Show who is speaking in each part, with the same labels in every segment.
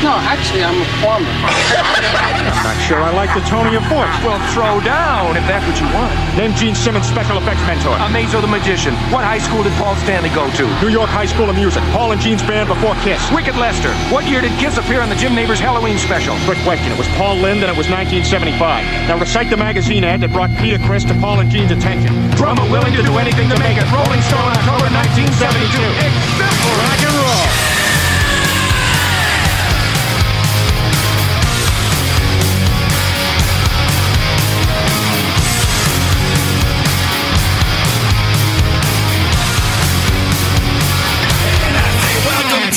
Speaker 1: No, actually, I'm a plumber.
Speaker 2: Not sure I like the tone of your voice.
Speaker 3: Well, throw down if that's what you want.
Speaker 2: Name Gene Simmons, special effects mentor.
Speaker 3: Amazo the Magician. What high school did Paul Stanley go to?
Speaker 2: New York High School of Music. Paul and Gene's band before Kiss.
Speaker 3: Wicked Lester. What year did Kiss appear on the Jim Neighbors Halloween special?
Speaker 2: Quick question. It was Paul Lynde and it was 1975. Now recite the magazine ad that brought Peter Chris to Paul and Gene's attention.
Speaker 3: Drummer willing to do anything to make it. Rolling Stone, October 1972.
Speaker 2: Rock
Speaker 3: Except
Speaker 2: and roll.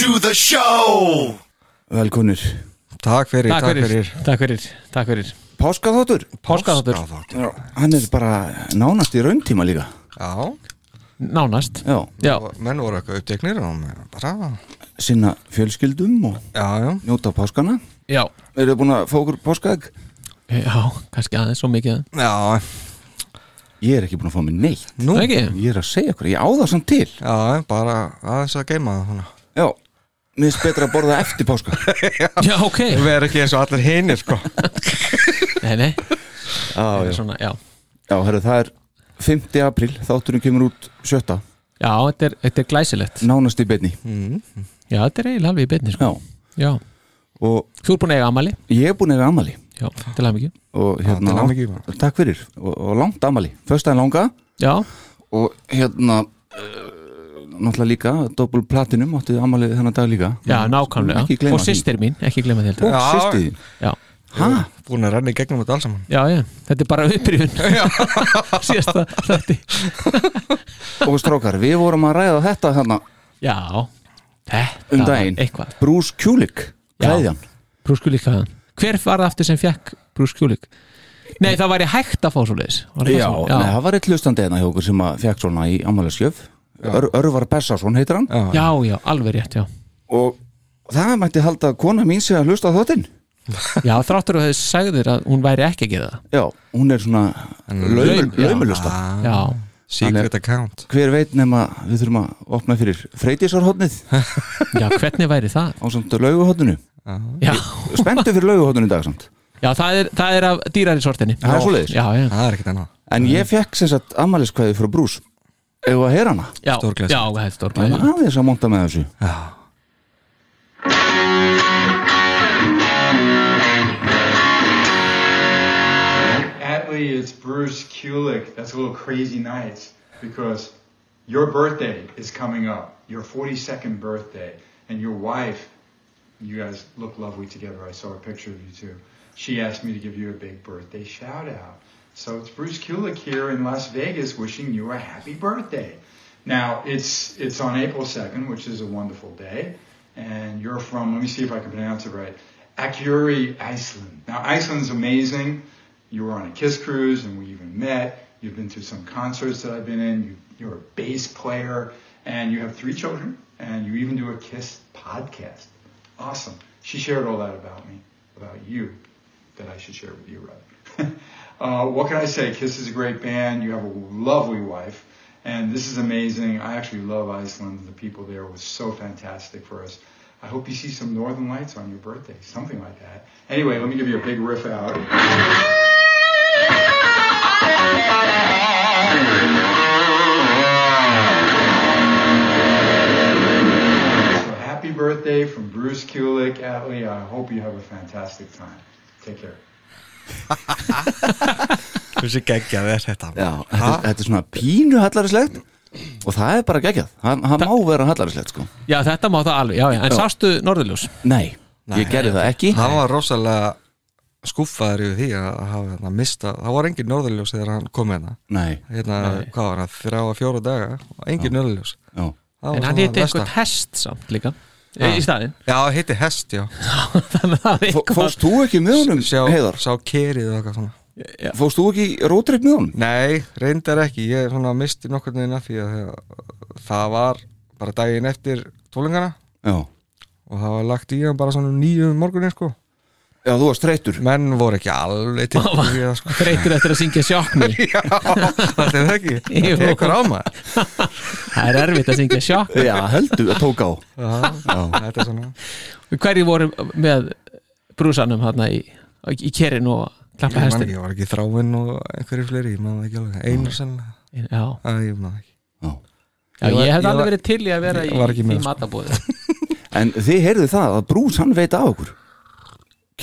Speaker 4: to the show
Speaker 5: Velkonir
Speaker 6: Takk fyrir,
Speaker 7: Takk fyrir, takk fyrir, takk fyrir
Speaker 5: Páskaþóttur
Speaker 7: Páskaþáttur,
Speaker 5: Já, Hann er bara nánast í rauntíma líka
Speaker 6: Já,
Speaker 7: nánast
Speaker 5: Já,
Speaker 7: Já,
Speaker 6: og menn voru eitthvað uppteknir og menn bara,
Speaker 5: sinna fjölskyldum og
Speaker 6: já, já
Speaker 5: njóta páskana
Speaker 7: já,
Speaker 5: Eru búin að fá okkur páskaegg?
Speaker 7: já, kannski aðeins svo mikið
Speaker 6: Já,
Speaker 5: Ég er ekki búin að fá mér neitt
Speaker 6: nú,
Speaker 7: Það ekki?
Speaker 5: Ég er að segja okkur, ég á það samt til
Speaker 6: já, bara aðeins að geima það svona.
Speaker 5: Já, mér finnst betra að borða eftir páska
Speaker 7: Já, ok,
Speaker 6: Verð ekki eins og allir hinir, sko
Speaker 7: nei, nei,
Speaker 5: Já, já
Speaker 7: svona, já
Speaker 5: Já, herru, það er 5. apríl, þátturinn kemur út 7.
Speaker 7: Já, þetta er, þetta er glæsilegt
Speaker 5: Nánast í beinni
Speaker 7: Já, þetta er eiginlega alveg í beinni, sko
Speaker 5: Já,
Speaker 7: Já,
Speaker 5: og
Speaker 7: þú er búin að eiga amali
Speaker 5: ég er búin að vera amali
Speaker 7: Já, til að mikið
Speaker 5: og hérna,
Speaker 6: til hamingju,
Speaker 5: langt, takk fyrir og, og langt amali, föstaðin langa
Speaker 7: Já,
Speaker 5: og hérna uh, náttúrulega líka, doppul platinum áttið amalið þennan dag líka
Speaker 7: já,
Speaker 5: Skulum Mm. ekki
Speaker 7: nákvæmlega
Speaker 5: gleyma
Speaker 7: Og systir mín, ekki glemma
Speaker 5: því.
Speaker 7: þetta
Speaker 5: og
Speaker 6: Já.
Speaker 5: sýsti þín
Speaker 7: Já,
Speaker 5: ha,
Speaker 6: Búin að renna í gegnum þetta alls saman
Speaker 7: já, já, þetta er bara upprýfun Síðasta þetta
Speaker 5: og strókar, við vorum að ræða þetta hérna
Speaker 7: Já, þetta
Speaker 5: um
Speaker 7: var
Speaker 5: daginn
Speaker 7: Eitthvað,
Speaker 5: Bruce Kulik,
Speaker 7: Já.
Speaker 5: klæðjan
Speaker 7: brúskjúlik Hver var það aftur sem fekk brúskjúlik? Nei, það væri hægt að fá svo leiðis
Speaker 5: Já, Nei, það var eitt hlustandi hérna hjá okkur sem að fekk svona í amaliðskjöf Ör, Örvar Bessarsson heitir hann
Speaker 7: Já, já, alveg rétt, já
Speaker 5: og það mætti halda að kona mín sé að hlusta á þáttinn
Speaker 7: Já, þráttur að þau sagðir að hún væri ekki að gera það
Speaker 5: Já, hún er svona laum,
Speaker 7: laum, já.
Speaker 5: laumulusta
Speaker 7: Já,
Speaker 6: Ah, Secret account
Speaker 5: Hver veit nema við þurfum að opna fyrir freytisarhóttnið
Speaker 7: já, hvernig væri það?
Speaker 5: á samt lauguhóttinu
Speaker 7: Já,
Speaker 5: Spenntu fyrir lauguhóttinu í dag samt
Speaker 7: já það, er, það er af dýrari sortinni
Speaker 5: Það er svoleiðis.
Speaker 7: Já, já,
Speaker 6: Það er ekkert annað
Speaker 5: En ég fekk sem sagt ammæliskvæði frá Brús Ef að heyra hana
Speaker 7: já,
Speaker 6: Stórglæsilegt.
Speaker 7: já, það er
Speaker 5: Það
Speaker 7: stórglæsilegt
Speaker 5: er aðeins að monta með þessu
Speaker 8: Atlee is Bruce Kulick. That's a little crazy night because your birthday is coming up, your 42nd birthday, and your wife, you guys look lovely together. I saw a picture of you two. She asked me to give you a big birthday shout out. So it's Bruce Kulick here in Las Vegas wishing you a happy birthday. Now it's it's on April 2nd, which is a wonderful day, and you're from let me see if I can pronounce it right. Akuri, Iceland. Now Iceland's amazing you were on a Kiss cruise and we even met. You've been to some concerts that I've been in. You, you're a bass player and you have three children and you even do a Kiss podcast. Awesome. She shared all that about me, about you, that I should share with you, rather. uh, what can I say? Kiss is a great band. You have a lovely wife. And this is amazing. I actually love Iceland. The people there was so fantastic for us. I hope you see some northern lights on your birthday, something like that. Anyway, let me give you a big riff out. So happy birthday from Bruce Kulick, Atlee. I hope you have a fantastic time. Take care.
Speaker 6: Hversu geggjað er þetta?
Speaker 5: Já, þetta, þetta er svona pínu hallarislegt og það er bara geggjað Það, það má vera hallarislegt sko
Speaker 7: Já, þetta má það alveg, já, já, en sástu Norðurljós
Speaker 5: Nei, ég gerði það ekki
Speaker 6: Hann var rosalega skúffaður yfir því að hafa hérna, mista Það var engin norðurljós þegar hann kom hérna
Speaker 5: Nei,
Speaker 6: Hérna, hvað var það, þrjá að fjóra daga og engin norðurljós
Speaker 5: já
Speaker 6: Það var
Speaker 7: En hann
Speaker 6: svona
Speaker 7: hitti
Speaker 6: versta.
Speaker 7: eitthvað hest samt líka
Speaker 5: Ah.
Speaker 7: Í staðinn
Speaker 6: Já, hitti hest, já
Speaker 7: Þannig að það er
Speaker 5: Fó-
Speaker 7: eitthvað
Speaker 5: Fórst þú ekki með honum,
Speaker 6: Sjá,
Speaker 5: Heiðar?
Speaker 6: sá kerið og eitthvað svona
Speaker 5: Fórst þú ekki í rótreip með honum?
Speaker 6: Nei, reyndar ekki, ég svona misti nokkur neina því að þegar- það var bara daginn eftir tólingana
Speaker 5: Já
Speaker 6: um og það var lagt í hann bara svona nýju morgunin sko
Speaker 5: Já, þú varst þreytur
Speaker 6: menn voru ekki alveg til í það, sko.
Speaker 7: Þreytur eftir að syngja sjokkni
Speaker 6: já, þetta er það ekki
Speaker 7: Jú.
Speaker 6: það tekur á maður
Speaker 7: Það er erfitt að syngja sjokk
Speaker 5: Já, heldur, það tók á
Speaker 6: já, þetta er svona
Speaker 7: Hverju voru með brúsanum hérna í, í kerin og
Speaker 6: ég,
Speaker 7: klappa
Speaker 6: man,
Speaker 7: hestin
Speaker 6: ekki, ég var ekki þráinn og einhverju fleiri ég maður ekki alveg, einar sennilega
Speaker 7: Já,
Speaker 6: Æ, ég maður ekki
Speaker 7: já
Speaker 6: Ég var-
Speaker 7: ég
Speaker 6: ég
Speaker 7: hefði
Speaker 6: var-
Speaker 7: alveg verið til í að vera
Speaker 6: Ég
Speaker 7: í,
Speaker 6: var ekki með,
Speaker 7: í
Speaker 6: sko.
Speaker 7: matabóði
Speaker 5: En þið heyrðu það að Brús, hann veit af okkur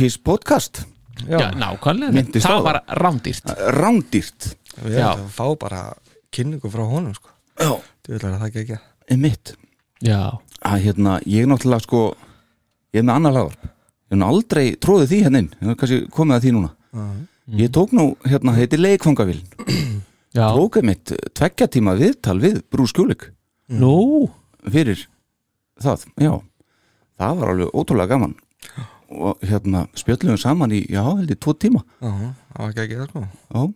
Speaker 5: Kiss podcast
Speaker 7: Já, nákvæmlega
Speaker 5: Minntist á
Speaker 7: Það
Speaker 5: það.
Speaker 7: var rándýrt
Speaker 5: Rándýrt
Speaker 6: við
Speaker 7: Já.
Speaker 6: erum að fá bara kynningu frá honum sko.
Speaker 5: Já
Speaker 6: Djöfull er það ekki ekki
Speaker 5: Mitt
Speaker 7: Já,
Speaker 5: að hérna, ég náttúrulega sko ég er með annar lagar ég hef nú aldrei tróði því hérna inn ég hef kannski komið að því núna ég tók nú, hérna, þetta er leikfangavillin
Speaker 7: já,
Speaker 5: tókuð mitt tveggja tíma viðtal við Brú Skjúlik
Speaker 7: nú
Speaker 5: fyrir það, já það var alveg ótrúlega gaman og hérna, spjöllum við saman í já, held ég, tvo tíma
Speaker 6: Já, það var ekki ekki það sko
Speaker 5: já,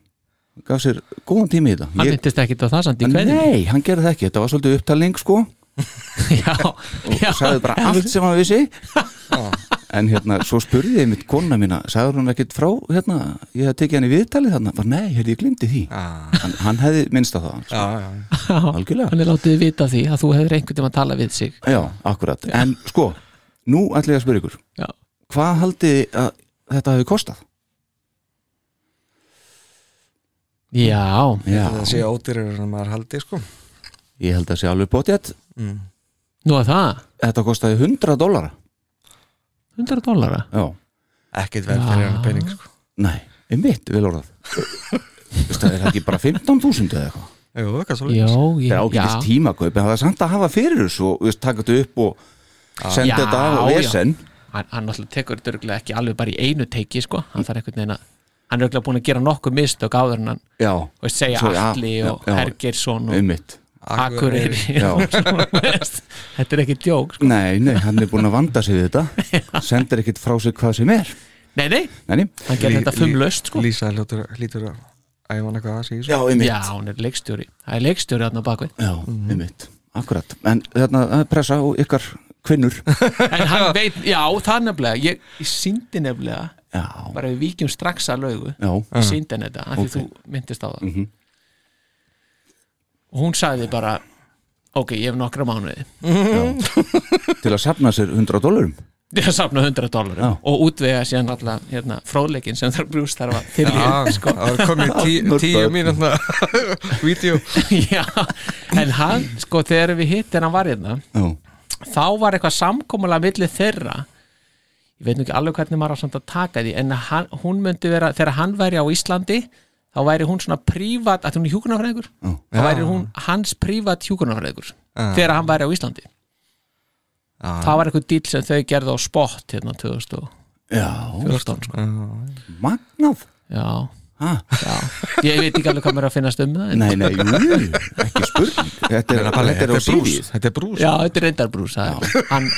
Speaker 5: gaf sér góðan tíma í þetta
Speaker 7: Hann myndist ekkit á það samt í hverju
Speaker 5: Nei, hann gerði það ekki, þetta var svolítið upptalning sko
Speaker 7: Já, já,
Speaker 5: og sagði bara allt sem hann vissi en hérna, svo spurði ég mitt kona mína sagði hann ekkert frá, hérna ég hef tekið hann í viðtalið þarna, bara nei, hérna ég glimti því
Speaker 6: Já,
Speaker 5: hann, hann hefði minnst á það sko.
Speaker 6: Ah. já, já
Speaker 5: algjörlega,
Speaker 7: hann er látið vita af því að þú hefur einhvern tímann talað við sig
Speaker 5: já, akkurat en sko, nú ætla ég að spyrja ykkur
Speaker 7: Já,
Speaker 5: hvað haldið þið að þetta hefði kostað?
Speaker 7: já,
Speaker 5: Já,
Speaker 6: Það sé ódýrir en maður haldi sko
Speaker 5: ég held að sé alveg bótið
Speaker 6: mm.
Speaker 7: nú er það
Speaker 5: þetta kostaði 100 dólara
Speaker 7: 100 dólara
Speaker 5: já,
Speaker 6: Ekkit vel fyrir
Speaker 7: Já.
Speaker 6: hann pening sko
Speaker 5: nei, einmitt, vel orðað Veistu, það er það ekki bara 15.000 eða eitthvað
Speaker 6: Jú, eitthvað svo
Speaker 7: Já, ég,
Speaker 5: það er
Speaker 7: já,
Speaker 5: ágætist tímakaup en það er samt að hafa fyrir þessu og veist, taka þetta upp og senda
Speaker 7: Já,
Speaker 5: þetta af og
Speaker 7: já.
Speaker 5: vesen
Speaker 7: hann, hann alltaf tekur þetta örugglega ekki alveg bara í einu teiki sko. hann þarf einhvern veginn að hann er örugglega búin að gera nokkuð mistök áður en hann
Speaker 5: já, um
Speaker 7: og segja
Speaker 5: Svo,
Speaker 7: Svo,
Speaker 5: já,
Speaker 7: Atli
Speaker 5: já,
Speaker 7: og
Speaker 5: já.
Speaker 7: Hergeirsson og
Speaker 5: einmitt
Speaker 7: Akureyri
Speaker 5: Já.
Speaker 7: og svona, veist. þetta er ekki djók sko.
Speaker 5: nei, nei, hann er búin að vanda sig við þetta sendir ekkit frá sig hvað sem er
Speaker 7: nei, nei,
Speaker 5: Neini.
Speaker 7: hann gerir þetta fumlaust sko.
Speaker 6: Lísa hljótur, hlýtur að æfa eitthvað að segja
Speaker 5: já, um
Speaker 6: sko.
Speaker 5: einmitt
Speaker 7: já,
Speaker 5: já.
Speaker 7: hann er leikstjóri það er leikstjóri hann á bakvið
Speaker 5: einmitt, akkurat en þarna það er pressa og ykkar kvinnur
Speaker 7: en hann veit, já, það nefnilega ég, ég síndi nefnilega,
Speaker 5: já,
Speaker 7: bara við víkjum strax að laugu
Speaker 5: já,
Speaker 7: ég síndi henni þetta, af því þú myndist á það
Speaker 5: Mhm.
Speaker 7: og hún sagði bara ok, ég hef nokkra mánuði
Speaker 5: Mhm. til að safna sér 100 dólarum
Speaker 7: ég hef safnað
Speaker 5: Já.
Speaker 7: 100 dólarum og útvega síðan alla hérna, fróðleikin sem þarf brúst þarf að til
Speaker 6: Já, sko, það var komið tí,
Speaker 5: Mörg
Speaker 6: tíu
Speaker 5: börn.
Speaker 6: mínúna Vídeó
Speaker 7: já, en hann sko þegar við hittir hann var hérna
Speaker 5: já,
Speaker 7: þá var eitthvað samkomulega milli þeirra ég veit nú ekki alveg hvernig maður á samt að taka því en hann, hún myndi vera, þegar hann væri á Íslandi þá væri hún svona prívat að hún er hjúkunarfræðingur
Speaker 5: Já.
Speaker 7: þá væri hún hans prívat hjúkunarfræðingur þegar hann væri á Íslandi það var eitthvað dýl sem þau gerðu á spott hérna 2014
Speaker 5: já,
Speaker 7: sko.
Speaker 5: magnað
Speaker 7: já,
Speaker 5: ha,
Speaker 7: já. ég veit ekki alveg hvað mér er að finnast um það en-
Speaker 5: nei, nei, jú, ekki spurning þetta er, þetta er á síðið
Speaker 6: Þetta er brús
Speaker 7: já, þetta er reyndar brús það er- hann,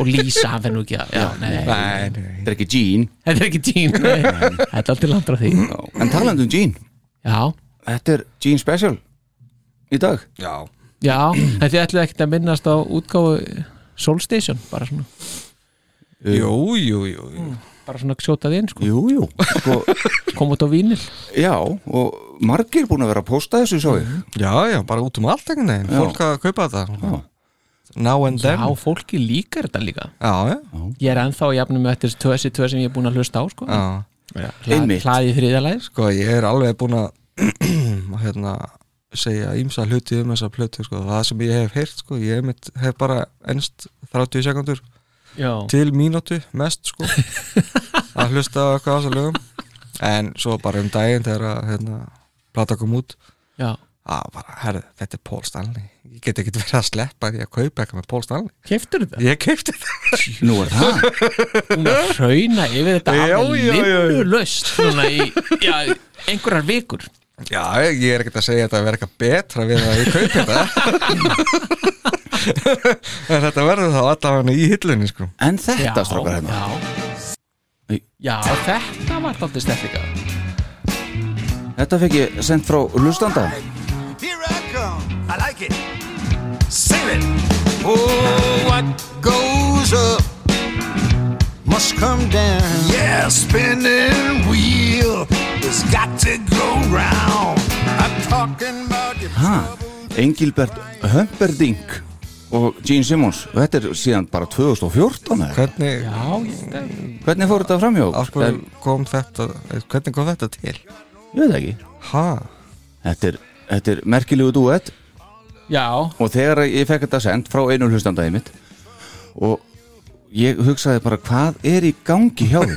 Speaker 7: og Lísa, hann fennu ekki að já, nei,
Speaker 6: Nei, nei
Speaker 5: þetta er ekki Jean
Speaker 7: þetta er ekki tín nei. þetta er alltaf landra því
Speaker 5: en talandi um Jean,
Speaker 7: já,
Speaker 5: þetta er Jean Special í dag
Speaker 6: Já,
Speaker 7: Já, en þið ætlaði ekkert að minnast á útgáfu Soul Station, bara svona
Speaker 6: jú, jú, jú, jú.
Speaker 7: bara svona sjótaði inn, sko,
Speaker 5: jú, jú, sko
Speaker 7: kom út á vínil
Speaker 5: Já, og margir búin að vera að posta þessu svo ég
Speaker 6: Já, já, bara út um allt einhvern veginn
Speaker 5: Já.
Speaker 6: Fólk að kaupa þetta Now and then
Speaker 7: Já, fólki líkar þetta líka
Speaker 6: Já, já,
Speaker 7: Ég er ennþá að jafnum með eftir tösi tösi sem ég er búin að hlusta á, sko
Speaker 6: já.
Speaker 7: Hla-
Speaker 5: einmitt.
Speaker 7: Hlaðið þriðalagi, sko
Speaker 6: Sko, ég er alveg búin að hérna, segja ímsa hluti um þessa plötu, sko, það sem ég hef heyrt, sko, ég mitt, hef bara ennst 30 sekundur
Speaker 7: Já,
Speaker 6: til mínútu mest, sko að hlusta á eitthvað á þessu lögum en svo bara um daginn þegar að hérna, plata kom út
Speaker 7: já,
Speaker 6: að bara, herðu, þetta er Paul Stanley ég get ekki verið að sleppa því að kaupa eitthvað með Paul Stanley
Speaker 7: keftur þetta
Speaker 6: ég keipti það
Speaker 5: Nú er það
Speaker 7: Hún er að hrauna yfir þetta
Speaker 6: Já, já, já, já.
Speaker 7: linnulöst svona í, já, einhverjar vikur
Speaker 6: já, ég er ekkert að segja þetta að vera eitthvað betra við að ég kaupi þetta en þetta verður þá allavega í hillunni, sko
Speaker 5: En
Speaker 7: Já,
Speaker 5: þetta strákar hérna
Speaker 7: já
Speaker 5: Nei.
Speaker 7: Já, þetta var þáttið stefnleika
Speaker 5: Þetta fekk ég sendt frá hlustanda
Speaker 4: Here I come. I like it. Sing it. Oh, what goes up must come down. Yeah, spinning wheel has got to go round. I'm talking about your
Speaker 5: Ha,
Speaker 4: trouble.
Speaker 5: Engilbert Humperdinck og Gene Simmons og þetta er síðan bara 2014 eða?
Speaker 6: Hvernig,
Speaker 7: Já, ég stend
Speaker 5: hvernig fór þetta framhjá?
Speaker 6: af hverju kom þetta eh, hvernig kom þetta
Speaker 5: ég
Speaker 6: til?
Speaker 5: veit það ekki
Speaker 6: Ha?
Speaker 5: þetta er, þetta er merkilegu duett
Speaker 7: Já,
Speaker 5: og þegar ég fekk þetta sendt frá einu hlustandaði mitt og ég hugsaði bara hvað er í gangi hjá þér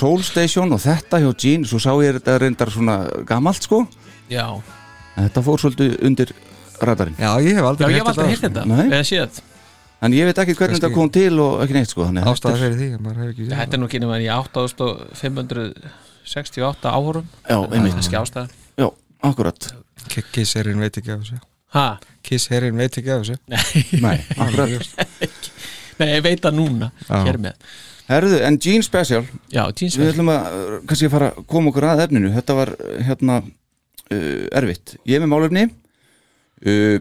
Speaker 5: Soul Station og þetta hjá Gene svo sá ég þetta reyndar svona gamalt sko
Speaker 7: já
Speaker 5: en þetta fór svolítið undir radarinn
Speaker 6: Já, ég hef
Speaker 7: Já,
Speaker 6: aldrei
Speaker 7: ég hef aldrei heyrt
Speaker 6: sko.
Speaker 7: þetta
Speaker 5: Nei.
Speaker 7: Eða séð
Speaker 5: en ég veit ekki hvernig
Speaker 6: Kannski-
Speaker 5: þetta kom til og ekki neitt sko þannig að
Speaker 6: Ástæða
Speaker 5: þetta er-
Speaker 6: fyrir því, að maður hefur ekki séð
Speaker 7: Þetta er nú ekki nema í 8568 áhórum
Speaker 5: Já, einmitt,
Speaker 7: Kannski ástæðan
Speaker 5: já, akkurat
Speaker 6: K- Kiss herrin veit ekki af þessu
Speaker 7: Ha,
Speaker 6: Kiss herrin veit ekki af þessu
Speaker 5: Nei, akkurat
Speaker 7: nei, ég veit það núna
Speaker 6: Já.
Speaker 7: Hér með
Speaker 5: Herðu, en Gene Special
Speaker 7: Já, jeans
Speaker 5: Við ætlum að uh, kannski fara að koma okkur að efninu Þetta var uh, hérna uh, erfitt Ég er með málefni uh,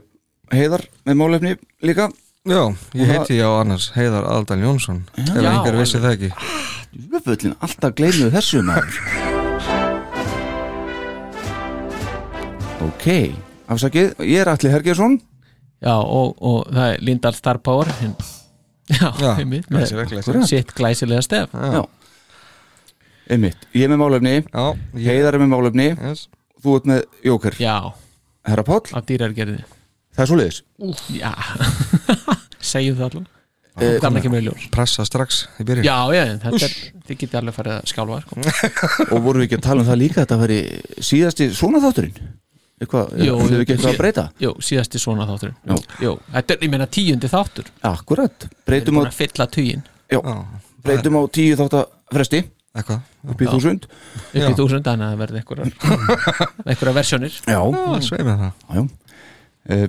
Speaker 5: Heiðar með málefni líka
Speaker 6: Já, ég heiti já annars Heiðar Aldal Jónsson Ef
Speaker 7: Já,
Speaker 6: einhver vissi það ekki
Speaker 5: Jöfullin, alltaf gleymuðu þessu maður Ok, afsakið Ég er Atli Hergjesson
Speaker 7: Já, og, og það er Lindahl Star Power hinn. Já,
Speaker 6: Já,
Speaker 7: einmitt
Speaker 6: glæsilegt,
Speaker 7: með
Speaker 6: glæsilegt.
Speaker 7: sitt glæsilega stef
Speaker 5: Já, einmitt Ég er með málefni,
Speaker 6: Já, ég
Speaker 5: Heiðar er með málefni
Speaker 6: yes.
Speaker 5: Þú ert með Jóker,
Speaker 7: Já,
Speaker 5: herra Páll
Speaker 7: af dýrargerði
Speaker 5: Það er svoleiðis
Speaker 7: Já, segjum það allan Það
Speaker 5: Eh,
Speaker 7: er ekki með ljós
Speaker 6: Pressa strax í byrjun
Speaker 7: Já, já, en þetta er, þið getið alveg farið að skjálfa sko.
Speaker 5: Og vorum við ekki að tala um það líka að Þetta veri síðasti svona þátturinn Eitthvað,
Speaker 7: Jú,
Speaker 5: þau ekki eitthvað
Speaker 7: sí-
Speaker 5: að breyta
Speaker 7: Jú, síðasti svona þáttur
Speaker 5: Já.
Speaker 7: Jú, þetta er, ég meina, tíundi þáttur
Speaker 5: Akkurat,
Speaker 7: Við erum
Speaker 5: breytum á,
Speaker 7: búin að fylla tíin
Speaker 5: já,
Speaker 6: Já,
Speaker 5: breytum á tíu þátt fresti
Speaker 6: eitthvað
Speaker 5: upp í þúsund
Speaker 7: upp í
Speaker 6: Já.
Speaker 7: þúsund, þannig að það verði einhverjar einhverjar versjónir
Speaker 5: Já,
Speaker 6: Já,
Speaker 7: Mm.
Speaker 6: svei með það
Speaker 5: já Eh,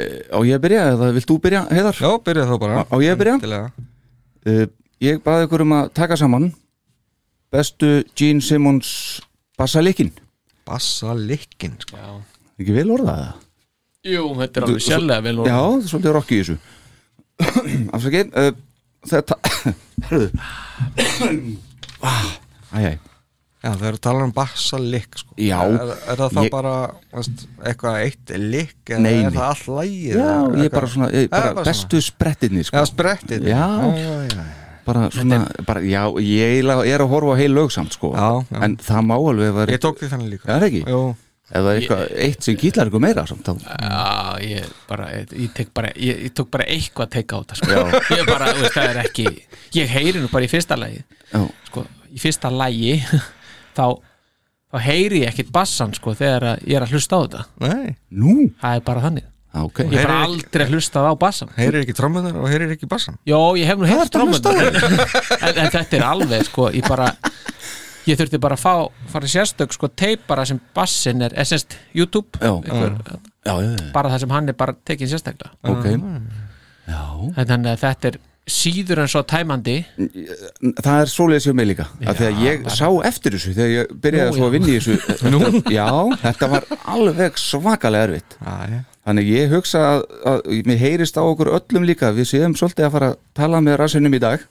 Speaker 5: eh, Á ég að byrja, eða vilt þú byrja, Heiðar?
Speaker 6: Já, byrja þá bara
Speaker 5: Á á ég að byrja?
Speaker 6: Endilega.
Speaker 5: Eh, Ég baði ykkur um að taka saman bestu Gene Simmons bassalikkin
Speaker 6: Bassa likkin sko.
Speaker 5: Ekki vel orðað það?
Speaker 7: Jú, þetta er alveg sérlega vel
Speaker 5: Já, það er svolítið rokk í þessu Afsakið uh, Þetta Hörðu Ah, Æ, æ,
Speaker 6: Já, þau eru að tala um bassa lik sko.
Speaker 5: Já.
Speaker 6: er, er það það
Speaker 5: Ég-
Speaker 6: bara veist, eitthvað eitt lik eða
Speaker 5: Nei,
Speaker 6: er
Speaker 5: nei.
Speaker 6: það allt lægið
Speaker 5: já, ég bara svona ég, bara
Speaker 6: bara svona.
Speaker 5: Bestu sprettinni
Speaker 6: Já,
Speaker 5: sko.
Speaker 6: sprettið
Speaker 5: Já.
Speaker 6: já, já.
Speaker 5: bara svona, bara, já, ég eiginlega er að horfa á heil lögsamt sko
Speaker 6: Já, já.
Speaker 5: en það má alveg vera,
Speaker 6: Ég tók því þannig líka
Speaker 5: Já, er það ekki?
Speaker 6: Jú,
Speaker 5: ef það er eitthvað eitt sem kýtlar ykkur meira samt, þá,
Speaker 7: Já, ég bara, ég, ég, tek bara ég, ég tók bara eitthvað að teka á þetta sko. ég bara, þú veist, það er ekki ég heyri nú bara í fyrsta lagi
Speaker 5: já,
Speaker 7: sko, í fyrsta lagi þá, þá heyri ég ekkit bassan sko, þegar að ég er að hlusta á þetta
Speaker 6: nei
Speaker 5: nú,
Speaker 7: það er bara þannig
Speaker 5: já, ok
Speaker 7: ég hef
Speaker 6: Heyrir
Speaker 7: bara
Speaker 6: ekki-
Speaker 7: aldrei hlustað á bassan
Speaker 6: Heyrir ekki trommunar og heyrir ekki bassan
Speaker 7: Jó, ég hef nú heyrt
Speaker 5: ertu að hlusta á?
Speaker 7: trómmunar en, en þetta er alveg, sko, ég bara ég þurfti bara að fá, fara í sérstök sko, teip bara sem bassin er essence YouTube,
Speaker 5: Já.
Speaker 7: einhver,
Speaker 5: já, já, já,
Speaker 7: bara það sem hann er bara tekin sérstaklega
Speaker 5: ok já,
Speaker 7: en þannig að þetta er síður en svo tæmandi
Speaker 5: það er svoleiðis hjá mig líka að þegar ég sá eftir þessu þegar ég byrjaði
Speaker 7: Nú,
Speaker 5: svo
Speaker 7: já.
Speaker 5: að vinna í þessu Nú? já, þetta var alveg svakalega erfitt
Speaker 6: Já, já
Speaker 5: þannig ég hugsa að, að mér heyrist á okkur öllum líka við séum svolítið að fara að tala með rassinum í dag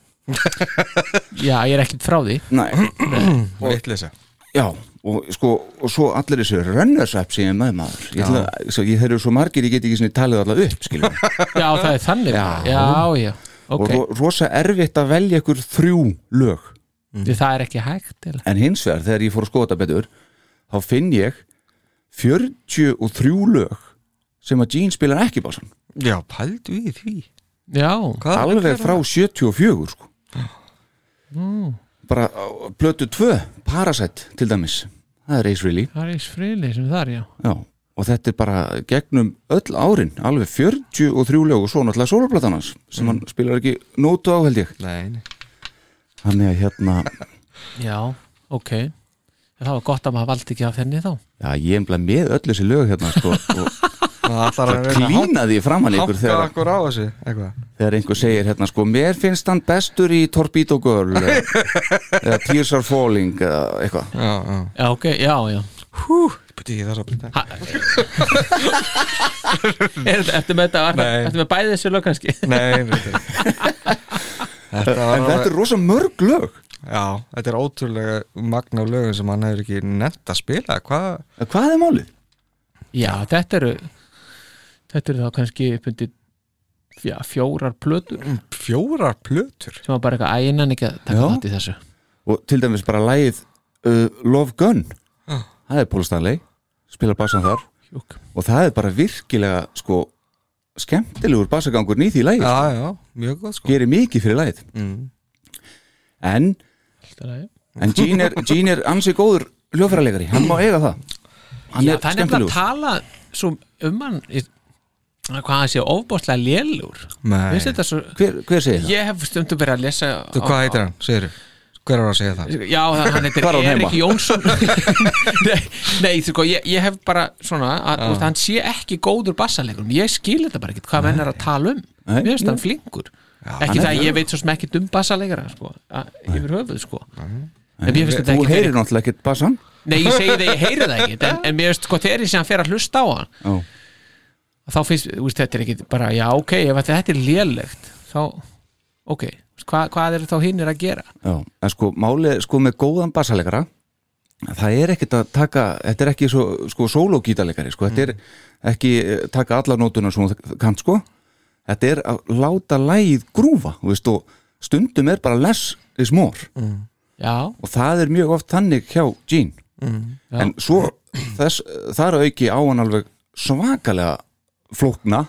Speaker 7: já, ég er ekkert frá því
Speaker 5: Nei,
Speaker 6: Vittleysa
Speaker 5: Já, og sko, og svo allir þessu rönnarsvepp sem ég er með maður ég, ætla, svo, ég þeir eru svo margir, ég get ekki sinni talið alla upp, skiljum
Speaker 7: já, það er þannig
Speaker 5: Já.
Speaker 7: bara. já, já,
Speaker 5: og
Speaker 7: ok
Speaker 5: ro rosa erfitt að velja ykkur þrjú lög,
Speaker 7: Því það er ekki hægt eða?
Speaker 5: en hins vegar þegar ég fór að skota betur, þá finn ég 43 lög sem að Gene spilar ekki básan
Speaker 6: Já, pældu í því
Speaker 7: já,
Speaker 6: Hvað
Speaker 5: alveg frá 74 sko. bara á- plötu 2, Parasite til dæmis, það er Ace Really
Speaker 7: það er eins frili sem það er, já
Speaker 5: Já, og þetta er bara gegnum öll árin, alveg 43 lög og svo náttúrulega soloplatan hans sem hann spilar ekki nótu á held ég
Speaker 6: Nei, nei
Speaker 5: Þannig að hérna,
Speaker 7: já, ok en það var gott að maður valdi ekki af þenni þá
Speaker 5: já ég emla með öll þessi lög hérna sko og
Speaker 6: Það ætlar að reyna að
Speaker 5: klínaði framan ykkur
Speaker 6: hoppa
Speaker 5: þegar,
Speaker 6: okkur á þessu Eitthvað
Speaker 5: þegar einhver segir hérna sko mér finnst hann bestur í Torpedo Girl eða, eða Tears Are Falling eða eitthvað
Speaker 6: Já, já
Speaker 7: já, ok, já, já
Speaker 6: Putti, ég þarf að byrja
Speaker 7: ha, er, ertu með þetta
Speaker 6: Nei.
Speaker 7: ertu með bæði þessu lög kannski
Speaker 6: Nei, nei, nei Þetta
Speaker 5: en
Speaker 6: var
Speaker 5: þetta
Speaker 6: alveg-
Speaker 5: er rosa mörg lög
Speaker 6: Já, þetta er ótrúlega magna lögum sem hann hefur ekki nefnt að spila Hvað,
Speaker 5: En Hvað er málið?
Speaker 7: Já, þetta eru þetta eru þá kannski upp undir já, fjórar plötur
Speaker 6: Mm. fjórar plötur
Speaker 7: sem var bara eitthvað æginan ekki að taka
Speaker 5: Já.
Speaker 7: þátt í þessu
Speaker 5: Og til dæmis bara lægið uh, Love Gun Það er Paul Stanley, spilar bassan þar
Speaker 7: Ah. Júk.
Speaker 5: Og það er bara virkilega sko skemmtilegur bassagangur nýð í lægið
Speaker 6: Já, já, mjög góð sko
Speaker 5: Gerir mikið fyrir lægið
Speaker 6: mm.
Speaker 5: En,
Speaker 7: Allt í lagi.
Speaker 5: en Gene, er, Gene er ansi góður hljófærarleikari Hann má eiga það Hann
Speaker 7: Já,
Speaker 5: er
Speaker 7: það er nefnilega að
Speaker 5: skemmtilegur
Speaker 7: tala svo um hann í- hvað hann sé ofbóðslega lélur
Speaker 6: Nei,
Speaker 7: Veistu þetta svo
Speaker 5: Hver, hver segir það?
Speaker 7: Ég hef stundum verið að lesa
Speaker 6: þú hvað heitir hann, segir Hver var að segja það?
Speaker 7: Já, það- hann heitir
Speaker 5: Hvar á hann heima?
Speaker 7: Erik Jónsson Nei, nei þú sko, ég, ég hef bara svona að,
Speaker 5: Ah.
Speaker 7: að hann sé ekki góður bassalegur ég skil þetta bara ekkert hvað menn er að tala um
Speaker 5: Nei.
Speaker 7: mér finnst hann flinkur ekki
Speaker 5: hann er
Speaker 7: það að ég veit svo sem ekki dum bassalegara sko, að, yfir höfuð sko en mér finnst þetta
Speaker 5: Þú
Speaker 7: ekki
Speaker 5: heyrir
Speaker 7: verið-
Speaker 5: náttúrulega ekkert bassan
Speaker 7: Nei, ég segi það, ég heyri það ekki en, en mér finnst sko þegar ég sé hann fer að hlusta á hann
Speaker 5: Já.
Speaker 7: þá finnst, þú veist, þetta er ekki bara já, ok, ef að þetta er lélegt þá, ok, hva, hvað er þá hinnir að gera?
Speaker 5: Já, en sko málið, sko með góðan bassalegara það er ekkert að taka þetta er ekki svo, sko sólógítalegari sko, þetta er ekki eh, taka alla nótuna sem þú kannt sko þetta er að láta lægið grúfa þú veist, og stundum er bara less is more
Speaker 7: Já,
Speaker 5: og það er mjög oft þannig hjá Gene
Speaker 7: Já.
Speaker 5: en svo þess, þar að auki á hann alveg svakalega flókna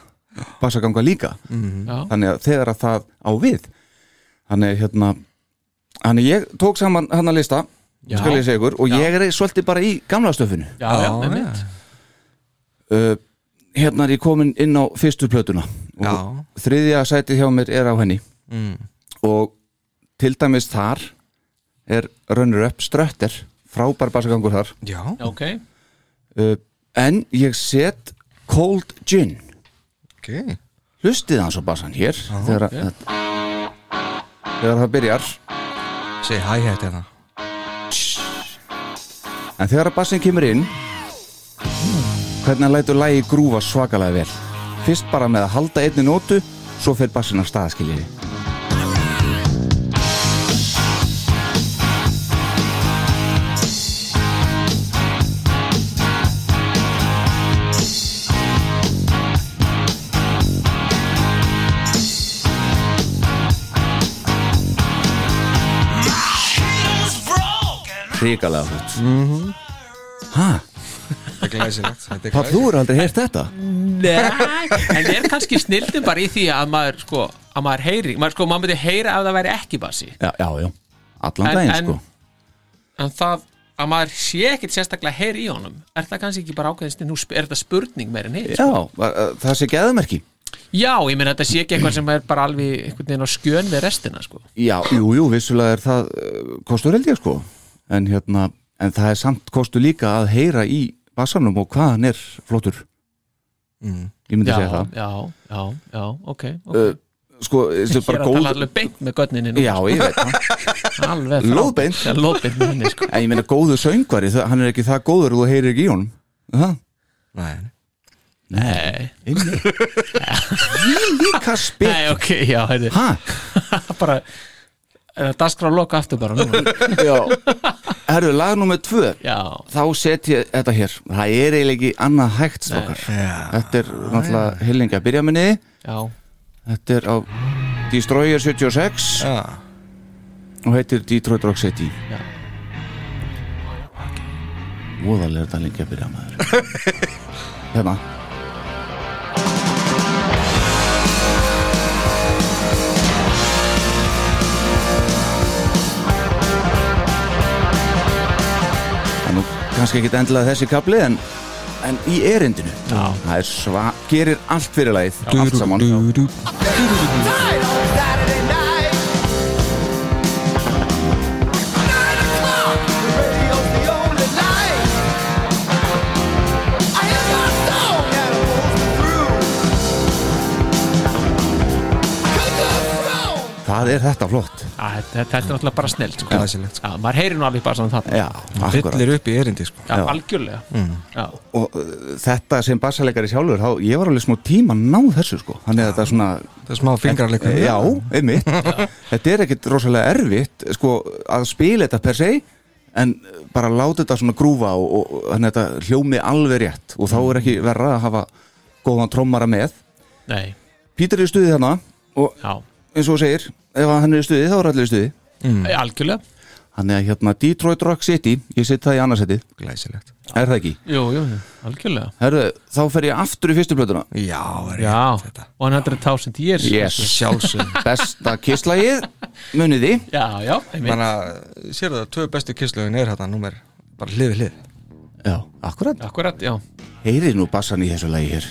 Speaker 5: bassaganga líka
Speaker 7: já,
Speaker 5: þannig að þegar að það á við þannig að, hérna þannig að ég tók saman hann að lista
Speaker 7: Já.
Speaker 5: skal ég segja ykkur og ég er svolítið bara í gamla stöfinu
Speaker 7: já, já, með mitt
Speaker 5: uh, hérna er ég komin inn á fyrstu plötuna og
Speaker 6: Já.
Speaker 5: þriðja sætið hjá mér er á henni
Speaker 7: Mm.
Speaker 5: og til dæmis þar er runner up ströttir frábær basagangur þar
Speaker 6: Já,
Speaker 7: ok,
Speaker 5: uh, en ég set cold gin
Speaker 6: ok
Speaker 5: hlustið hans á basan hér þegar, okay. þegar það byrjar
Speaker 6: Segir hæ hætti hérna
Speaker 5: En þegar að bassin kemur inn Hvernig hann lætur lægi grúfa svakalega vel Fyrst bara með að halda einni nótu Svo fer bassin af stað skiljiði Ríkalega hlut mm Hæ,
Speaker 6: Þetta er glæsilegt Þetta er
Speaker 5: papp, þú eru aldrei heyrt þetta?
Speaker 7: nei en er kannski snildin bara í því að maður sko, að maður heyri, maður sko, maður myndi heyra ef það væri ekki bassi,
Speaker 5: Já, já, já Allan
Speaker 7: En-
Speaker 5: daginn
Speaker 7: en-
Speaker 5: sko
Speaker 7: en það að maður sé ekkit sérstaklega heyri í honum er það kannski ekki bara ákveðin snildin, nú sp- er þetta spurning meir en sko? hitt?
Speaker 5: Já, að- það sé geðmerki
Speaker 7: Já, ég meina þetta sé ekki eitthvað sem er bara alveg einhvern veginn á skjön við restina, sko
Speaker 5: Já, jú, jú, vissulega er það uh, kostur held ég sko en, hérna, en það er samt kostur líka að heyra í bassanum og hvað hann er flottur
Speaker 6: Mm.
Speaker 5: Ég myndi
Speaker 7: Já,
Speaker 5: segja það
Speaker 7: já, já, já, ok, ok
Speaker 5: uh, Sko, þetta er
Speaker 7: Ég er
Speaker 5: bara
Speaker 7: að tala
Speaker 5: góð
Speaker 7: alveg beint með götninni nú,
Speaker 5: Já, ég veit það
Speaker 7: alveg
Speaker 5: Lóðbeint.
Speaker 7: frábært. Já, Lóðbeint með henni, sko
Speaker 5: En ég meina góðu söngvari, það- hann er ekki það góður og þú heyrir ekki í honum Það?
Speaker 6: Nei,
Speaker 7: Nei,
Speaker 5: Líka spil
Speaker 7: nei, ok, já, heyrðu
Speaker 5: Hæ?
Speaker 7: bara er það dagskrá loka aftur bara núna
Speaker 5: Já Herru, lag nummer tvö
Speaker 7: Já,
Speaker 5: Þá set ég þetta hér Það er eiginlega ekki annað hægt strókar
Speaker 6: já,
Speaker 5: Þetta er náttúrulega hyllinga byrjaminni
Speaker 7: já,
Speaker 5: Þetta er á Destroyer 76
Speaker 6: já
Speaker 5: og heitir Detroit Rock City
Speaker 7: Já.
Speaker 5: Voðalega er þetta lengi að byrja maður Hérna Það er nú kannski ekkit endilega þessi kapli en, en í erindinu Já. það er sva, gerir allt fyrir lagið allt saman
Speaker 6: Du-du-du-du.
Speaker 5: það hvað er þetta flott
Speaker 7: Að, þetta, þetta er náttúrulega bara snilt sko.
Speaker 6: Glæsilegt, sko.
Speaker 7: Já, maður heyrir nú alveg bara svona það
Speaker 5: já, akkurat
Speaker 6: Fyllir upp í erindi sko
Speaker 7: Já, algjörlega Já,
Speaker 5: og uh, þetta sem bassalegari sjálfur þá, ég var alveg smá tíma að ná þessu sko þannig að þetta er svona
Speaker 6: Það er smá fingrarleikur
Speaker 5: já, einmitt þetta er ekkit rosalega erfitt sko, að spila þetta per se en bara láta þetta svona grúfa og, og- og þannig að þetta hljómi alveg rétt og þá er ekki verra að hafa góðan trommara með
Speaker 7: nei,
Speaker 5: Pítur er í stuði þarna og
Speaker 7: já,
Speaker 5: eins og þú segir, ef hann er í stuði þá er allir í stuði
Speaker 7: algjörlega
Speaker 5: hann er hérna Detroit Rock City ég set það í annarsetti,
Speaker 6: Glæsilegt
Speaker 5: er það ekki
Speaker 7: Jú, jú, jú, algjörlega
Speaker 5: Herðu, þá fer ég aftur í fyrstu plötuna
Speaker 6: Já, er ég
Speaker 7: Já, 100.000 years
Speaker 5: yes,
Speaker 6: sjálfsög
Speaker 5: besta kisslagið munið því
Speaker 7: Já, já, einmitt
Speaker 6: Þannig að sér það, tvö bestu kisslögin er þetta númer bara hlið við hlið
Speaker 5: já, akkurat,
Speaker 7: Akkurat, já
Speaker 5: heyrið nú bassan í þessu lagi hér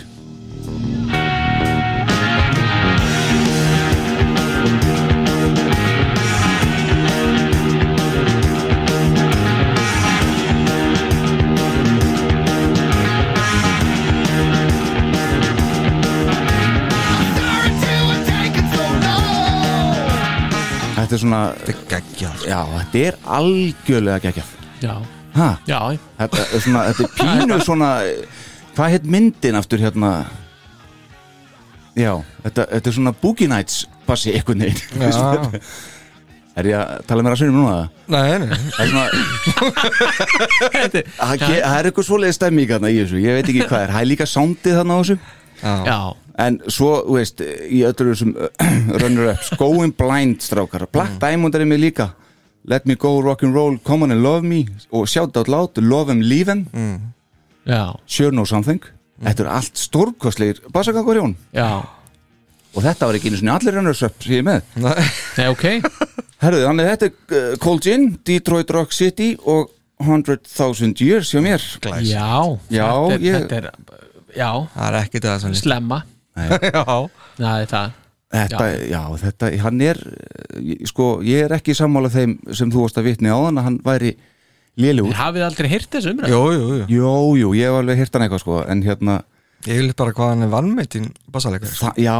Speaker 5: þetta er svona
Speaker 6: Þetta er geggjað
Speaker 5: já, þetta er algjörlega geggjað
Speaker 7: Já,
Speaker 5: ha,
Speaker 7: já,
Speaker 5: þetta er svona, þetta er pínu svona hvað heit myndin aftur hérna já, þetta, þetta er svona Boogie Nights passi einhvern veginn
Speaker 6: Já,
Speaker 5: er ég að tala mér að sunni núna
Speaker 6: nei, nei
Speaker 5: það er svona það ge- það er eitthvað svoleiði stemmík þarna í þessu, ég veit ekki hvað er, það er líka soundið þarna á þessu
Speaker 7: já
Speaker 5: en svo, þú veist, í öllu þessum runner up, going blind strákar Black Diamond er í mig líka Let me go, rock and roll, come on and love me og shout out loud, love em, leave em
Speaker 7: Já,
Speaker 5: sure no something þetta er allt stórkostlegir bassakangur Jón
Speaker 7: já
Speaker 5: og þetta var ekki einu svona allir runner up sem ég er með
Speaker 6: Nei,
Speaker 7: Nei, ok
Speaker 5: herruðu, þannig að þetta er uh, Cold Gin Detroit Rock City og 100.000 years hjá mér
Speaker 7: Já,
Speaker 5: Já,
Speaker 7: þetta, er,
Speaker 5: ég-
Speaker 7: þetta er Já,
Speaker 6: það er ekki það sem
Speaker 7: slemma
Speaker 6: Já,
Speaker 7: Nei, það
Speaker 5: þetta, já. þetta, hann er uh, ég- sko, ég er ekki sammála þeim sem þú varst að vitni á hann að hann væri lélugur,
Speaker 7: Hafið þið aldrei heyrt þessu umræð?
Speaker 6: jú, jú, jú
Speaker 5: jú, jú, ég hef alveg hirt hann eitthvað sko, en hérna,
Speaker 6: Ég vil bara hvað hann er sko. vannmeitin basalegur
Speaker 5: þa- já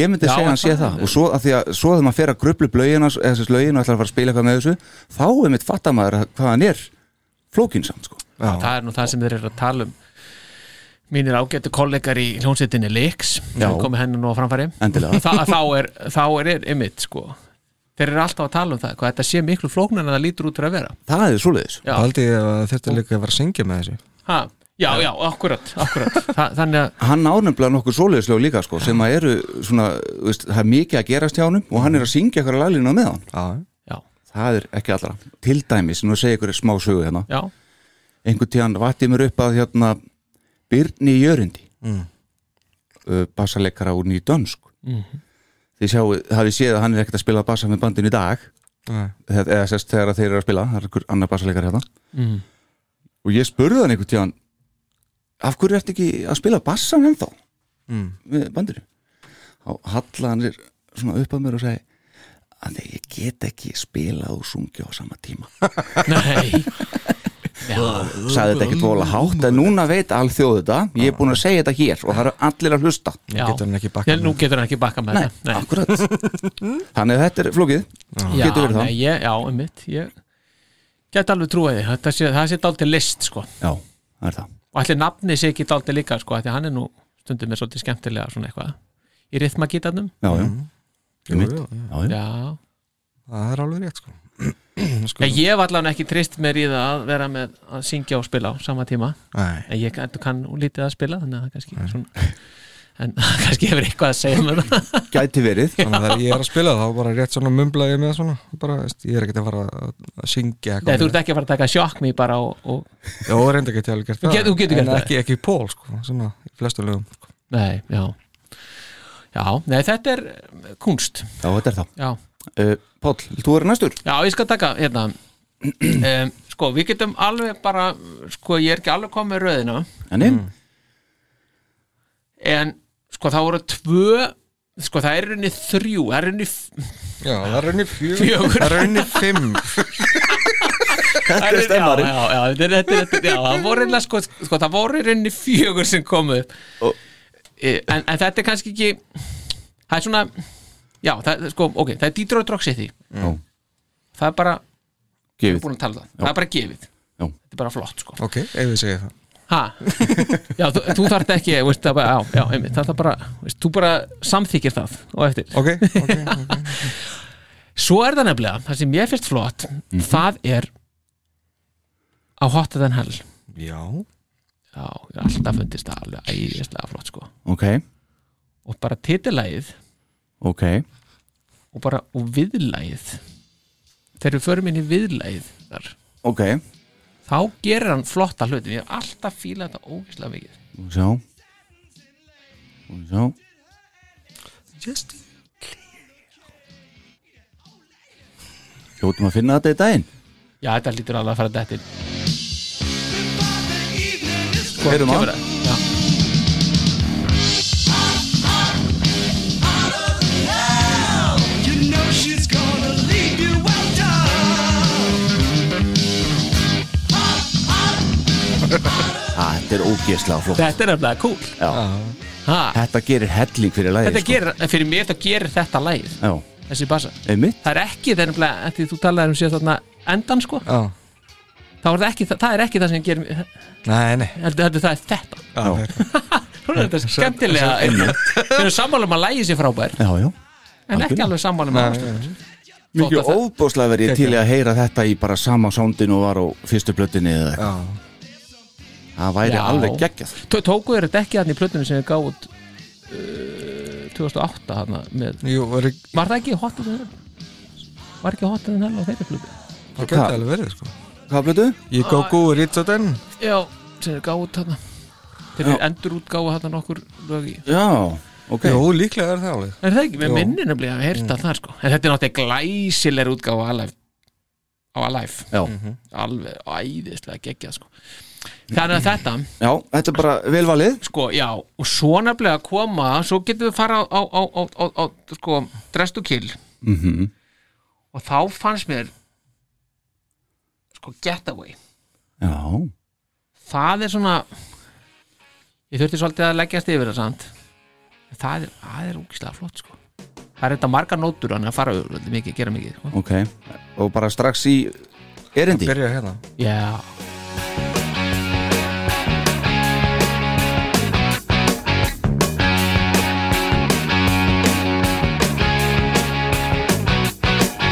Speaker 5: ég myndi
Speaker 7: Já,
Speaker 5: segja hann
Speaker 7: það
Speaker 5: sé
Speaker 7: er-
Speaker 5: það og svo að því að, svo þegar maður fer að grublu blögin þessi lögin og ætlar að fara að spila eitthvað með þessu þá er mitt fattar maður að- hvað hann er flókinsamt, sko
Speaker 6: Já,
Speaker 7: það er nú það sem þeir eru að tala um mínir ágættu kollegar í hljónsettinni Lix sem
Speaker 5: Já.
Speaker 7: komið henni nú á framfæri
Speaker 5: Endilega.
Speaker 7: Þa, þá er, þá er, er einmitt sko þeir eru alltaf að tala um það hvað þetta sé miklu flóknar en það lítur út fyrir að vera
Speaker 5: það er svoleiðis
Speaker 7: já,
Speaker 6: haldi ég að þetta líka að vera að syngja með þessu
Speaker 7: ha, já, já, akkurat, akkurat. Þa, þannig að
Speaker 5: hann ánumlega nokkur svoleiðislega líka sko, sem að eru svona, þú veist, það er mikið að gerast hjá hann og hann er að syngja eitthvað laglínu með hann
Speaker 6: Já,
Speaker 7: já,
Speaker 5: það er ekki allra, til dæmis nú segja ykkur smá sögu hérna
Speaker 7: já,
Speaker 5: einhvern tíðan vatti mér upp að hérna Byrni Jörundi mm. bassaleikara Uh, úr nýdönsk mm. þið sjáu, hafið séð að hann er ekkert að spila bassa með bandin í dag
Speaker 6: Nei.
Speaker 5: eða, eða sérst þegar þeir eru að spila það er einhver annar bassaleikar hérna
Speaker 7: Mm.
Speaker 5: og ég spurði hann einhvern tíðan af hverju ertu ekki að spila bassan ennþá
Speaker 6: Mm.
Speaker 5: með bandinu þá hallaði hann sér svona upp að mér og segi að því ég get ekki spilað og sungja á sama tíma
Speaker 7: nei já,
Speaker 5: sagði þetta ekkert vola hátt en núna veit alþjóð þetta, ég er búin að segja þetta hér og það eru allir að hlusta
Speaker 7: já.
Speaker 6: getur hann ekki bakkað
Speaker 7: Nei,
Speaker 6: með
Speaker 7: nú getur hann ekki bakka með
Speaker 5: Nei,
Speaker 7: þetta nei,
Speaker 5: akkurat Þannig að þetta er flókið
Speaker 7: já,
Speaker 5: getur verið það.
Speaker 7: nei, ég, já, einmitt ég get alveg trúið því það sé, það sé dálítið list sko
Speaker 5: Já, það er það
Speaker 7: og allir nafni sé ekki dálítið líka sko, af því að hann er nú stundum með svolítið skemmtilega svona eitthvað í rithmagítarnum
Speaker 5: Já, já,
Speaker 6: Jú,
Speaker 5: einmitt.
Speaker 6: jú, jú.
Speaker 5: já, já.
Speaker 7: já,
Speaker 6: það er alveg rétt sko
Speaker 7: já,
Speaker 6: Sko,
Speaker 7: ég var allavega ekki trist mér í það að vera með að syngja og spila á sama tíma
Speaker 6: nei
Speaker 7: en ég kann, kann lítið að spila þannig að það kannski svona en kannski hefur eitthvað að segja um með það
Speaker 5: Gæti verið
Speaker 6: Þannig að þegar ég er að spila þá bara rétt svona mumbla ég með svona bara, veist, ég er ekkert að fara að að syngja
Speaker 7: Nei, þú ert ekki að fara að taka sjokk mér bara og, og
Speaker 6: Já, reynda ekki til að gert
Speaker 7: Þú
Speaker 6: það
Speaker 7: get- þú getur
Speaker 6: En
Speaker 7: gert það.
Speaker 6: ekki, ekki pól, sko, svona, í flestu lögum sko.
Speaker 7: nei, já já, nei, þetta er kunst
Speaker 5: Já, þetta er það
Speaker 7: já,
Speaker 5: uh, Páll, þú eru næstur
Speaker 7: já, ég skal taka hérna um, sko, við getum alveg bara sko, ég er ekki alveg komið með röðina
Speaker 5: Enni,
Speaker 7: en sko það voru tvö sko það er rauninni þrjú það er rauninni f-
Speaker 6: Já, það er raunni
Speaker 7: Fjögur.
Speaker 6: Það er raunni fimm
Speaker 5: þetta
Speaker 7: það
Speaker 5: er
Speaker 7: er-
Speaker 5: stemmari
Speaker 7: já, já, já, þetta er- þetta er- þetta er- já, það voru rauninni sko, sko það voru rauninni fjögur sem komu upp.
Speaker 5: Og-
Speaker 7: Eh, en, en þetta er kannski ekki það er svona já, það, sko, ok, það er Detroit Rock City
Speaker 5: Já.
Speaker 7: það er bara, við erum
Speaker 5: gefið
Speaker 7: búin að tala um það það er bara gefið,
Speaker 5: Já.
Speaker 7: þetta er bara flott sko.
Speaker 6: ok, ef við segja það
Speaker 7: ha, já, þú, þú þarft ekki veist, það, bara, já, já, einmitt, það er bara veist, þú bara samþykir það og eftir
Speaker 6: ok, ok,
Speaker 7: Svo er það nefnilega, það sem ég finnst flott
Speaker 5: Mhm.
Speaker 7: það er á Hotter Than Hell
Speaker 6: já
Speaker 7: Já, ég hef alltaf fundist það alveg æðislega flott sko
Speaker 5: ok,
Speaker 7: og bara titillægið
Speaker 5: ok,
Speaker 7: og bara og viðlægið þegar við förum inn í viðlægið þar,
Speaker 5: ok
Speaker 7: þá gerir hann flotta hluti, ég hef alltaf fílað þetta ógeðslega mikið
Speaker 5: og sjá og sjá
Speaker 6: just
Speaker 5: hljóttum að finna þetta í daginn
Speaker 7: Já, þetta lítur alveg að fara þetta til
Speaker 5: Heyrum á.
Speaker 7: Já,
Speaker 5: Ah, þetta er ógeðslega flott
Speaker 7: þetta er nefnilega cool
Speaker 5: Já.
Speaker 7: ha,
Speaker 5: Þetta gerir helling fyrir lagið
Speaker 7: Þetta
Speaker 6: sko.
Speaker 7: gerir, fyrir mér þá gerir þetta lægið
Speaker 5: Já,
Speaker 7: þessi bassa
Speaker 5: einmitt
Speaker 7: Það er ekki þegar nefnilega, því þú talaði um síðast þarna endan sko,
Speaker 6: já,
Speaker 7: þá er það ekki það, það er ekki það sem gerir,
Speaker 6: nei, nei
Speaker 7: heldur, heldur það er þetta
Speaker 5: Já,
Speaker 7: Svona er þetta skemmtilega hérna. Við erum sammálum að lægi sér frábær
Speaker 5: já, já.
Speaker 7: en ekki
Speaker 5: Algjörlega.
Speaker 7: alveg um sammálum að ástæðan
Speaker 5: Mikið óbúslega verið til í að heyra þetta í bara sama sándinu og var á fyrstu blöttinni eða
Speaker 6: já,
Speaker 5: eitthvað Það væri
Speaker 7: Já.
Speaker 5: alveg geggjað
Speaker 7: Tóku þér þetta ekki hann í plötunum sem við gáð út uh, 2008 hana, með,
Speaker 6: jú, var ekki
Speaker 7: Var það ekki hotið þennan? Var ekki hotið þennan á þeirri plötu?
Speaker 6: það geti alveg verið sko
Speaker 5: Hvað blötu?
Speaker 6: ég go go rít á den
Speaker 7: Já, sem við gáð út hann Þeir eru endur útgáðu hann nokkur lög í
Speaker 5: Já, ok
Speaker 6: jú, líklega er það alveg
Speaker 7: Er það ekki? Við
Speaker 6: Jú.
Speaker 7: minnir nefnilega að við
Speaker 5: Mm.
Speaker 7: heyrta það sko En þetta er náttúrulega glæsileg útgáfa á Alive á Alive
Speaker 5: Já.
Speaker 6: Mhm.
Speaker 7: Alveg æðislega geggjað sko Þannig að þetta
Speaker 5: Já, þetta er bara velvalið
Speaker 7: sko, já, og svo nefnilega að koma svo getum við fara á, á, á, á, á, á sko, drest og kill
Speaker 5: mm
Speaker 7: Mhm.
Speaker 5: -hmm.
Speaker 7: og þá fannst mér sko, getaway
Speaker 5: Já,
Speaker 7: það er svona ég þurfti svolítið að leggjast yfir það samt en það er, það er úkislega flott sko. það er þetta margar nótur hann að fara öll, mikið, gera mikið sko.
Speaker 5: ok Og bara strax í erindi
Speaker 6: byrja hérna
Speaker 7: já,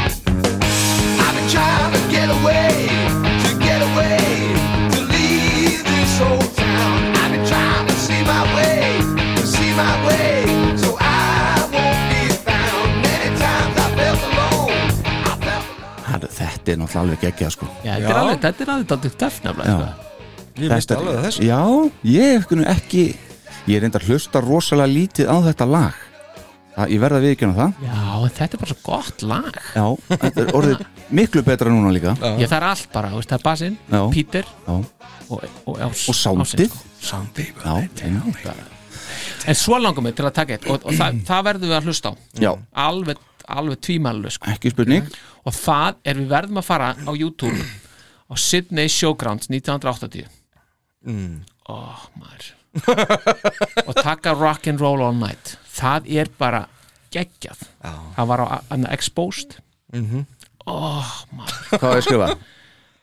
Speaker 4: I've been trying to get away, to get away, to leave this old town. I've been trying to see my way, to see my way, so I won't be found. Many times I felt alone, I felt alone.
Speaker 5: Herru, Þetta er náttúrulega alveg geggjað sko
Speaker 7: já, þetta er alveg þetta er alveg daldið töff
Speaker 5: Já.
Speaker 7: nefnilega sko.
Speaker 6: ég misti alveg að þessu
Speaker 5: Já, ég hef kunni ekki Ég er reyndar að hlusta rosalega lítið á þetta lag það, Ég verða að viðkjöna það
Speaker 7: já, en þetta er bara svo gott lag
Speaker 5: Já, þetta er orðið miklu betra núna líka Já,
Speaker 7: ég, það er allt bara, þú veist, það er basinn,
Speaker 5: Já.
Speaker 7: Peter
Speaker 5: já,
Speaker 7: og, og, og,
Speaker 5: Og soundið.
Speaker 7: soundið
Speaker 5: já, einmitt.
Speaker 7: En svo langar mig til að taka eitt og, og það, það verðum við að hlusta á
Speaker 5: já
Speaker 7: alveg, alveg tvímælu sko.
Speaker 5: ekki spurning
Speaker 7: og það er við verðum að fara á YouTube á Sydney Showgrounds 1980
Speaker 6: Mm.
Speaker 7: oh, maður og taka rock and roll all night það er bara geggjað
Speaker 6: Já.
Speaker 7: það var á anna, Exposed
Speaker 6: Mhm.
Speaker 7: oh, maður
Speaker 5: Hvað er að skrifa?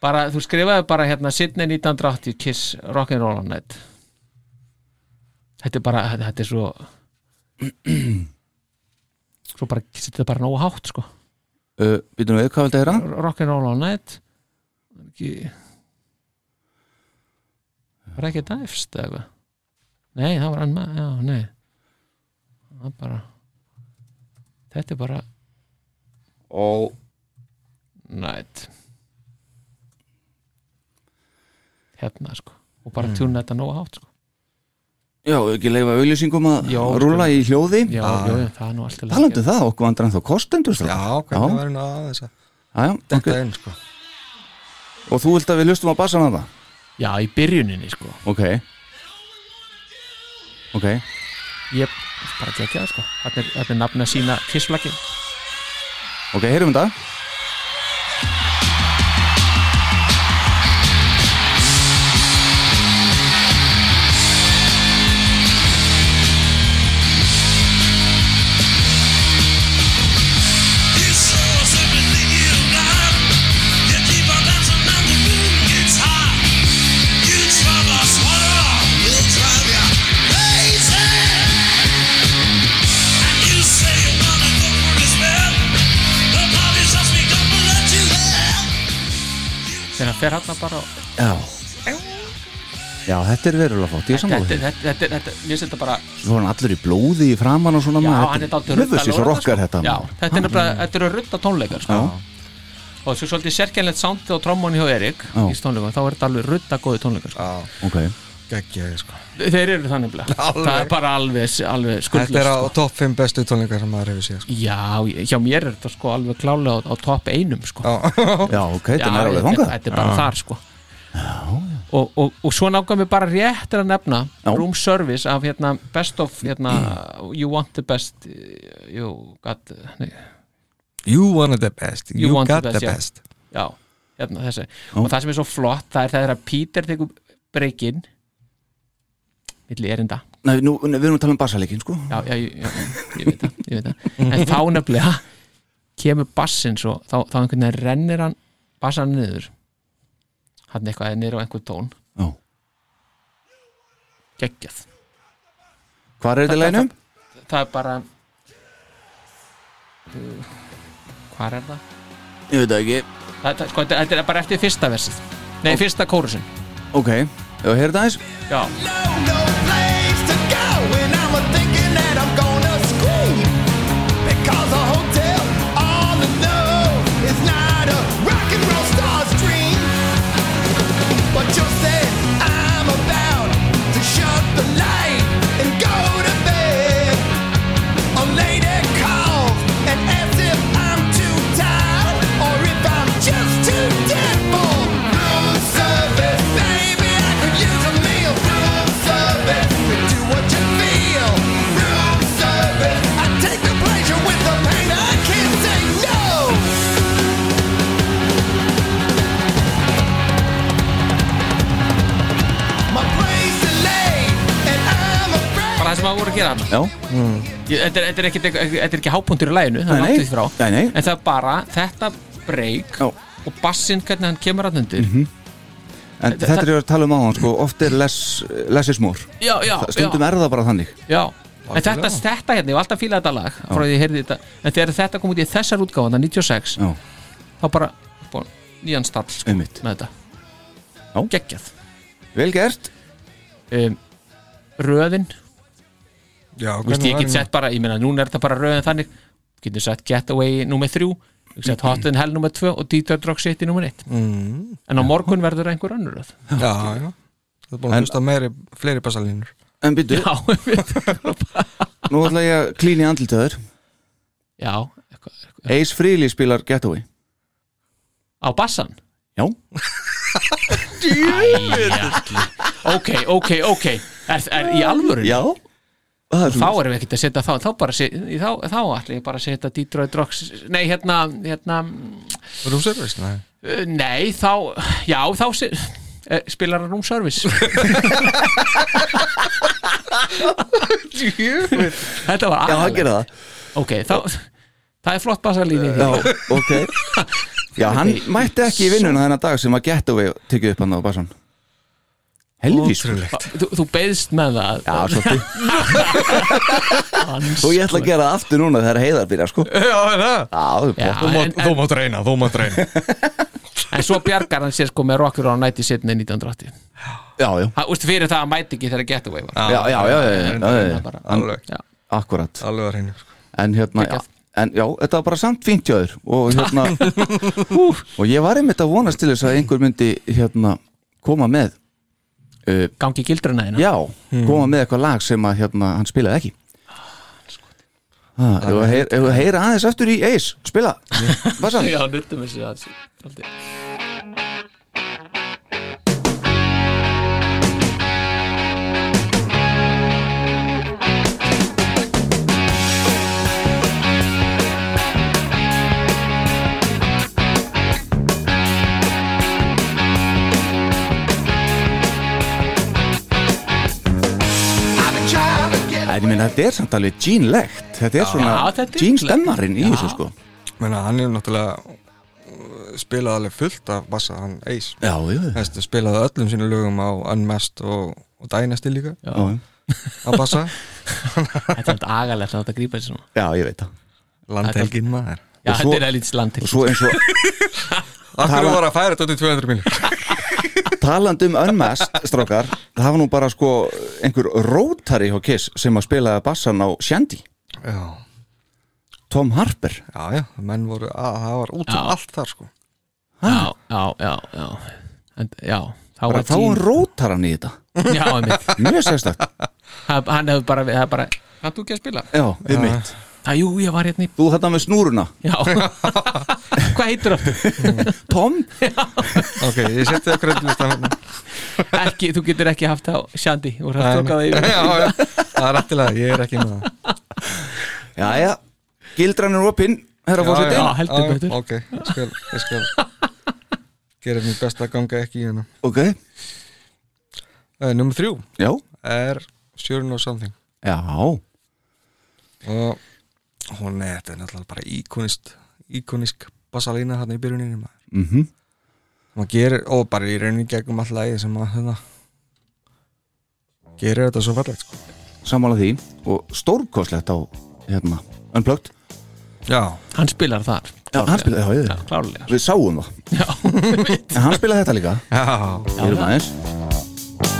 Speaker 7: bara, þú skrifaði bara hérna Sydney 1980 Kiss Rock and Roll on Night þetta er bara þetta þetta er svo svo bara, þetta er bara nógu hátt sko,
Speaker 5: Uh, Býtum við, hvað viltu heyra?
Speaker 7: Rock and Roll on Night ekki var ekki dæfst eða eitthvað nei, það var hann maður, já, nei það bara þetta er bara
Speaker 5: Og
Speaker 7: night hérna sko og bara tjúna þetta nógu hátt sko
Speaker 5: já, ekki leifa auðlýsingum að
Speaker 7: Já,
Speaker 5: rúla í hljóði
Speaker 7: já, já, já, það er nú alltaf
Speaker 5: Talandi um það, okkur andrar en þá kostendur
Speaker 6: já, hvernig
Speaker 5: já,
Speaker 6: var hérna aðeins að
Speaker 5: já
Speaker 6: þetta
Speaker 5: okay.
Speaker 6: einn sko
Speaker 5: Og þú vilt að við hlustum á bassan að það?
Speaker 7: já, í byrjuninni sko
Speaker 5: Ok Ok,
Speaker 7: ég bara tekja það sko þetta er, þarna er nafn að sína kissflaggi
Speaker 5: ok, heyrum þetta
Speaker 7: fer hann bara og-
Speaker 5: Já Já, þetta er verulega fótt, ég er
Speaker 7: þetta,
Speaker 5: sammála
Speaker 7: þetta,
Speaker 5: því
Speaker 7: þetta, þetta, þetta, mér finnst þetta bara
Speaker 5: Svona allir í blóði í framan og svona
Speaker 7: já,
Speaker 5: maður,
Speaker 7: hann er dálítið
Speaker 5: höfuð sér svo
Speaker 7: ruddalega,
Speaker 5: rokkar
Speaker 7: sko.
Speaker 5: þetta
Speaker 7: já,
Speaker 5: maður.
Speaker 7: þetta er nefnilega, þetta eru rudda tónleikar sko.
Speaker 5: Já.
Speaker 7: og þessu svolítið sérkjænlegt sándið og trommón hjá Erik
Speaker 5: Já.
Speaker 7: í tónleikum, þá er þetta alveg rudda góði tónleikar sko.
Speaker 5: Ok,
Speaker 6: geggjaði sko
Speaker 7: þeir eru það nefnilega
Speaker 6: Alveg.
Speaker 7: það er bara alveg, alveg
Speaker 6: Þetta
Speaker 7: skuldlust
Speaker 6: er á
Speaker 7: sko.
Speaker 6: topp 5 bestu tónleikar sem maður hefur séð sko.
Speaker 7: já, hjá mér er þetta sko alveg klálega á, á topp einum sko.
Speaker 6: Já.
Speaker 5: já, ok, þetta
Speaker 7: Já,
Speaker 5: er alveg þangað
Speaker 7: þetta er bara þar sko Og, og, og svo nákvæm við bara rétt er að nefna
Speaker 5: Já.
Speaker 7: room service af hérna best of hérna, you want the best eh, you got nei,
Speaker 6: you wanted the best,
Speaker 7: You
Speaker 6: you,
Speaker 7: wanted
Speaker 6: got
Speaker 7: the
Speaker 6: the
Speaker 7: best,
Speaker 6: best,
Speaker 7: já. já, hérna þessi og það sem er svo flott, það er þegar að Peter tekur breykinn milli erinda
Speaker 5: Nei, nú, nei, við erum að tala um basaleikin, sko
Speaker 7: já, já, já, já, ég veit það, ég veit það. en þá nefnilega kemur bassinn svo, þá, þá einhvern veginn rennir hann bassan niður hann eitthvað er niður á einhver tón
Speaker 5: Já.
Speaker 7: geggjað
Speaker 5: Hvar er þetta
Speaker 7: Þetta-
Speaker 5: lænum?
Speaker 7: það er bara hvað er það?
Speaker 5: Ég veit það ekki
Speaker 7: Það- það- sko, þetta þetta er bara eftir fyrsta versið nei, fyrsta kórusin
Speaker 5: Ok, já, heyrðu það aðeins
Speaker 7: já,
Speaker 4: No place to go, and I'm thinking that I'm gonna scream because a hotel all alone is not a rock and roll star's dream. But you said I'm about to shut the light and go to bed. A lady calls and asks if I'm too tired or if I'm just too dead for room service. Baby, I could use a meal. Room service, we do what you feel. Room service, I take the pleasure with the pain. I can't say no. My brain's delayed and I'm afraid.
Speaker 7: bara það sem að voru að gera hann
Speaker 5: Já,
Speaker 7: Ég- þetta er, þetta er ekki, þetta er ekki hápuntur í læginu það er
Speaker 5: Nei,
Speaker 7: langt
Speaker 5: nei.
Speaker 7: við frá
Speaker 5: Nei, nei.
Speaker 7: en það er bara þetta break
Speaker 5: Já.
Speaker 7: og bassinn hvernig hann kemur hann undir
Speaker 5: Mhm. en
Speaker 7: Þa-
Speaker 5: þetta er að tala um áðan, sko Oft er less, less is more
Speaker 7: já, já,
Speaker 5: Stundum
Speaker 7: já,
Speaker 5: er það bara þannig
Speaker 7: já. en þetta,
Speaker 6: Algjörlega.
Speaker 7: þetta hérna, ég var alltaf að fíla þetta lag frá því ég heyrði þetta, en þegar þetta kom út í þessar útgáfan, það 96,
Speaker 5: Já,
Speaker 7: þá bara bó, nýjan stall sko,
Speaker 5: einmitt
Speaker 7: með þetta
Speaker 5: Já.
Speaker 7: geggjað
Speaker 5: Vel gert
Speaker 7: um, röðin,
Speaker 6: Já,
Speaker 7: þú veist
Speaker 6: hvernig
Speaker 7: ég
Speaker 6: var
Speaker 7: get sett bara ég meina, núna er þetta bara röðin þannig Þú getur sett Getaway nummer 3 sett Hot in Hell nummer 2 og Detroit Rock City nummer 1
Speaker 5: Mhm.
Speaker 6: mm,
Speaker 7: en á morgun verður einhver önnur röð
Speaker 6: Já, já Það er búin
Speaker 5: En-
Speaker 6: að hlusta á meiri, fleiri bassalínur
Speaker 5: En byrju,
Speaker 7: já, einmitt.
Speaker 5: nú ætla ég að klíni andlitaður
Speaker 7: já eitthvað-
Speaker 5: Ace Frehley spilar Getaway
Speaker 7: á bassan
Speaker 5: Já,
Speaker 7: ok, ok, ok er, er í alvöru
Speaker 5: já Það er
Speaker 7: þá
Speaker 5: svona
Speaker 7: erum við ekkert að setja þá þá, bara, se- þá, þá ætla ég bara að setja Detroit Rock C- nei, hérna, hérna
Speaker 6: Room service, nei
Speaker 7: uh, nei, þá já, þá se- eh, spilar hann um service þetta var
Speaker 5: Já, hann
Speaker 7: agalegt.
Speaker 5: gerir það
Speaker 7: ok, þá það er flott basalíni
Speaker 5: Já, ok Já, hann mætti ekki í vinnuna þennan dag sem að Getaway tekið upp hann á Bassan Helvís
Speaker 6: Ótrúlegt.
Speaker 7: þú, þú beðst með það
Speaker 5: Já, svolítið
Speaker 7: Hans-
Speaker 5: Og ég ætla að gera það aftur núna þegar heiðar byrja, sko Já,
Speaker 6: Já, er það
Speaker 5: það er
Speaker 7: Já,
Speaker 5: bótt
Speaker 6: Þú
Speaker 7: en,
Speaker 6: mátt- Þú mátt reyna, þú mátt reyna
Speaker 7: en svo bjargar hann sér sko með Rocker on Night í setni 1980
Speaker 5: Já, já,
Speaker 7: Það, úst, fyrir það að mæti ekki þegar Getaway var
Speaker 5: já, já, já, já, já, já, já.
Speaker 7: bara-
Speaker 5: Hann-
Speaker 6: Alveg,
Speaker 7: Já.
Speaker 5: Akkurat
Speaker 6: alveg að reyna sko.
Speaker 5: En hérna,
Speaker 7: Geggjað.
Speaker 5: en já, þetta var bara samt fínt hjá þér Og hérna Og ég var einmitt að vonast til þess að einhver myndi Hérna, koma með uh,
Speaker 7: gangi gildruna þína
Speaker 5: Já,
Speaker 7: Hmm.
Speaker 5: koma með eitthvað lag sem að hérna, hann spilaði ekki Ah, ef við heyr- ef við heyra aðeins aftur í Ace, spila Bassan,
Speaker 7: já nuttum þessu að aldrei.
Speaker 4: I've been trying to get
Speaker 5: en ég minna þetta er samt alveg gínlegt Þetta er svona
Speaker 7: Já, þetta er
Speaker 5: gínstemmarinn í þessu sko
Speaker 6: Menna, hann er náttúrulega uh, spilað alveg fullt af bassa, hann Ace
Speaker 5: Já, já, já,
Speaker 6: Þessi, spilaði öllum sínu lögum á Unmasked og, og Dynasty líka
Speaker 5: já,
Speaker 6: á bassa
Speaker 7: þetta er alltaf agalegt að þetta grípa þessu svona
Speaker 5: já, ég veit það
Speaker 6: Landhelgin maður
Speaker 7: já,
Speaker 5: svo-
Speaker 7: þetta er elitist land til
Speaker 5: Og svo eins og
Speaker 6: Akkur
Speaker 5: Tala-
Speaker 6: var að færa þetta út í 200 miljónir
Speaker 5: Talandi um önmest, strákar Það var nú bara sko einhver rótari hjá Kiss sem að spilaði bassan á Shandy
Speaker 6: Já,
Speaker 5: Tom Harper
Speaker 6: já, já, menn voru að, það var út um
Speaker 7: Já.
Speaker 6: allt þar sko
Speaker 7: já, já, já, já. En, já þá
Speaker 5: bara
Speaker 7: var
Speaker 5: þá hann
Speaker 7: Gene-
Speaker 5: rótar hann í þetta
Speaker 7: já, einmitt.
Speaker 5: Mjög sérstakt
Speaker 7: hann hann hefur bara, það er bara hann þú ekki að spila
Speaker 5: Já, um mitt
Speaker 7: já, jú, ég var hérna í
Speaker 5: Þú þetta með snúruna
Speaker 7: já hvað heitir það
Speaker 5: Tom?
Speaker 6: Ok, ég seti það kreddlist að hérna
Speaker 7: ekki, þú getur ekki haft það á Shandy og það tókað
Speaker 6: Já,
Speaker 7: yfir
Speaker 6: já, það er alltilega, ég er ekki með það
Speaker 5: Jæja, gildran er opinn Herra fórseti
Speaker 7: já. heldur betur.
Speaker 6: Ok, ég skal, ég skal gera mér best að ganga ekki í hérna
Speaker 5: Ok,
Speaker 6: uh, Númer þrjú
Speaker 5: já
Speaker 6: er Sjörun og Something
Speaker 5: Já,
Speaker 6: og hún er, þetta er náttúrulega bara íkonist íkonisk basalína þarna í byrjuninu maður.
Speaker 5: mhm
Speaker 6: maður gerir, og bara í rauninni gegnum alltaf lagi sem maður hérna, gerir þetta svo fallegt sko.
Speaker 5: Sammála því Og stórkoslegt á hérna Unplugged
Speaker 6: já,
Speaker 7: hann spilar þar
Speaker 5: Já, hann spilaði, já,
Speaker 7: já,
Speaker 5: ég
Speaker 7: klárlega
Speaker 5: Við sáum það
Speaker 7: já,
Speaker 5: En hann spilaði þetta líka
Speaker 6: já,
Speaker 5: Ég erum aðeins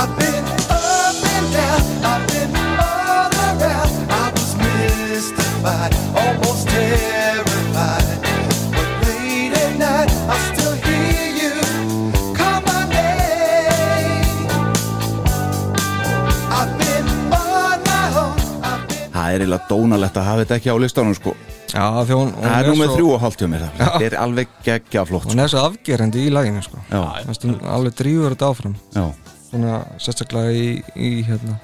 Speaker 4: I've been up and down, I've been all around. I was mystified, almost terrified. But late at night, I still hear you call my name. I've been on my own, I've been.
Speaker 5: Það er eiginlega dónalegt að hafa þetta ekki á listanum sko
Speaker 6: já því hún, hún
Speaker 5: Það er nú með
Speaker 6: svo,
Speaker 5: þrjú og hálft hjá mér Þetta er alveg geggja flott sko.
Speaker 6: hún er svo afgerandi í laginu sko.
Speaker 5: Já,
Speaker 6: Þannig að hún alveg drífur þetta áfram
Speaker 5: já,
Speaker 6: svona sérstaklega í, í hérna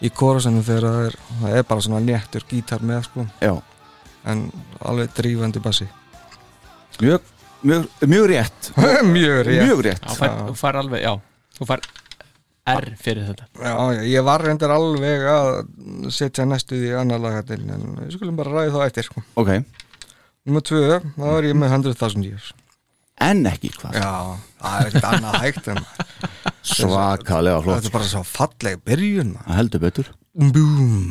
Speaker 6: í kórasennu þegar það er, það er bara svona léttur gítar með sko,
Speaker 5: já
Speaker 6: en alveg drífandi bassi
Speaker 5: Mjög, mjög, mjög rétt
Speaker 6: mjög rétt
Speaker 5: Mjög rétt
Speaker 7: þú fær, þú fær alveg, já þú fær R fyrir þetta
Speaker 6: Já, já, ég var reyndar alveg að setja næstu því annar lagatil en við skulum bara ræði þá eftir sko.
Speaker 5: Ok,
Speaker 6: Númer tvö, þá er ég með 100.000 years
Speaker 5: en ekki hvað
Speaker 6: Já, það er ekkert annað hægt en
Speaker 5: Svakalega
Speaker 6: þetta
Speaker 5: flott
Speaker 6: er bara svo falleg byrjun maður.
Speaker 5: Það heldur betur
Speaker 6: Búm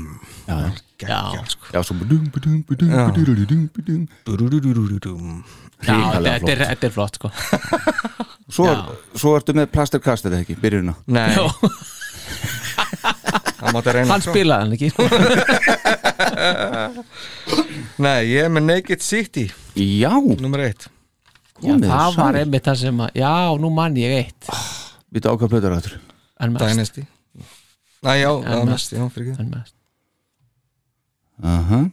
Speaker 5: Já, já.
Speaker 6: Geggjað, sko.
Speaker 5: já svo budum, budum, budum,
Speaker 6: Já.
Speaker 5: budum, budum, budum.
Speaker 6: Dúdúdúdúdúdúm.
Speaker 7: já,
Speaker 5: Hrikalega
Speaker 7: þetta þetta er,
Speaker 5: flott.
Speaker 7: þetta er flott sko
Speaker 5: Svo,
Speaker 7: Já.
Speaker 5: svo ertu með plasterkastir ekki, byrjunna
Speaker 6: Nei,
Speaker 7: Já,
Speaker 6: það mátti reyna
Speaker 7: hann
Speaker 6: sko.
Speaker 7: spilaði hann ekki sko.
Speaker 6: Nei, ég er með Naked City,
Speaker 5: Já,
Speaker 6: númer eitt
Speaker 7: já,
Speaker 5: komið
Speaker 7: það var
Speaker 5: sæl.
Speaker 7: einmitt það sem að já, nú mann ég eitt
Speaker 5: Við þetta ákvað plöður aftur
Speaker 7: en mest,
Speaker 6: Dynasty Nei, já, já,
Speaker 7: mest.
Speaker 6: mest, já, fyrir ekki
Speaker 7: en mest.
Speaker 5: Aha,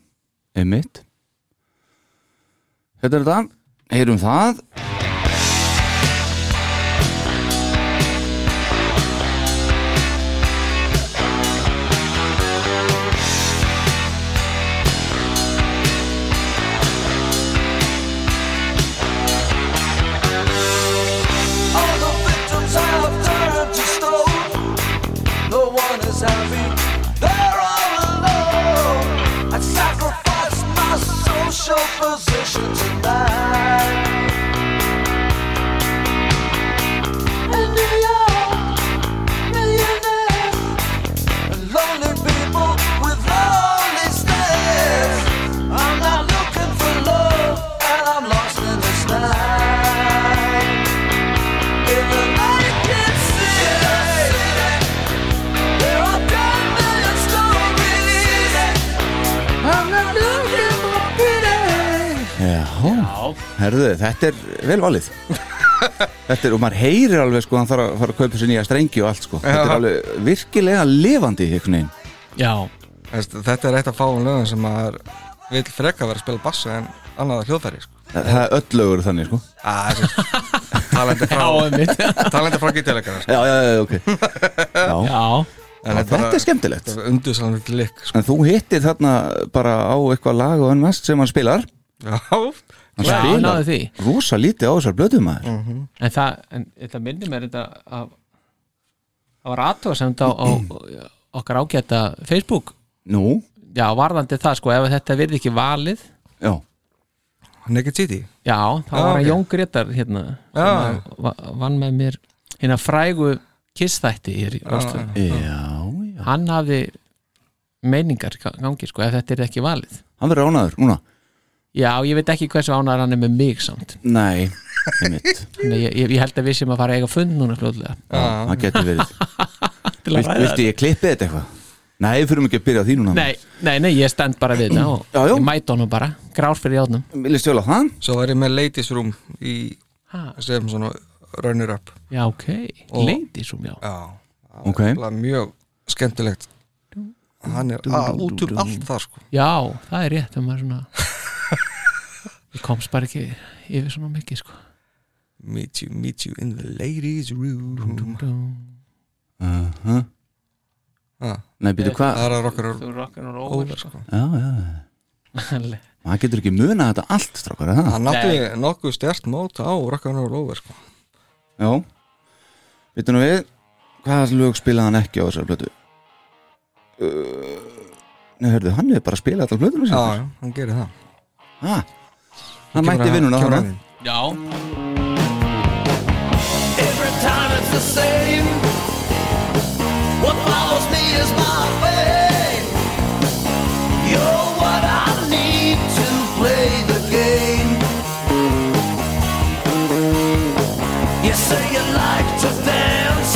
Speaker 5: einmitt Þetta er þetta Heyrum það
Speaker 4: All the victims have turned to stone. No one is happy. They're all alone. I Oh, sacrifice my social position tonight. In New York, millionaires and lonely people with lonely stares. I'm not looking for love, and I'm lost in this night.
Speaker 5: Já, herðu, þetta er vel valið Þetta er, og maður heyrir alveg sko, hann þarf að fara að kaupa sér nýja strengi og allt sko Þetta er alveg virkilega lifandi einhvern veginn
Speaker 7: já,
Speaker 6: Veist, Þetta er eitt af fáum lögum sem maður vil freka vera að spila bassa en annað hljóðfæri sko.
Speaker 5: Það það er öll lögur þannig sko
Speaker 6: að talandi
Speaker 7: já,
Speaker 6: frá
Speaker 7: einmitt
Speaker 6: talandi frá gítalekara sko.
Speaker 5: Já, já, já, ok Já,
Speaker 7: já,
Speaker 6: en
Speaker 5: þetta er skemmtilegt
Speaker 6: unduðsalan glikk sko.
Speaker 5: En þú hittir þarna bara á eitthvað lag og ennvest sem hann spilar
Speaker 6: já,
Speaker 5: Hann
Speaker 7: Já, hann náði
Speaker 5: spilar
Speaker 7: því.
Speaker 5: rosa lítið á þessar blöðum maður
Speaker 7: en það, en þetta minnir mér þetta að það var aðtóðsend á, á okkar ágæta Facebook
Speaker 5: Nú,
Speaker 7: já, varðandi það sko, ef þetta verði ekki valið
Speaker 5: já,
Speaker 6: Naked City
Speaker 7: já, þá
Speaker 6: Já,
Speaker 7: var hann
Speaker 6: ok.
Speaker 7: Jón Gretar hérna, sem
Speaker 6: Já.
Speaker 7: að va- vann með mér hérna frægu kissþætti hér í Rástöðum
Speaker 5: já, já
Speaker 7: hann hafði meiningar í gangi sko, ef þetta er ekki valið
Speaker 5: Hann verður ánaður núna
Speaker 7: Já, ég veit ekki hversu ánæður hann er með mig samt
Speaker 5: Nei, einmitt
Speaker 7: Þannig að ég, ég- ég held að við sem að fara að eiga fund núna fljóðlega
Speaker 5: Það getur verið
Speaker 7: Til að
Speaker 5: Vilt,
Speaker 7: ræða
Speaker 5: Viltu ég klippi þetta eitthvað? Nei, við fyrir ekki að byrja á því núna
Speaker 7: Nei, nei, nei, ég stend bara við þetta og
Speaker 5: Já, já.
Speaker 7: ég mæti honum bara, grár fyrir játnum
Speaker 5: Vilja stjóla það?
Speaker 6: Svo var ég með ladies room í,
Speaker 7: Ha.
Speaker 6: sem svona runner up
Speaker 7: Já, ok,
Speaker 6: Og-
Speaker 7: ladies room, já
Speaker 6: Já,
Speaker 5: Ok,
Speaker 6: það er mjög skemmtilegt Hann er að, út um allt það sko
Speaker 7: Já, það er rétt þegar maður svona Ég komst bara ekki yfir svona mikið sko
Speaker 6: Meet you, meet you in the ladies
Speaker 5: Mm.
Speaker 6: room Ah,
Speaker 5: nei, byrju hvað?
Speaker 6: Það er að rockar
Speaker 7: Þú rockar og
Speaker 6: over sko
Speaker 5: Já, já, maður getur ekki muna þetta allt strákar, er það?
Speaker 6: Hann átti nokkuð stert mót á rockar og over sko
Speaker 5: Já Vittu nú við, hvaða lög spilaði hann ekki á þessari plötu? Uh, nei, hörðu, hann hefur bara spilað alltaf plötunum
Speaker 6: Já,
Speaker 5: sinni
Speaker 6: já, hann gerir það
Speaker 5: Ha, Hann mætti vinnuna
Speaker 6: Kemur
Speaker 5: þarna
Speaker 6: hann inn.
Speaker 7: Já,
Speaker 4: Every time it's the same. What follows me is my way. You're what I need to play the game. You say you like to dance.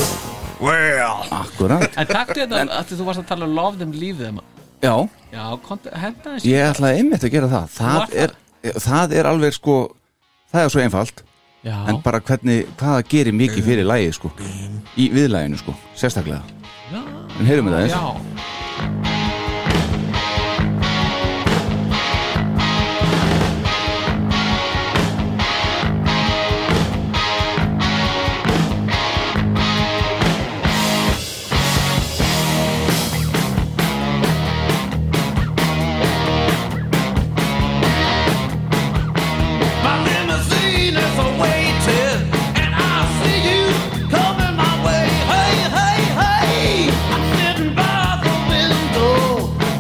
Speaker 5: Akkurat,
Speaker 7: en taktu þetta að þú varst að tala um love them, leave them
Speaker 5: já
Speaker 7: Já, konta, henda þessi
Speaker 5: Ég ætlaði einmitt að gera það
Speaker 7: Var
Speaker 5: Það
Speaker 7: það?
Speaker 5: er, það er alveg sko Það er svo einfalt
Speaker 7: Já,
Speaker 5: En bara hvernig, hvað gerir mikið fyrir lægi sko Í viðlæginu sko, sérstaklega
Speaker 7: já,
Speaker 5: En heyrum við það
Speaker 7: já
Speaker 5: eins
Speaker 4: My limousine is awaiting, and I see you coming my way. Hey, hey, hey! I'm sitting by the window,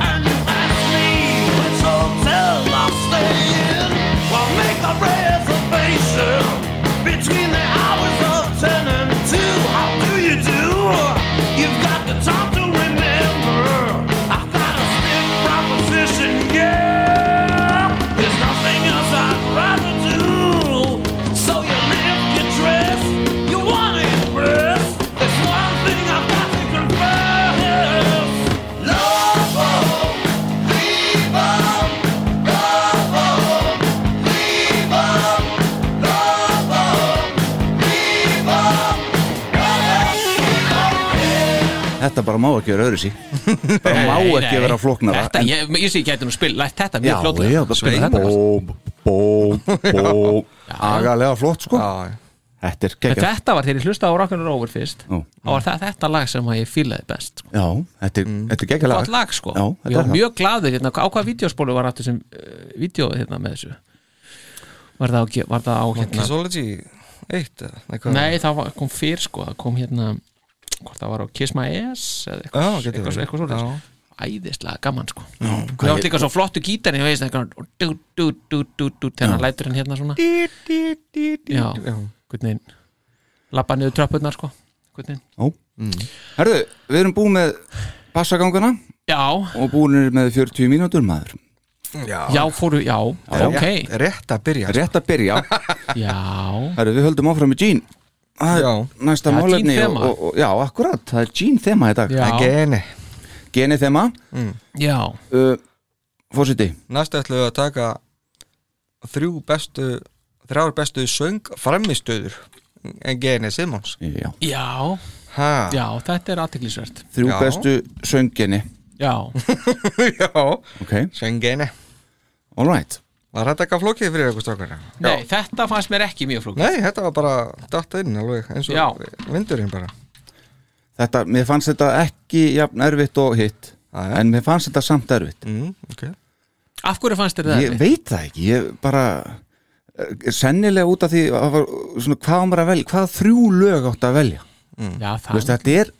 Speaker 4: and you ask me which hotel I'm staying. Well, make a reservation between the hours of ten and two. How do you do? You've got the time to remember. I've got a stiff proposition, yeah. There's nothing else I'd rather do. So you lift your dress, you wanna impress. There's one thing I've got to confess. Love, leave 'em. Love, leave 'em. Love, leave 'em.
Speaker 5: Þetta bara má ekki vera öðru sí Bara má ekki vera flóknara
Speaker 7: Þetta,
Speaker 5: en-
Speaker 7: ég, ég sé ekki hættu nú spil, lætt þetta
Speaker 5: Já,
Speaker 7: mjög flótlega
Speaker 5: já, bara spila þetta Bóm, bóm, bóm Agalega flott sko
Speaker 6: Já, já
Speaker 5: Þetta er
Speaker 7: En
Speaker 5: geggjað
Speaker 7: þetta var þegar ég hlusta á Rockin' Rover fyrst
Speaker 5: Já.
Speaker 7: þá var það, þetta lag sem að ég fílaði best sko.
Speaker 5: Já, þetta er, þetta er geggjað
Speaker 7: Gott
Speaker 5: lag
Speaker 7: lag sko
Speaker 5: Já,
Speaker 7: Ég
Speaker 5: þetta er
Speaker 7: var
Speaker 5: það
Speaker 7: mjög glaður hérna, á hvaða vídeospólu var aftur sem uh, vídeoið hérna með þessu Var það á, ge- var það á hérna
Speaker 6: Kissology 1
Speaker 7: Nei, það var, kom fyrr sko, það kom hérna hvort það var á Kiss My Ass eða eitthvað,
Speaker 6: Já, getur
Speaker 7: eitthvað,
Speaker 6: verið.
Speaker 7: eitthvað
Speaker 6: Já.
Speaker 7: svolítið æðislega gaman sko það var líka svo flottu gítar ég veist eitthvað dú, dú, dú, dú, dú, þegar hann lætur hann hérna svona já, hvernig lappa niður tröppurnar sko hvernig,
Speaker 5: Herðu, við erum búin með bassaganguna
Speaker 7: já,
Speaker 5: og búinir með 40 mínútur maður
Speaker 7: já fóru, já, ok
Speaker 6: Rétt, rétt að byrja sko.
Speaker 5: Rétt að byrja
Speaker 7: já,
Speaker 5: Herru, við höldum áfram með Jean Það er
Speaker 6: Já.
Speaker 5: Næsta
Speaker 7: Það er
Speaker 5: málefni og,
Speaker 7: Jean þema.
Speaker 5: og, og, Já, akkurat, það er Jean þema í dag
Speaker 7: Já.
Speaker 6: Geni
Speaker 5: Geni þema
Speaker 7: já
Speaker 5: uh, Fósiti
Speaker 6: Næst ætlum við að taka þrjú bestu þrjár bestu söng framistöður en Geni Simons
Speaker 5: Já.
Speaker 7: já,
Speaker 6: ha.
Speaker 7: já, þetta er aðteglisvert
Speaker 5: Þrjú
Speaker 6: Já.
Speaker 5: bestu sönggeni
Speaker 7: já,
Speaker 6: Já,
Speaker 5: Ok,
Speaker 6: söng Geni
Speaker 5: all right
Speaker 6: Var þetta eitthvað flókið fyrir eitthvað strákurinn?
Speaker 7: nei, þetta fannst mér ekki mjög flókið
Speaker 6: Nei, þetta var bara datt inn alveg eins og
Speaker 7: Já.
Speaker 6: vindurinn bara
Speaker 5: Þetta, mér fannst þetta ekki jafn erfitt og hitt
Speaker 6: Já, já.
Speaker 5: En mér fannst þetta samt erfitt
Speaker 6: mm, okay.
Speaker 7: af hverju fannst þér það?
Speaker 5: Ég
Speaker 7: erfitt?
Speaker 5: veit það ekki, ég bara eh, Sennilega út af því að það var, svona, hvað, á maður að velja, hvað þrjú lög átt að velja
Speaker 7: já,
Speaker 5: Þú veist,
Speaker 7: það,
Speaker 5: þetta er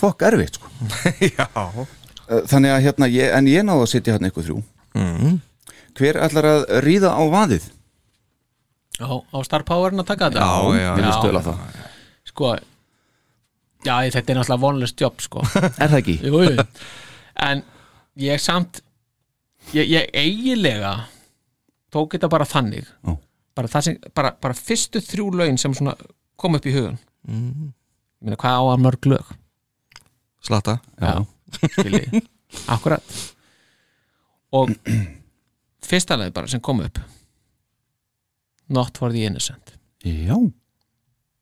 Speaker 5: fokk erfitt sko.
Speaker 6: Já
Speaker 5: Uh, þannig að hérna, ég, en ég náðu að sitja hérna ykkur þrjú
Speaker 6: mm.
Speaker 5: hver ætlar að ríða á vaðið
Speaker 7: á, á Star Powerin að taka þetta
Speaker 6: Já, já.
Speaker 5: Mér finnst vel að það.
Speaker 7: sko já, þetta er náttúrulega vonlust jobb sko
Speaker 5: er það ekki?
Speaker 7: jú, jú. en ég samt ég, ég eiginlega tók þetta bara þannig
Speaker 5: Já.
Speaker 7: bara, það sem, bara, bara fyrstu þrjú lögin sem svona kom upp í hugun
Speaker 6: mm,
Speaker 7: Ég meina, hvað á að mörg lög
Speaker 6: Slata
Speaker 5: Já.
Speaker 7: skilji, akkurat og fyrsta lagi bara sem kom upp Not for the Innocent
Speaker 5: Já,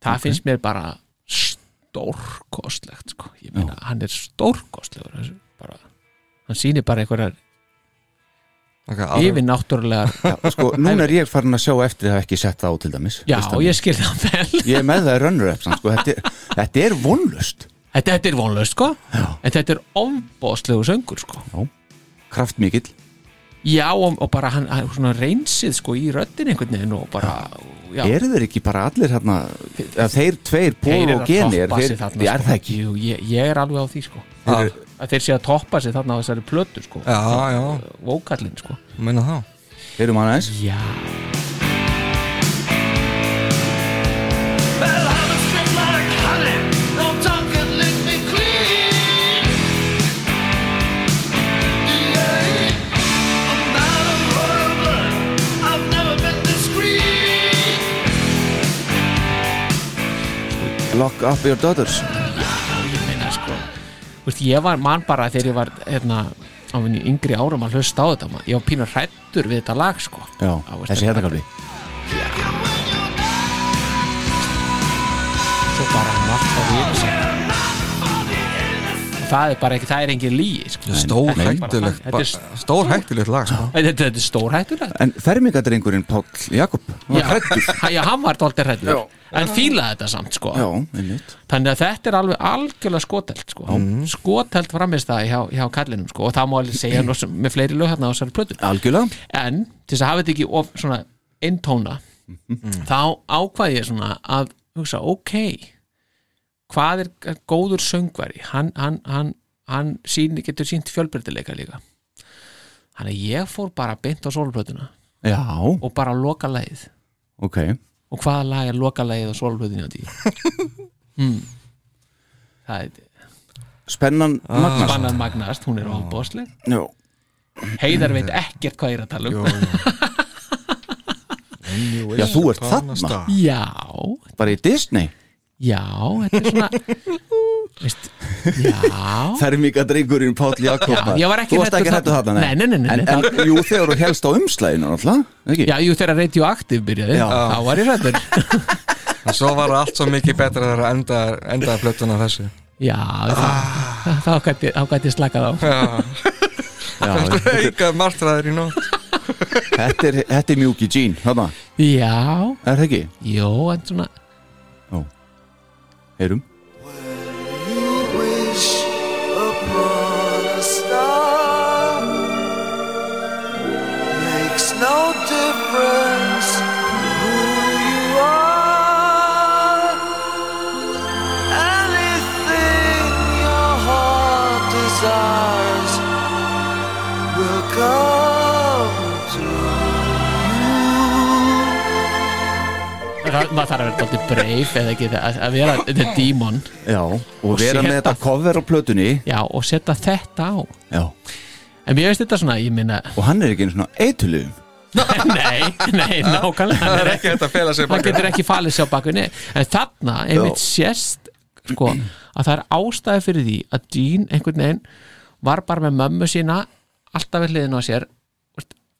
Speaker 7: það finnst mér bara stórkostlegt sko. ég meina, hann er stórkostlegur þessu, bara, hann sýnir bara einhverjar
Speaker 6: okay, aðra-
Speaker 7: yfirnáttúrulegar
Speaker 5: sko, núna er ég farin að sjá eftir það ekki sett það á til dæmis
Speaker 7: já,
Speaker 5: Listann.
Speaker 7: ég skil það vel
Speaker 5: Ég er með það í runner-up samt, sko. þetta, er- þetta er vonlust
Speaker 7: þetta, þetta er vonlaust sko
Speaker 5: Já.
Speaker 7: en þetta er ofbóðslegu söngur sko
Speaker 5: kraftmikill
Speaker 7: já, og, og bara hann, hann svona reynsið sko í röddin einhvern veginn og bara já,
Speaker 5: Eru þeir ekki bara allir hérna að þeir tveir,
Speaker 7: Þeir
Speaker 5: Pól
Speaker 7: eru
Speaker 5: og
Speaker 7: að
Speaker 5: Geni er,
Speaker 7: toppa
Speaker 5: þeir,
Speaker 7: sig þarna,
Speaker 5: ég er
Speaker 7: sko.
Speaker 5: það ekki
Speaker 7: Jú, ég, ég er alveg á því sko.
Speaker 6: Þeir
Speaker 7: að,
Speaker 6: eru-
Speaker 7: að þeir sé að toppa sig þarna á þessari plötu sko.
Speaker 6: Já, já,
Speaker 7: vókallin sko.
Speaker 6: meina þá
Speaker 5: Erum hann aðeins?
Speaker 7: já,
Speaker 5: Lock up your daughters
Speaker 7: ég meina sko. Vist, ég var mann bara þegar ég var hérna, á minni yngri árum að hlusta á þetta maður. ég var pínur hrættur við þetta lag sko.
Speaker 5: Já,
Speaker 7: Á, veist,
Speaker 5: þessi hérna kafli
Speaker 7: svo bara margt á því yfir sig. það er bara ekki, það er engin líi sko.
Speaker 6: Stór
Speaker 7: Þetta er bara
Speaker 6: hættulegt
Speaker 7: þannig. Þetta er-
Speaker 6: Stór hættulegt lag sko.
Speaker 7: þetta þetta er stórhættulegt
Speaker 5: En fermingadrengurinn Páll Jakob hann var
Speaker 7: Já,
Speaker 5: hræddur.
Speaker 7: já, hann var dálítið hrættur en fílaði þetta samt sko.
Speaker 5: Já, einmitt
Speaker 7: þannig að þetta er alveg algjörlega skotelt sko. skotelt framist það hjá, hjá kallinum sko. og það má alveg segja nú sem- með fleiri lög hérna á þessari plötu
Speaker 5: Algjörlega
Speaker 7: en til þess að hafa þetta ekki of svona eintóna þá ákvaði ég svona að hugsa ok hvað er góður söngvari hann, hann, hann, hann sín, getur sínt fjölbreytileika líka þannig að ég fór bara beint á sólplötuna
Speaker 5: Já,
Speaker 7: og bara loka lagið
Speaker 5: ok
Speaker 7: og hvaða lag er loka lagið á sólplötunni á því mm. það er
Speaker 5: Spennan
Speaker 7: Ah.
Speaker 5: Magnars
Speaker 7: Bannan Magnast, hún er ofbóðsleg
Speaker 5: Já,
Speaker 7: Heiðar veit ekkert hvað ég er að tala um
Speaker 5: Já, þú ert þarna.
Speaker 7: Já,
Speaker 5: bara í Disney
Speaker 7: já, þetta er svona veist, Já
Speaker 5: Fermingadrengurinn Páll Jakob
Speaker 7: Ah. Já, ég var ekki
Speaker 5: Þú varst
Speaker 7: hræddur
Speaker 5: ekki hættu
Speaker 7: þarna.
Speaker 5: þarna
Speaker 7: Nei, nei, nei, nei,
Speaker 5: En,
Speaker 7: nei.
Speaker 5: en jú, þegar þú helst á umslæðinu náttúrulega ekki?
Speaker 7: Já, jú, þegar radioaktiv byrjaði,
Speaker 5: Já.
Speaker 7: þá var ég rættur
Speaker 6: En svo var allt svo mikið betra þegar enda, endaði plötuna þessu
Speaker 7: Já, þá- þá gæti þá gæti ég slakað á
Speaker 5: Já,
Speaker 6: Eika martraður í nótt
Speaker 5: þetta er, þetta er mjúki Jean, þarna,
Speaker 7: Já,
Speaker 5: er það ekki?
Speaker 7: jú, en svona
Speaker 5: Heyrum
Speaker 7: það- maður þarf að vera dálítið breyf eða ekki að, að vera þetta er dímon
Speaker 5: Já, og vera með
Speaker 7: setja-
Speaker 5: þetta cover á plötunni
Speaker 7: Já, og setja þetta á
Speaker 5: Já,
Speaker 7: En mér veist þetta svona, ég minna
Speaker 5: og hann er ekki einu svona eitulugum
Speaker 7: Nei, nei, nákvæmlega hann
Speaker 6: Það
Speaker 7: er
Speaker 6: er ekki hægt að fela sig
Speaker 7: hann
Speaker 6: baka
Speaker 7: getur ekki falið sér á bakunni en þarna einmitt sérst sko, að það er ástæði fyrir því að Jean einhvern veginn var bara með mömmu sína alltaf við hliðin á sér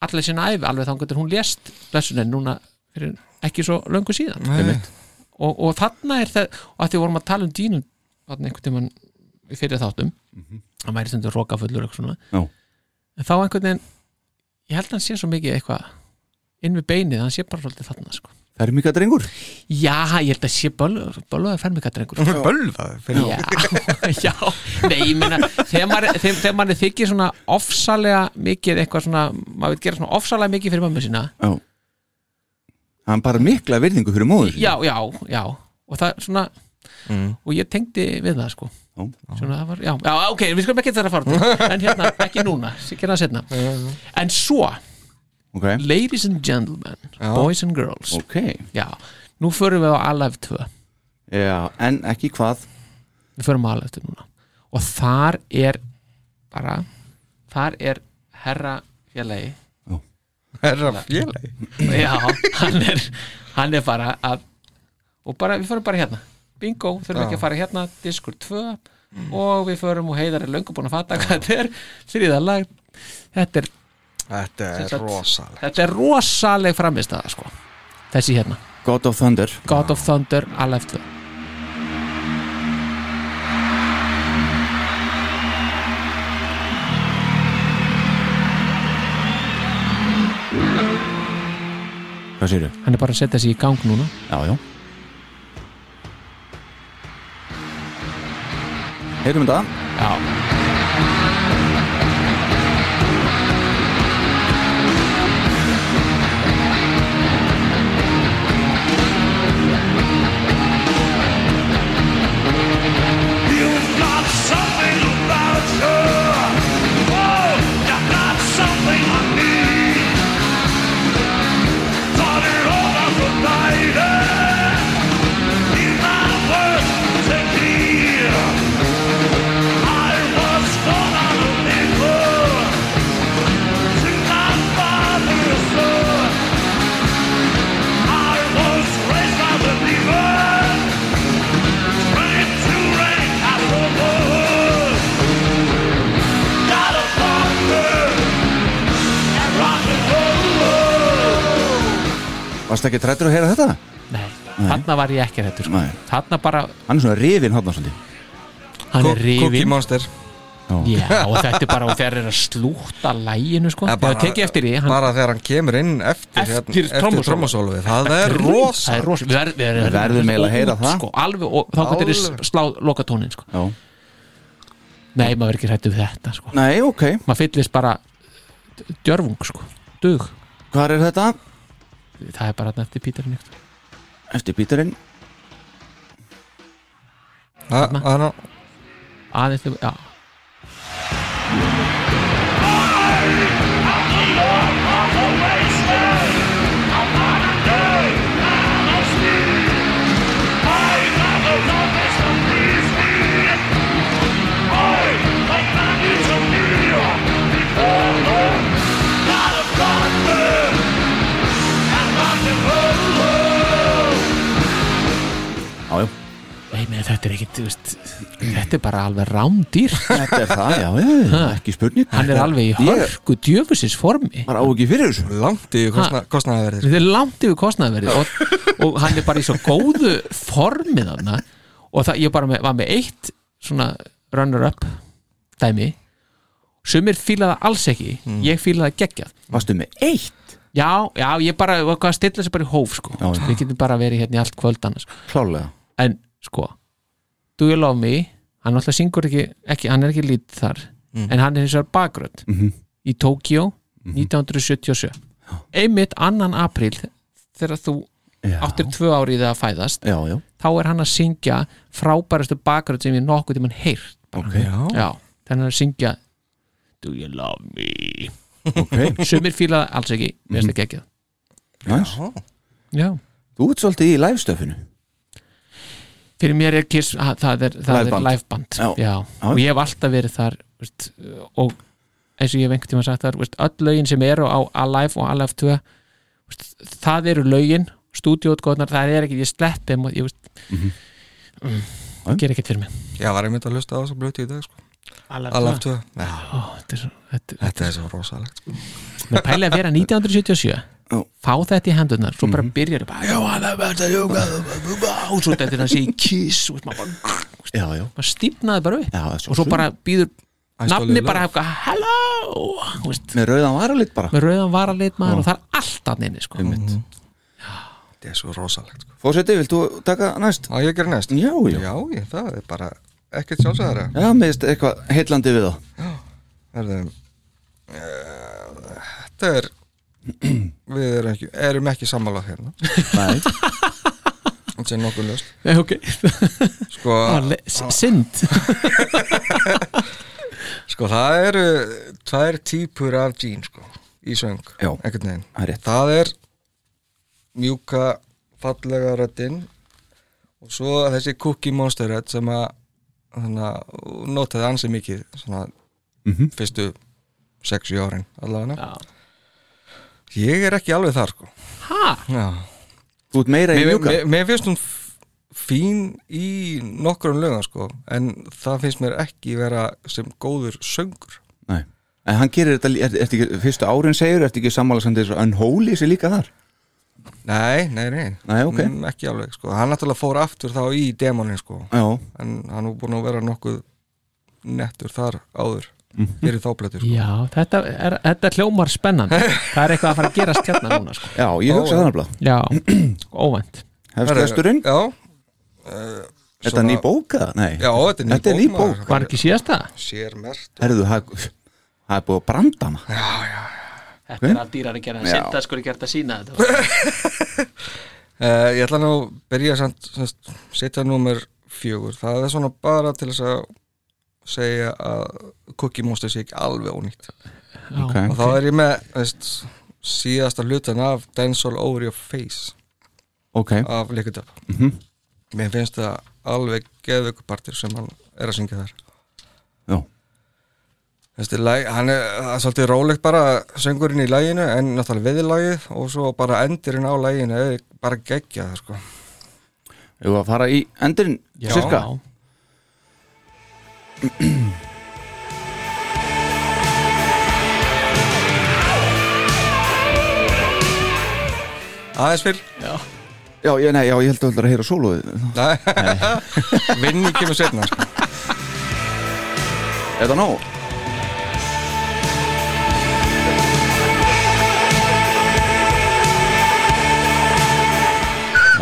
Speaker 7: allir sína æfi alveg þá getur hún lést blessunin núna fyrir ekki svo löngu síðan
Speaker 6: Nei.
Speaker 7: og, og þarna er það og að því vorum að tala um Jean þarna einhvern tímann í fyrir þáttum hann væri stundur rokafullur eitthvað svona
Speaker 5: Já.
Speaker 7: en þá einhvern veginn ég held að hann sé svo mikið eitthvað inn við beinið, hann sé bara svolítið þarna sko
Speaker 5: Fermingadrengur
Speaker 7: Já, ég held að sé bölvaði fermingadrengur
Speaker 6: Hún er bölvað fyrir
Speaker 7: Já, já, nei, ég meina þegar maður, þegar, þegar maður þykir svona ofsalega mikið eitthvað svona maður vil gera svona ofsalega mikið fyrir mömmu sína
Speaker 5: Já Hann bara mikla virðingu fyrir móður
Speaker 7: Já, já, já og það svona,
Speaker 6: Mm.
Speaker 7: og ég tengdi við það sko
Speaker 5: Já.
Speaker 7: svona, það var, já, já, ok, við skulum ekki þetta að fara út í. en hérna, ekki núna, sé- gera það setna en svo,
Speaker 5: Ok,
Speaker 7: ladies and gentlemen
Speaker 6: Já.
Speaker 7: boys and girls,
Speaker 5: ok
Speaker 7: já nú förum við á Alive 2
Speaker 5: Já, en ekki hvað
Speaker 7: við förum aðalega eftir núna og þar er bara þar er herra fjalegi
Speaker 5: Já.
Speaker 6: herra félagi
Speaker 7: já, hann er hann er bara að og bara, við förum bara hérna, bingo þurfum ekki að fara hérna, diskur 2 og við förum og heiðar er löngu búin að fatta hvað þetta er, þriða lag þetta er,
Speaker 6: Þetta
Speaker 7: Sem
Speaker 6: er
Speaker 7: sagt-
Speaker 6: rosalega
Speaker 7: þetta er rosaleg framist aða sko, þessi hérna
Speaker 5: God of Thunder
Speaker 7: God of Thunder, Alive 2
Speaker 5: Hvað séru?
Speaker 7: hann er bara að setja sig í gang núna
Speaker 5: Já, já Heyrum þetta
Speaker 7: já,
Speaker 9: Oh, eh?
Speaker 5: Varst ekki trættur að heyra þetta?
Speaker 7: nei, þarna var ég ekki þetta sko.
Speaker 5: Nei.
Speaker 7: þarna bara,
Speaker 5: Hann er svona rifin hátna svolítið
Speaker 7: hann
Speaker 6: Cook-
Speaker 7: er rifin
Speaker 6: Cookie Monster
Speaker 7: Já, og þetta er bara og þeir eru að slúta læginu sko,
Speaker 6: Ja,
Speaker 7: ég hef tekið eftir því hann,
Speaker 6: bara þegar hann kemur inn eftir,
Speaker 7: Eftir
Speaker 6: hérna- eftir
Speaker 7: trommusólfið.
Speaker 6: trommusólfið það er rosa
Speaker 7: það er rosa, við verð- við
Speaker 5: Við verðum eiginlega að heyra
Speaker 7: út,
Speaker 5: það.
Speaker 7: sko, alveg, og þá getur þið slá lokatónin sko.
Speaker 5: Já
Speaker 7: nei, maður er ekki hrætt um þetta sko.
Speaker 5: Nei, ok
Speaker 7: maður fyllist bara djörfung, sko, dug
Speaker 5: Hvar er þetta?
Speaker 7: það er bara þarna eftir Píterin ykkur
Speaker 5: Eftir bítarinn
Speaker 6: Það- það er nú-
Speaker 7: aðeins, þegar- já,
Speaker 5: Já, já
Speaker 7: nei, með þetta er ekkit þú veist, þetta er bara alveg rándýr
Speaker 5: Þetta er það, já, já, já Ekki spurning
Speaker 7: hann er alveg í
Speaker 5: Ég
Speaker 7: hörku djöfusins formi
Speaker 5: var á ekki fyrir þessu
Speaker 6: langt í kostna, sko. kostnaðarverðir
Speaker 7: þetta er langt yfir kostnaðverði og, og hann er bara í svo góðu formi þarna og það, ég bara með, var með eitt svona runner-up dæmi sumir fílaði alls ekki
Speaker 5: Mm.
Speaker 7: ég fílaði geggjað
Speaker 5: Varstu með eitt
Speaker 7: já, já, ég bara, var hvað að stilla sér bara í hóf sko.
Speaker 5: Já, já.
Speaker 7: við getum bara verið hérna í allt kvöld annars
Speaker 5: Klálega
Speaker 7: en sko Do You Love Me, hann alltaf syngur ekki, ekki hann er ekki lítið þar
Speaker 5: Mm.
Speaker 7: en hann er hins vegar bakgrönd
Speaker 5: Mhm.
Speaker 7: í Tokyo 1977 einmitt annan april þegar þú
Speaker 5: Já.
Speaker 7: áttir tvö ári í það að fæðast
Speaker 5: Já, já,
Speaker 7: þá er hann að syngja frábærastu bakgrönd sem ég nokkuð tímann heyrt
Speaker 5: ok,
Speaker 7: já, þannig að hann er að syngja Do You Love Me
Speaker 5: ok
Speaker 7: sumir fílaði alls ekki, mér finnst ekki ekki
Speaker 5: Næs
Speaker 7: já
Speaker 5: Þú ert svolítið í live-stöfinu
Speaker 7: fyrir mér er Kiss að, það er, það
Speaker 5: Liveband.
Speaker 7: er liveband
Speaker 5: Já.
Speaker 7: Já. og ég hef alltaf verið þar veist, og eins og ég hef einhvern tíma sagt þar veist, öll lögin sem eru á Alive og Alive 2 veist, það eru lögin stúdíóutgóðnar, það er ekki ég slepp þeim og ég veist
Speaker 5: Mhm.
Speaker 7: mm, ger ekkert fyrir mig
Speaker 6: ég var einmitt að hlusta á þess að blötu í dag sko.
Speaker 7: Alive
Speaker 6: að laftu það
Speaker 7: Ó, þetta er svo- þetta-
Speaker 6: Þetta er svo rosalegt sko.
Speaker 7: með pæli að vera 1977
Speaker 5: Já. Mhm.
Speaker 7: fá þetta í hendurnar, svo bara byrjar bara, já, það verður að jóka og svo þetta er að segja kiss og maður bara
Speaker 5: Já, já
Speaker 7: maður stífnaði bara upp
Speaker 5: Já, að
Speaker 7: og svo
Speaker 5: sjálfsögðu.
Speaker 7: bara býður
Speaker 6: Æ,
Speaker 7: nafni
Speaker 6: stolið
Speaker 7: bara
Speaker 6: lög.
Speaker 7: eitthvað hello þú veist,
Speaker 5: Með rauðan varalit bara
Speaker 7: með rauðan varalit maður og það er allt að nynni sko.
Speaker 6: Þetta er svo rosalegt sko.
Speaker 5: Fósetti, vilt þú taka næst?
Speaker 6: Á ég gerir næst
Speaker 5: Já, já
Speaker 6: Já, ég, það er bara ekkert sjálfsæðara
Speaker 5: Já, meðist eitthvað heillandi við það
Speaker 6: Herðu uh, Þetta er Við erum ekki, erum ekki sammála hérna
Speaker 5: Nei
Speaker 6: Þetta er nokkuð ljóst
Speaker 7: Nei, ok,
Speaker 6: sko,
Speaker 7: Bara le- s- synd
Speaker 6: sko, það eru Tvær típur af jean sko Í söng,
Speaker 5: Já.
Speaker 6: einhvern veginn
Speaker 5: Það er rétt.
Speaker 6: Það er mjúka fallega röddin og svo þessi cookie monster rödd sem að þannig að notaði ansi
Speaker 5: Mhm.
Speaker 6: mikið svona fyrstu 6-7 árin allavega
Speaker 7: Já.
Speaker 6: Ég er ekki alveg þar sko
Speaker 7: ha?
Speaker 6: Já
Speaker 5: Þú ert meira í
Speaker 6: Mér,
Speaker 5: mjúka
Speaker 6: mér, mér finnst hún f- fín í nokkrum lögum sko en það finnst mér ekki vera sem góður söngur
Speaker 5: Nei. En hann gerir þetta, lí- er, er, ekki, fyrstu árin segir, ertu ekki sammála samt þessu unholy sér líka þar?
Speaker 6: Nei, nei, nei,
Speaker 5: Nei, ok.
Speaker 6: Mm, ekki alveg sko Hann náttúrulega fór aftur þá í demonin sko
Speaker 5: Já,
Speaker 6: en hann er búin að vera nokkuð nettur þar áður
Speaker 5: Mhm.
Speaker 6: fyrir þáblættu sko
Speaker 7: Já, þetta, er, þetta hljómar spennandi Það er eitthvað að fara að gerast hérna núna sko.
Speaker 5: já ég hugsa
Speaker 6: Ó,
Speaker 5: það nefnilega
Speaker 7: Já, óvænt
Speaker 5: Hefstu vesturinn?
Speaker 6: Já
Speaker 5: Þetta er ný bóka? Nei
Speaker 6: Já, þetta er ný
Speaker 5: Þetta er ný
Speaker 6: bók, maður.
Speaker 5: bók.
Speaker 7: Var ekki síðasta?
Speaker 6: Sér mert
Speaker 5: Herðu, það það er búið að branda hana
Speaker 7: Þetta er allt dýrar að gera en
Speaker 5: Já.
Speaker 7: senda sko er gert að sína þetta
Speaker 6: uh, Ég ætla nú að byrja samt, samt setja númer fjögur Það er svona bara til þess að segja að Cookie Monster sé ekki alveg ónýtt
Speaker 7: Já,
Speaker 5: Ok.
Speaker 6: og þá er ég með veist, síðasta hlutan af Dancehall Over Your Face
Speaker 5: Ok, Mhm.
Speaker 6: af Liquid Up Mér finnst það alveg geðvökupartir sem hann er að syngja þar
Speaker 5: já,
Speaker 6: Þessi, læg, hann er, það er svolítið rólegt bara söngurinn í læginu en náttúrulega viðlagið og svo bara endurinn á læginu er bara geggja það sko
Speaker 5: hefur að fara í endurinn
Speaker 7: Já.
Speaker 5: Sirka
Speaker 6: aðeins fyrr,
Speaker 5: Já, ég, nei, já, ég held að það er að heyra sóluðu
Speaker 6: Nei. vinni kemur setna sko.
Speaker 5: Er það nóg?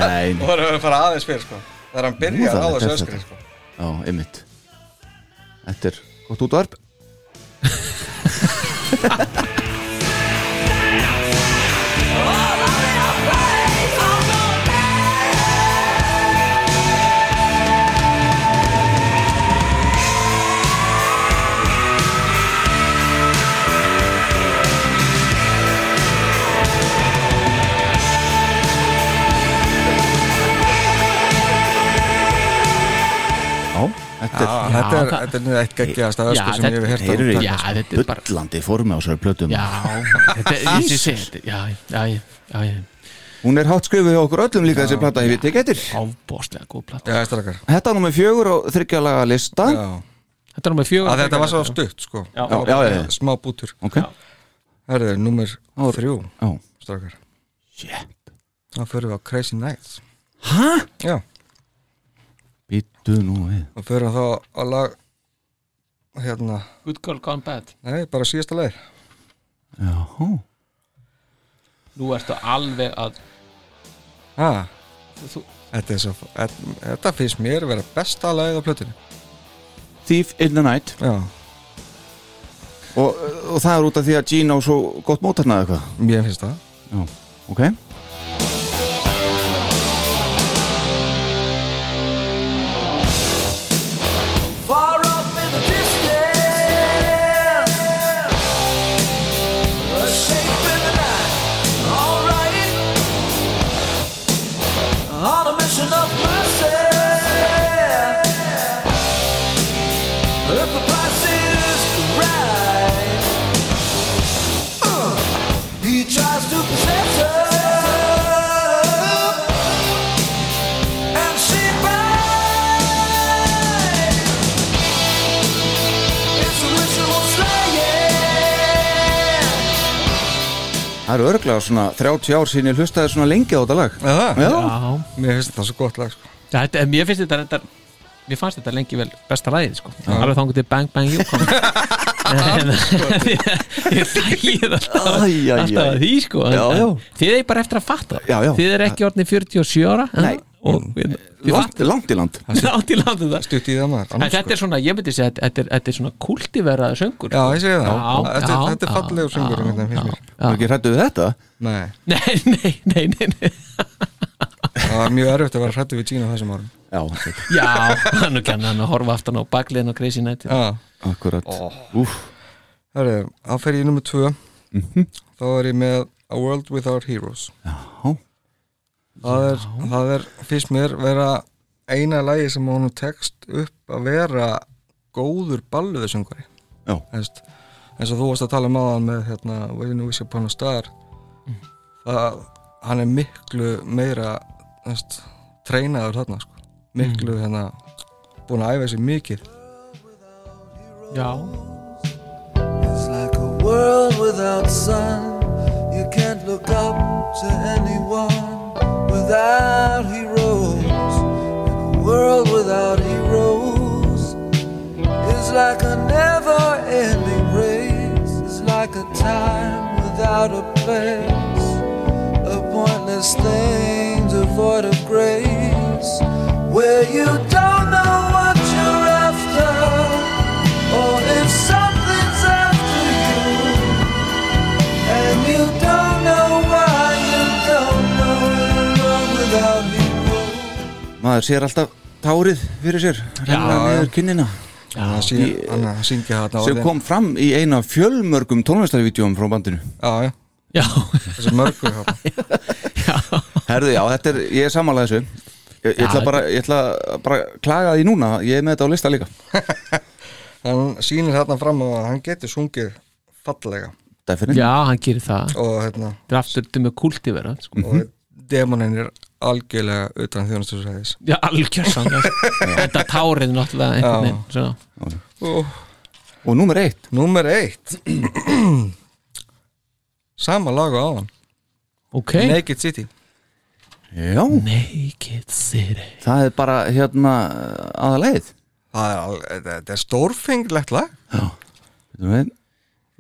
Speaker 5: Nei, nei,
Speaker 6: og það er að fara aðeins fyrr sko það er hann byrjar
Speaker 5: Nú,
Speaker 6: á
Speaker 5: það er
Speaker 6: þessu
Speaker 5: þetta.
Speaker 6: öskri sko.
Speaker 5: já, einmitt Þetta er gott útvarp Já, þetta
Speaker 6: Já,
Speaker 5: er
Speaker 6: þetta er,
Speaker 7: það-
Speaker 6: þetta er eitt geggjaðasta öskri
Speaker 7: Já,
Speaker 6: sem ég
Speaker 7: þetta-
Speaker 6: hef hert
Speaker 5: Heyrðu
Speaker 7: Já, þetta
Speaker 5: í
Speaker 7: er bara-
Speaker 5: bullandi formi á sér plötum
Speaker 7: Já, þetta er ég sé- sé- þetta- Já, já, já, já, já
Speaker 5: Hún er hátt skrifuð hjá okkur öllum líka þessi plata, ég veit ekki eftir
Speaker 7: Ábóstlega góð platta
Speaker 6: já, strakar
Speaker 5: Þetta er nummer fjögur á þryggjalaga lista
Speaker 6: já.
Speaker 7: Þetta er nummer fjögur
Speaker 6: að þetta var svo stutt sko
Speaker 7: Já.
Speaker 6: Það var
Speaker 5: Já, já,
Speaker 6: bara
Speaker 5: já.
Speaker 6: smá bútur
Speaker 5: Ok, já,
Speaker 6: herðu, nummer þrjú strakar
Speaker 5: shit
Speaker 6: þá förum við á Crazy Nights
Speaker 5: Hæ?
Speaker 6: já,
Speaker 5: Býttu nú við
Speaker 6: og förum þá á lag hérna,
Speaker 7: Good girl gone bad
Speaker 6: nei, bara síðasta leir
Speaker 5: Já,
Speaker 7: Nú ertu alveg að
Speaker 6: ah.
Speaker 7: þú-
Speaker 6: þetta, er svo, þetta, þetta finnst mér vera besta lagið á plötinu
Speaker 5: Thief in the Night
Speaker 6: já,
Speaker 5: og, og það er út af því að Gene á svo gott mótarnað eitthvað
Speaker 6: mér finnst það
Speaker 5: Já, ok
Speaker 4: Far up in the distance, a shape in the night. All right, on a mission of myself. If the price is right, Uh, he tries to possess her, and she buys. It's a ritual slaying.
Speaker 5: Það eru örglega svona 30 ár sín ég hlustaði svona lengi á þetta lag
Speaker 6: Aha.
Speaker 5: Já,
Speaker 7: Já,
Speaker 6: mér finnst þetta svo gott lag sko.
Speaker 7: Já, þetta, mér finnst þetta reyndar mér fannst þetta lengi vel besta lagið sko. alveg þangur til Bang Bang You kom En- ég þægir alltaf
Speaker 5: Æ, æ, æ.
Speaker 7: alltaf að því sko en-
Speaker 5: Já, já.
Speaker 7: en þið er bara eftir að fatta það.
Speaker 5: Já, já.
Speaker 7: þið er ekki orðin 47 ára en-
Speaker 5: Nei.
Speaker 7: og við
Speaker 5: langt, langt í land
Speaker 7: átt í landið það
Speaker 6: stutt í það maður
Speaker 7: en
Speaker 6: annars,
Speaker 7: þetta er svona, ég myndi segja að þetta er, þetta er svona kultiveraða söngur
Speaker 6: já, ég segi það
Speaker 7: Já,
Speaker 6: þetta,
Speaker 7: já,
Speaker 6: þetta er fallegur
Speaker 7: já,
Speaker 6: söngur
Speaker 7: já,
Speaker 6: þetta finnst mér
Speaker 5: Það er ekki hrættu við þetta
Speaker 6: nei,
Speaker 7: nei, nei, nei, nei, nei.
Speaker 6: það var mjög erfitt að vera hrættu við Gina á þessum árum
Speaker 5: Já,
Speaker 7: já, hann er gæmna hann að horfa aftan á bakliðin og Crazy Night
Speaker 6: já
Speaker 5: akkurat Úf,
Speaker 6: Herri, þá fer ég í nummer 2
Speaker 5: Mhm.
Speaker 6: Þá er ég með A World Without Heroes
Speaker 5: já,
Speaker 6: Það er, það er fyrst mér vera eina lagi sem honum tekst upp að vera góður balluðsöngari
Speaker 5: Já.
Speaker 6: Eðst, eins og þú varst að tala um aðan með hérna, When You Wish Upon a Star
Speaker 5: Mhm.
Speaker 6: það, hann er miklu meira þess, treinaður þarna sko. miklu
Speaker 5: Mhm.
Speaker 6: hérna búin að æfa sér mikið
Speaker 7: Já,
Speaker 9: It's like a world without sun. You can't look up to anyone without heroes. And a world without heroes is like a never ending race. It's like a time without a place. A pointless thing devoid of grace. Where you don't know what you're after. Or if something's after you, and you don't know why, you don't know you're wrong without me.
Speaker 5: Maður sér alltaf tárið fyrir sér Renna niður kinnina
Speaker 6: hann
Speaker 5: Ég-
Speaker 6: syng- hann syngja þarna
Speaker 5: Sem
Speaker 6: orðin.
Speaker 5: kom fram í eina fjölmörgum tónlistarvídeóum frá bandinu
Speaker 6: já, já,
Speaker 7: já,
Speaker 6: þessi mörgu þarna.
Speaker 5: Herðu, já, þetta er, ég er samanlega þessu Ég, ég
Speaker 7: Já,
Speaker 5: ætla bara, ég ætla bara að klaga því núna Ég er með þetta á lista líka
Speaker 6: hann sýnir þarna fram á að hann getur sungið fallega
Speaker 5: Definitely
Speaker 7: já, hann gerir það
Speaker 6: og hérna
Speaker 7: Draftur til með kulti vera sko.
Speaker 6: og demonin er algjörlega utan þjónustusræðis
Speaker 7: Já, algjörsan Þetta tárið náttúrulega einhvern veginn svona.
Speaker 5: Og númer eitt
Speaker 6: Númer eitt Sama lag á áðan
Speaker 7: Ok,
Speaker 6: Naked City
Speaker 5: Já,
Speaker 7: Naked City
Speaker 5: það er bara hérna aðaleið
Speaker 6: Það er, al- þetta er stórfenglegt lag
Speaker 5: Veitum við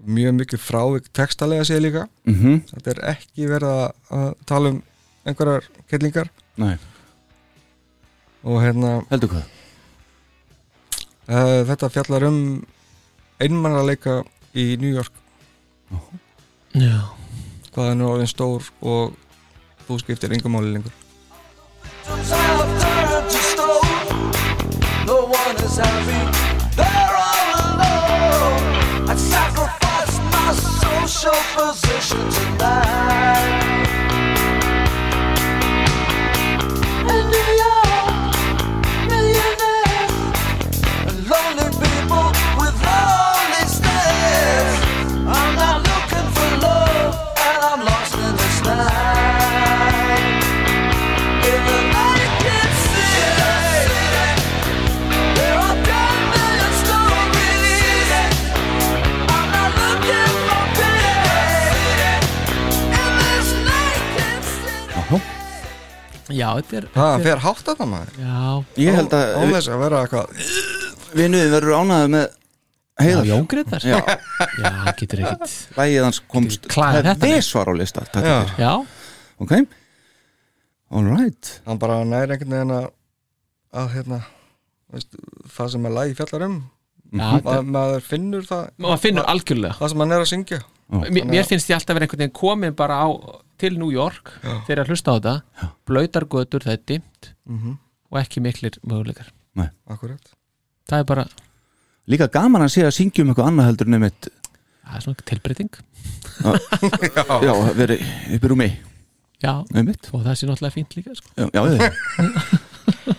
Speaker 6: Mjög mikið frávik textalega séð líka
Speaker 5: Mhm.
Speaker 6: Þetta er ekki verið að- að tala um einhverjar kellingar
Speaker 5: Nei,
Speaker 6: og hérna
Speaker 5: heldur hvað
Speaker 6: uh, þetta fjallar um einmannaleika í New York
Speaker 7: Já,
Speaker 6: hvað er nú orðin stór og þú skiptir yngum máli lengur
Speaker 9: I've turned to stone. No one is happy. They're all alone. I sacrifice my social position tonight. In New York, millionaires and lonely people with lonely stares. I'm not looking for love, and I'm lost in this night. In the naked city, there are ten million stories. I'm not looking for pity in this naked city.
Speaker 7: já þetta er
Speaker 6: Það fer hátt að það maður
Speaker 7: Já,
Speaker 5: Ég held að
Speaker 6: Án þess að vera eitthvað
Speaker 5: vinnuðin verður ánæður með
Speaker 7: já
Speaker 5: heiðar
Speaker 7: Jón Gretar
Speaker 5: Já.
Speaker 7: já hann getur ekkit
Speaker 5: Lægið hans komst
Speaker 7: Getur klagað þetta.
Speaker 5: Vesvar á lista takk
Speaker 6: Já.
Speaker 5: fyrir.
Speaker 7: Já,
Speaker 5: Ok All right
Speaker 6: hann bara næri einhvern veginn að að hérna veist, það sem að lagi fjallar um
Speaker 7: já
Speaker 6: maður,
Speaker 7: þetta-
Speaker 6: maður finnur það
Speaker 7: maður finnur algjörlega
Speaker 6: það sem hann er að syngja
Speaker 7: mér, mér finnst ég alltaf verið einhvern veginn komin bara á til New York þegar að hlusta á þetta blöytar götur, það er dimmt og ekki miklir möguleikar
Speaker 6: akkurat
Speaker 7: það er bara,
Speaker 5: Líka gaman að sé að syngja um eitthvað annað heldur en um eitt
Speaker 7: það er svona tilbreyting
Speaker 5: Já, verið upp í rúmi
Speaker 7: já,
Speaker 5: Um eitt
Speaker 7: og það sé náttúrulega fínt líka sko.
Speaker 5: Já, já þið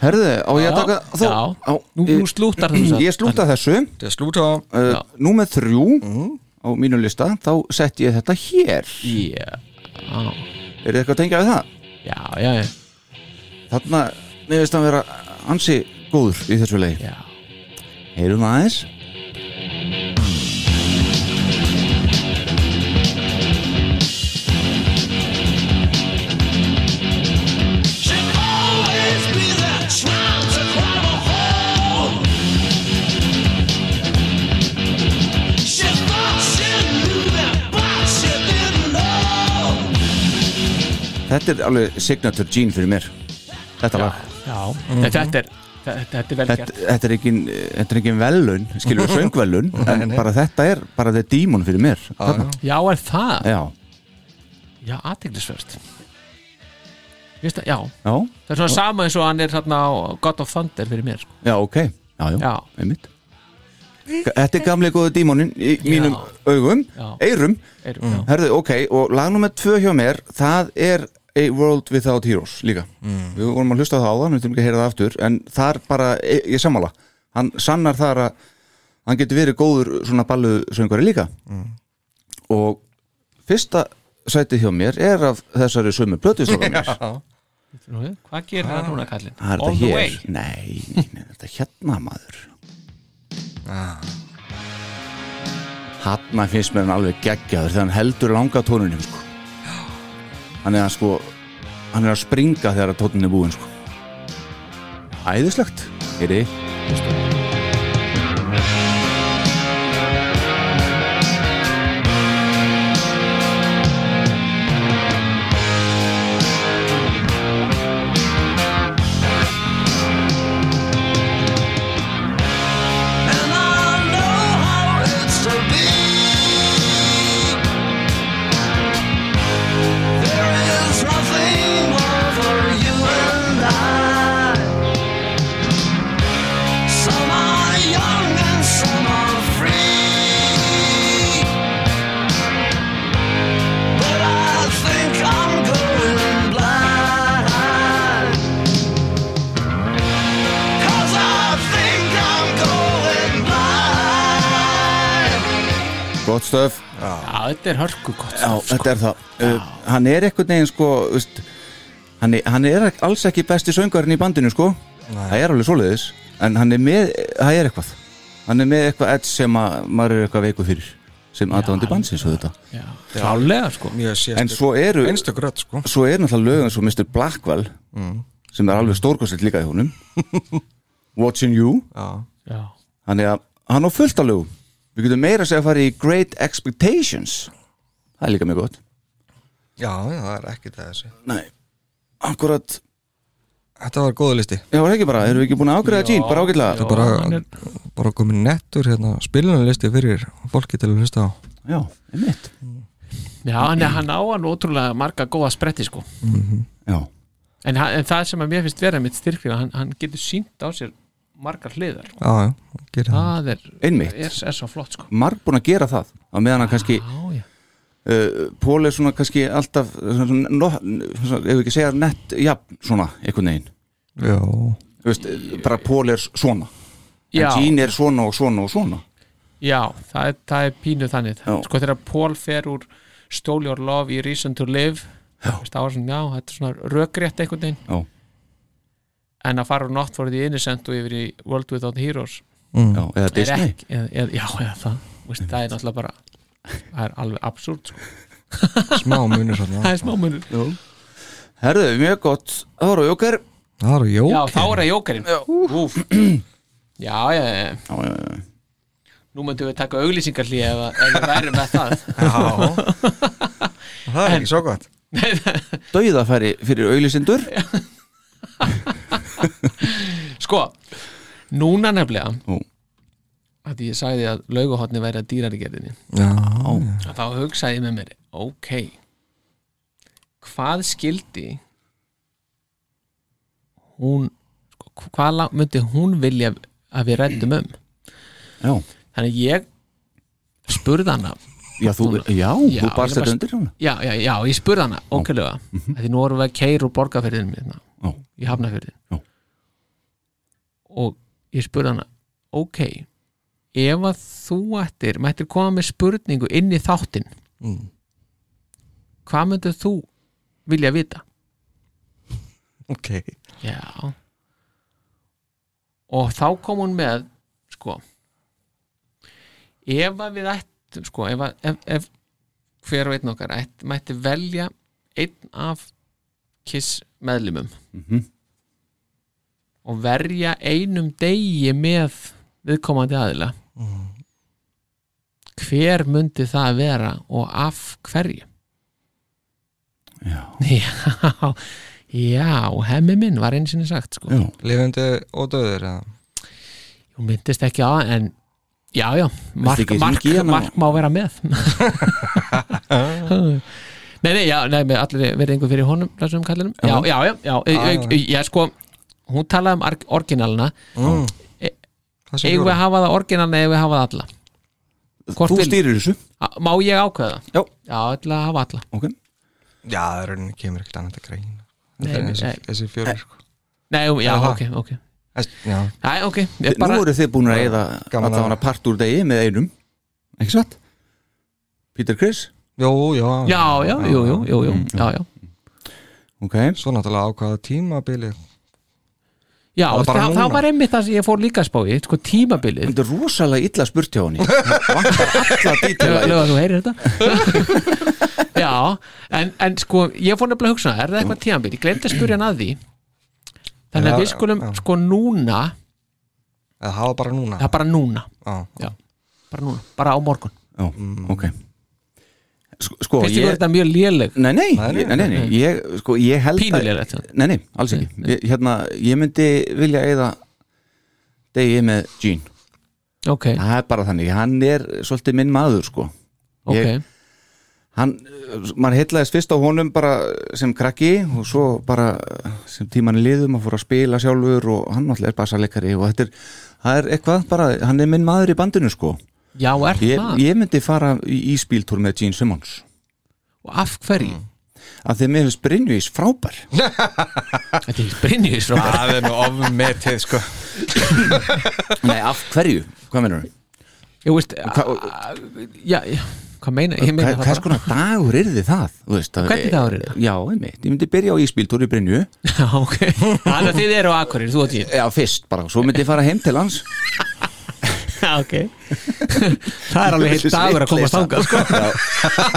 Speaker 5: Herðu, á ég að
Speaker 7: Já,
Speaker 5: taka þó
Speaker 7: já.
Speaker 5: á,
Speaker 7: nú, nú
Speaker 5: ég, Mm,
Speaker 7: slúttar þú
Speaker 5: ég slúta þessu
Speaker 6: þetta er slúta á
Speaker 5: uh,
Speaker 7: Já. Mm.
Speaker 5: Númer þrjú á mínu lista Þá sett ég þetta hér
Speaker 7: yeah. já,
Speaker 5: Er þið eitthvað að tengja við það?
Speaker 7: já, já, já,
Speaker 5: Þarna, mér veist að vera ansi góður í þessu leið
Speaker 7: já.
Speaker 5: Heyrum það aðeins
Speaker 9: Should always be there trying to climb a hole. She thought she knew that, but she didn't know.
Speaker 5: Þetta er alveg signature gene fyrir mér Þetta lag
Speaker 7: já.
Speaker 5: Mhm.
Speaker 7: þetta er þetta, þetta er vel
Speaker 5: Þetta,
Speaker 7: gert
Speaker 5: þetta er ekki, þetta er ekki velun, skilur við söngvelun en bara þetta er, bara þetta er dímon fyrir mér Þarna.
Speaker 7: já, er það,
Speaker 5: Já,
Speaker 7: já, aðteglisverst Vist, já,
Speaker 5: já,
Speaker 7: það er svona sama eins og hann er þarna á God of Thunder fyrir mér sko.
Speaker 5: já, ok Já, já,
Speaker 7: Já.
Speaker 5: einmitt Þetta er gamlega góðu dímonin í mínum augum,
Speaker 7: Já.
Speaker 5: eyrum
Speaker 7: er, já.
Speaker 5: Herðu, ok, og lag nummer tvö hjá mér það er A World Without Heroes líka,
Speaker 7: Mm.
Speaker 5: við vorum að hlusta á það áðan við þurfum ekki að heyra það aftur, en þar bara e, ég, ég sammála, hann sannar þar að
Speaker 7: Mm.
Speaker 5: hann getur verið góður svona balluðsöngari líka og fyrsta sætið hjá mér er af þessari sömu plötustóra mér
Speaker 7: Nú, Hvað gerir hann núna kallinn?
Speaker 5: Það er
Speaker 7: All
Speaker 5: þetta
Speaker 7: the
Speaker 5: hér
Speaker 7: way
Speaker 5: Nei, nei, nei, þetta er hérna maður
Speaker 7: Ah.
Speaker 5: Hanna finnst mér hann alveg geggjaður þegar hann heldur langa tónunum sko. Hann er að sko Hann er að springa þegar að tónun er búinn sko. Æðislegt Heyri
Speaker 4: And I know how it's to be. There is nothing over you and I. Some are young and some are free. But I think I'm going blind. 'Cause I think I'm going blind.
Speaker 5: Gott stöf
Speaker 7: Já, þetta er hörku gott
Speaker 5: Já,
Speaker 7: stöf, sko.
Speaker 5: þetta er það uh, Hann er einhvern veginn sko veist, hann, er, hann er alls ekki besti söngarinn í bandinu sko Það er alveg svoleiðis En hann er með, það er eitthvað Hann er með eitthvað edds sem að, maður er eitthvað veiku fyrir Sem aðdavandi bandsins og þetta
Speaker 7: Já, Klálega sko
Speaker 6: mjög sérstök
Speaker 5: En svo eru,
Speaker 6: einstök rödd sko
Speaker 5: svo eru náttúrulega lögum svo Mr. Blackwell Sem er alveg stórkostið líka í honum Watching You
Speaker 6: já,
Speaker 7: Já,
Speaker 5: Þannig að hann á fullt á lögum Við getum meira að segja að fara í Great Expectations Það er líka mjög gott
Speaker 6: já, já, það er ekki það þessi
Speaker 5: Nei, akkurat
Speaker 6: þetta var góðu listi
Speaker 5: Já, var ekki bara, erum við ekki búin að ágreða Gene, bara ágætlega
Speaker 6: er bara-
Speaker 7: hann er-
Speaker 6: bara komið nettur hérna spilunarlisti fyrir fólki til að hlusta á
Speaker 5: Já, einmitt
Speaker 7: já hann, er- hann á hann ótrúlega marga góða spretti sko
Speaker 5: Já,
Speaker 7: en, hann- en það sem að mér finnst vera mitt styrkri hann, hann getur sínt á sér margar hliðar sko.
Speaker 6: já, já, gerir það
Speaker 7: Það er,
Speaker 5: Einmitt.
Speaker 7: er, er svo flott sko
Speaker 5: marg búin að gera það á meðan hann kannski,
Speaker 7: Já, já
Speaker 5: uh, Pól er svona kannski alltaf svona, svona, no, svona, ef við ekki segja nett, jafn, svona, einhvern veginn
Speaker 6: já,
Speaker 5: Þú Veist, eh, bara Pól er svona
Speaker 7: Já,
Speaker 5: En Gene er svona og svona og svona
Speaker 7: já það, er, það er pínu þannig
Speaker 5: Já.
Speaker 7: Sko þegar Paul fer úr Stole Your Love í Reason to Live Já, það var svona, já þetta er svona rökrétt einhvern veginn
Speaker 5: Já,
Speaker 7: en að fara úr Not for the Innocent og yfir í World Without Heroes
Speaker 5: já eða
Speaker 7: er
Speaker 5: Disney
Speaker 7: ekki, eða, eða, já, eða það veist, það er náttúrulega bara það er alveg absúrt sko.
Speaker 6: smá munir svona
Speaker 7: það er smá munur já,
Speaker 5: Herðu, mjög gott, það voru jóker
Speaker 6: það eru jók
Speaker 7: þá er það jókarinn Úf. já, já, já,
Speaker 5: Já, já, já
Speaker 7: nú myndum við taka auglýsingarlí ef, að- ef við værum með það
Speaker 6: já það er ekki svo gott
Speaker 5: Dauðafæri fyrir auglisindur
Speaker 7: sko, núna nefnilega
Speaker 5: Ú.
Speaker 7: að ég sagði að lauguhotni væri að dýrarigerðinni
Speaker 6: já,
Speaker 7: að þá hugsaði ég með mér ok hvað skildi hún sko, hvað lang- myndi hún vilja að við rættum um
Speaker 5: Já,
Speaker 7: þannig að ég spurði hana
Speaker 5: já, þú, já,
Speaker 7: Já,
Speaker 5: þú barst þetta
Speaker 7: ég bara-
Speaker 5: undir hana
Speaker 7: já, já, já, ég spurði hana okkurlega, mm -hmm. því nú erum við að keira úr borgarferðinum hérna,
Speaker 5: Já.
Speaker 7: í hafnafjörðin
Speaker 5: Já.
Speaker 7: og ég spurði hana ok, ef að þú ættir, mættir koma með spurningu inn í þáttinn
Speaker 6: Mm.
Speaker 7: hvað myndir þú vilja vita?
Speaker 6: ok
Speaker 7: Já og þá kom hún með sko ef að við ættum sko ef, að- ef, ef hver og einn okkar ætt, mætti velja einn af kiss meðlumum
Speaker 5: Mhm.
Speaker 7: og verja einum degi með viðkomandi aðila hver myndi það vera og af hverju já já, hemmi minn var einu sinni sagt sko.
Speaker 5: Já,
Speaker 6: lifandi og döður eða?
Speaker 7: Hún myndist ekki á það, en já, já, mark,
Speaker 5: ekki
Speaker 7: mark,
Speaker 5: hringi í hana?
Speaker 7: mark má vera með Nei, nei, já, nei, með allir verið einhver fyrir honum, þessum kallinum Já, já, já, já, já, já, já, sko hún talaði um arg- orginalina
Speaker 6: mm.
Speaker 7: E-
Speaker 6: það sem
Speaker 7: eigum við að hafa það orginalina, eigum við að hafa það alla Hvort
Speaker 5: þú
Speaker 7: vil-
Speaker 5: stýrir þessu
Speaker 7: A- Má ég ákveða? það?
Speaker 5: Já.
Speaker 7: Já, ætla að hafa alla
Speaker 5: Ok,
Speaker 6: já, það er rauninni kemur ekkert annað að greina
Speaker 7: Nei,
Speaker 6: Þetta er
Speaker 7: nei,
Speaker 6: þessi-
Speaker 7: nei.
Speaker 6: þessi fjóri sko
Speaker 7: Nei, um, já,
Speaker 6: Aha.
Speaker 7: ok, ok
Speaker 6: Þess- já,
Speaker 7: Æ, ok, ég bara
Speaker 5: Nú eru þið búin að eða
Speaker 6: Gaman að-
Speaker 5: allavega part úr degi með einum Ekki satt? Peter Criss
Speaker 6: Jú, já,
Speaker 7: já, já, jú, jú, jú, jú, já, já
Speaker 5: Ok,
Speaker 6: Svo náttúrulega ákvaða tímabilið
Speaker 7: Já,
Speaker 6: Það var bara
Speaker 7: það,
Speaker 6: núna.
Speaker 7: það var einmitt það sem ég fór líka að spá í sko tímabilið
Speaker 5: þetta er rosalega illa spurt hjá henni Það vantar alla dítila
Speaker 7: Lög að þú heyrir þetta Já, en, en sko ég fór nefnilega að hugsa, er það eitthvað tímabil ég glemdi að spurja hann að því Þannig að
Speaker 6: Já,
Speaker 7: við skulum
Speaker 6: já.
Speaker 7: sko núna
Speaker 6: eða hafa bara núna
Speaker 7: það er bara núna,
Speaker 6: Já,
Speaker 7: bara núna, bara á morgun
Speaker 5: Já, ok Sko, sko
Speaker 7: Fyrst ég verður
Speaker 5: ég
Speaker 7: þetta mjög léleg
Speaker 5: Nei, nei,
Speaker 6: Nei, nei,
Speaker 5: nei, nei, nei, ég, sko, ég held að-
Speaker 7: Pínulélegt, já.
Speaker 5: Nei, nei, alls ekki
Speaker 7: Nei, nei.
Speaker 5: Ég, hérna, ég myndi vilja eða degi með Gene
Speaker 7: Ok,
Speaker 5: Það er bara þannig, hann er svolítið minn maður sko
Speaker 7: ok,
Speaker 5: ég- hann, uh, maður heitlaðist fyrst á honum bara sem krakki og svo bara uh, sem tíman liðum að fór að spila sjálfur og hann náttúrulega er bassaleikari og þetta er, það er eitthvað bara, hann er minn maður í bandinu sko
Speaker 7: já er
Speaker 5: ég,
Speaker 7: það
Speaker 5: ég myndi fara í, í spíltúr með Gene Simmons
Speaker 7: og af hverju?
Speaker 5: af því að mér finnst Brynjus frábær
Speaker 7: Þetta er Brynjus Robert
Speaker 6: það er nú ofmetið sko
Speaker 5: Nei, af hverju? Hvað mennur þú?
Speaker 7: Ég veist,
Speaker 5: hva-
Speaker 7: a- já, já, hvað meina, ég meina það
Speaker 5: Hvers
Speaker 7: bara
Speaker 5: konar dagur er þið það? Þú Veist, að-
Speaker 7: Hvernig dagur yrði það?
Speaker 5: Já, einmitt, ég myndi byrja á íspíltúr í Brynju
Speaker 7: Já, ok, þannig að þið eru á Akureyri, þú og ég
Speaker 5: Já, fyrst bara, svo myndi ég fara heim til hans
Speaker 7: Já, ok Það er alveg heitt dagur að komast þangað sko.
Speaker 5: Já,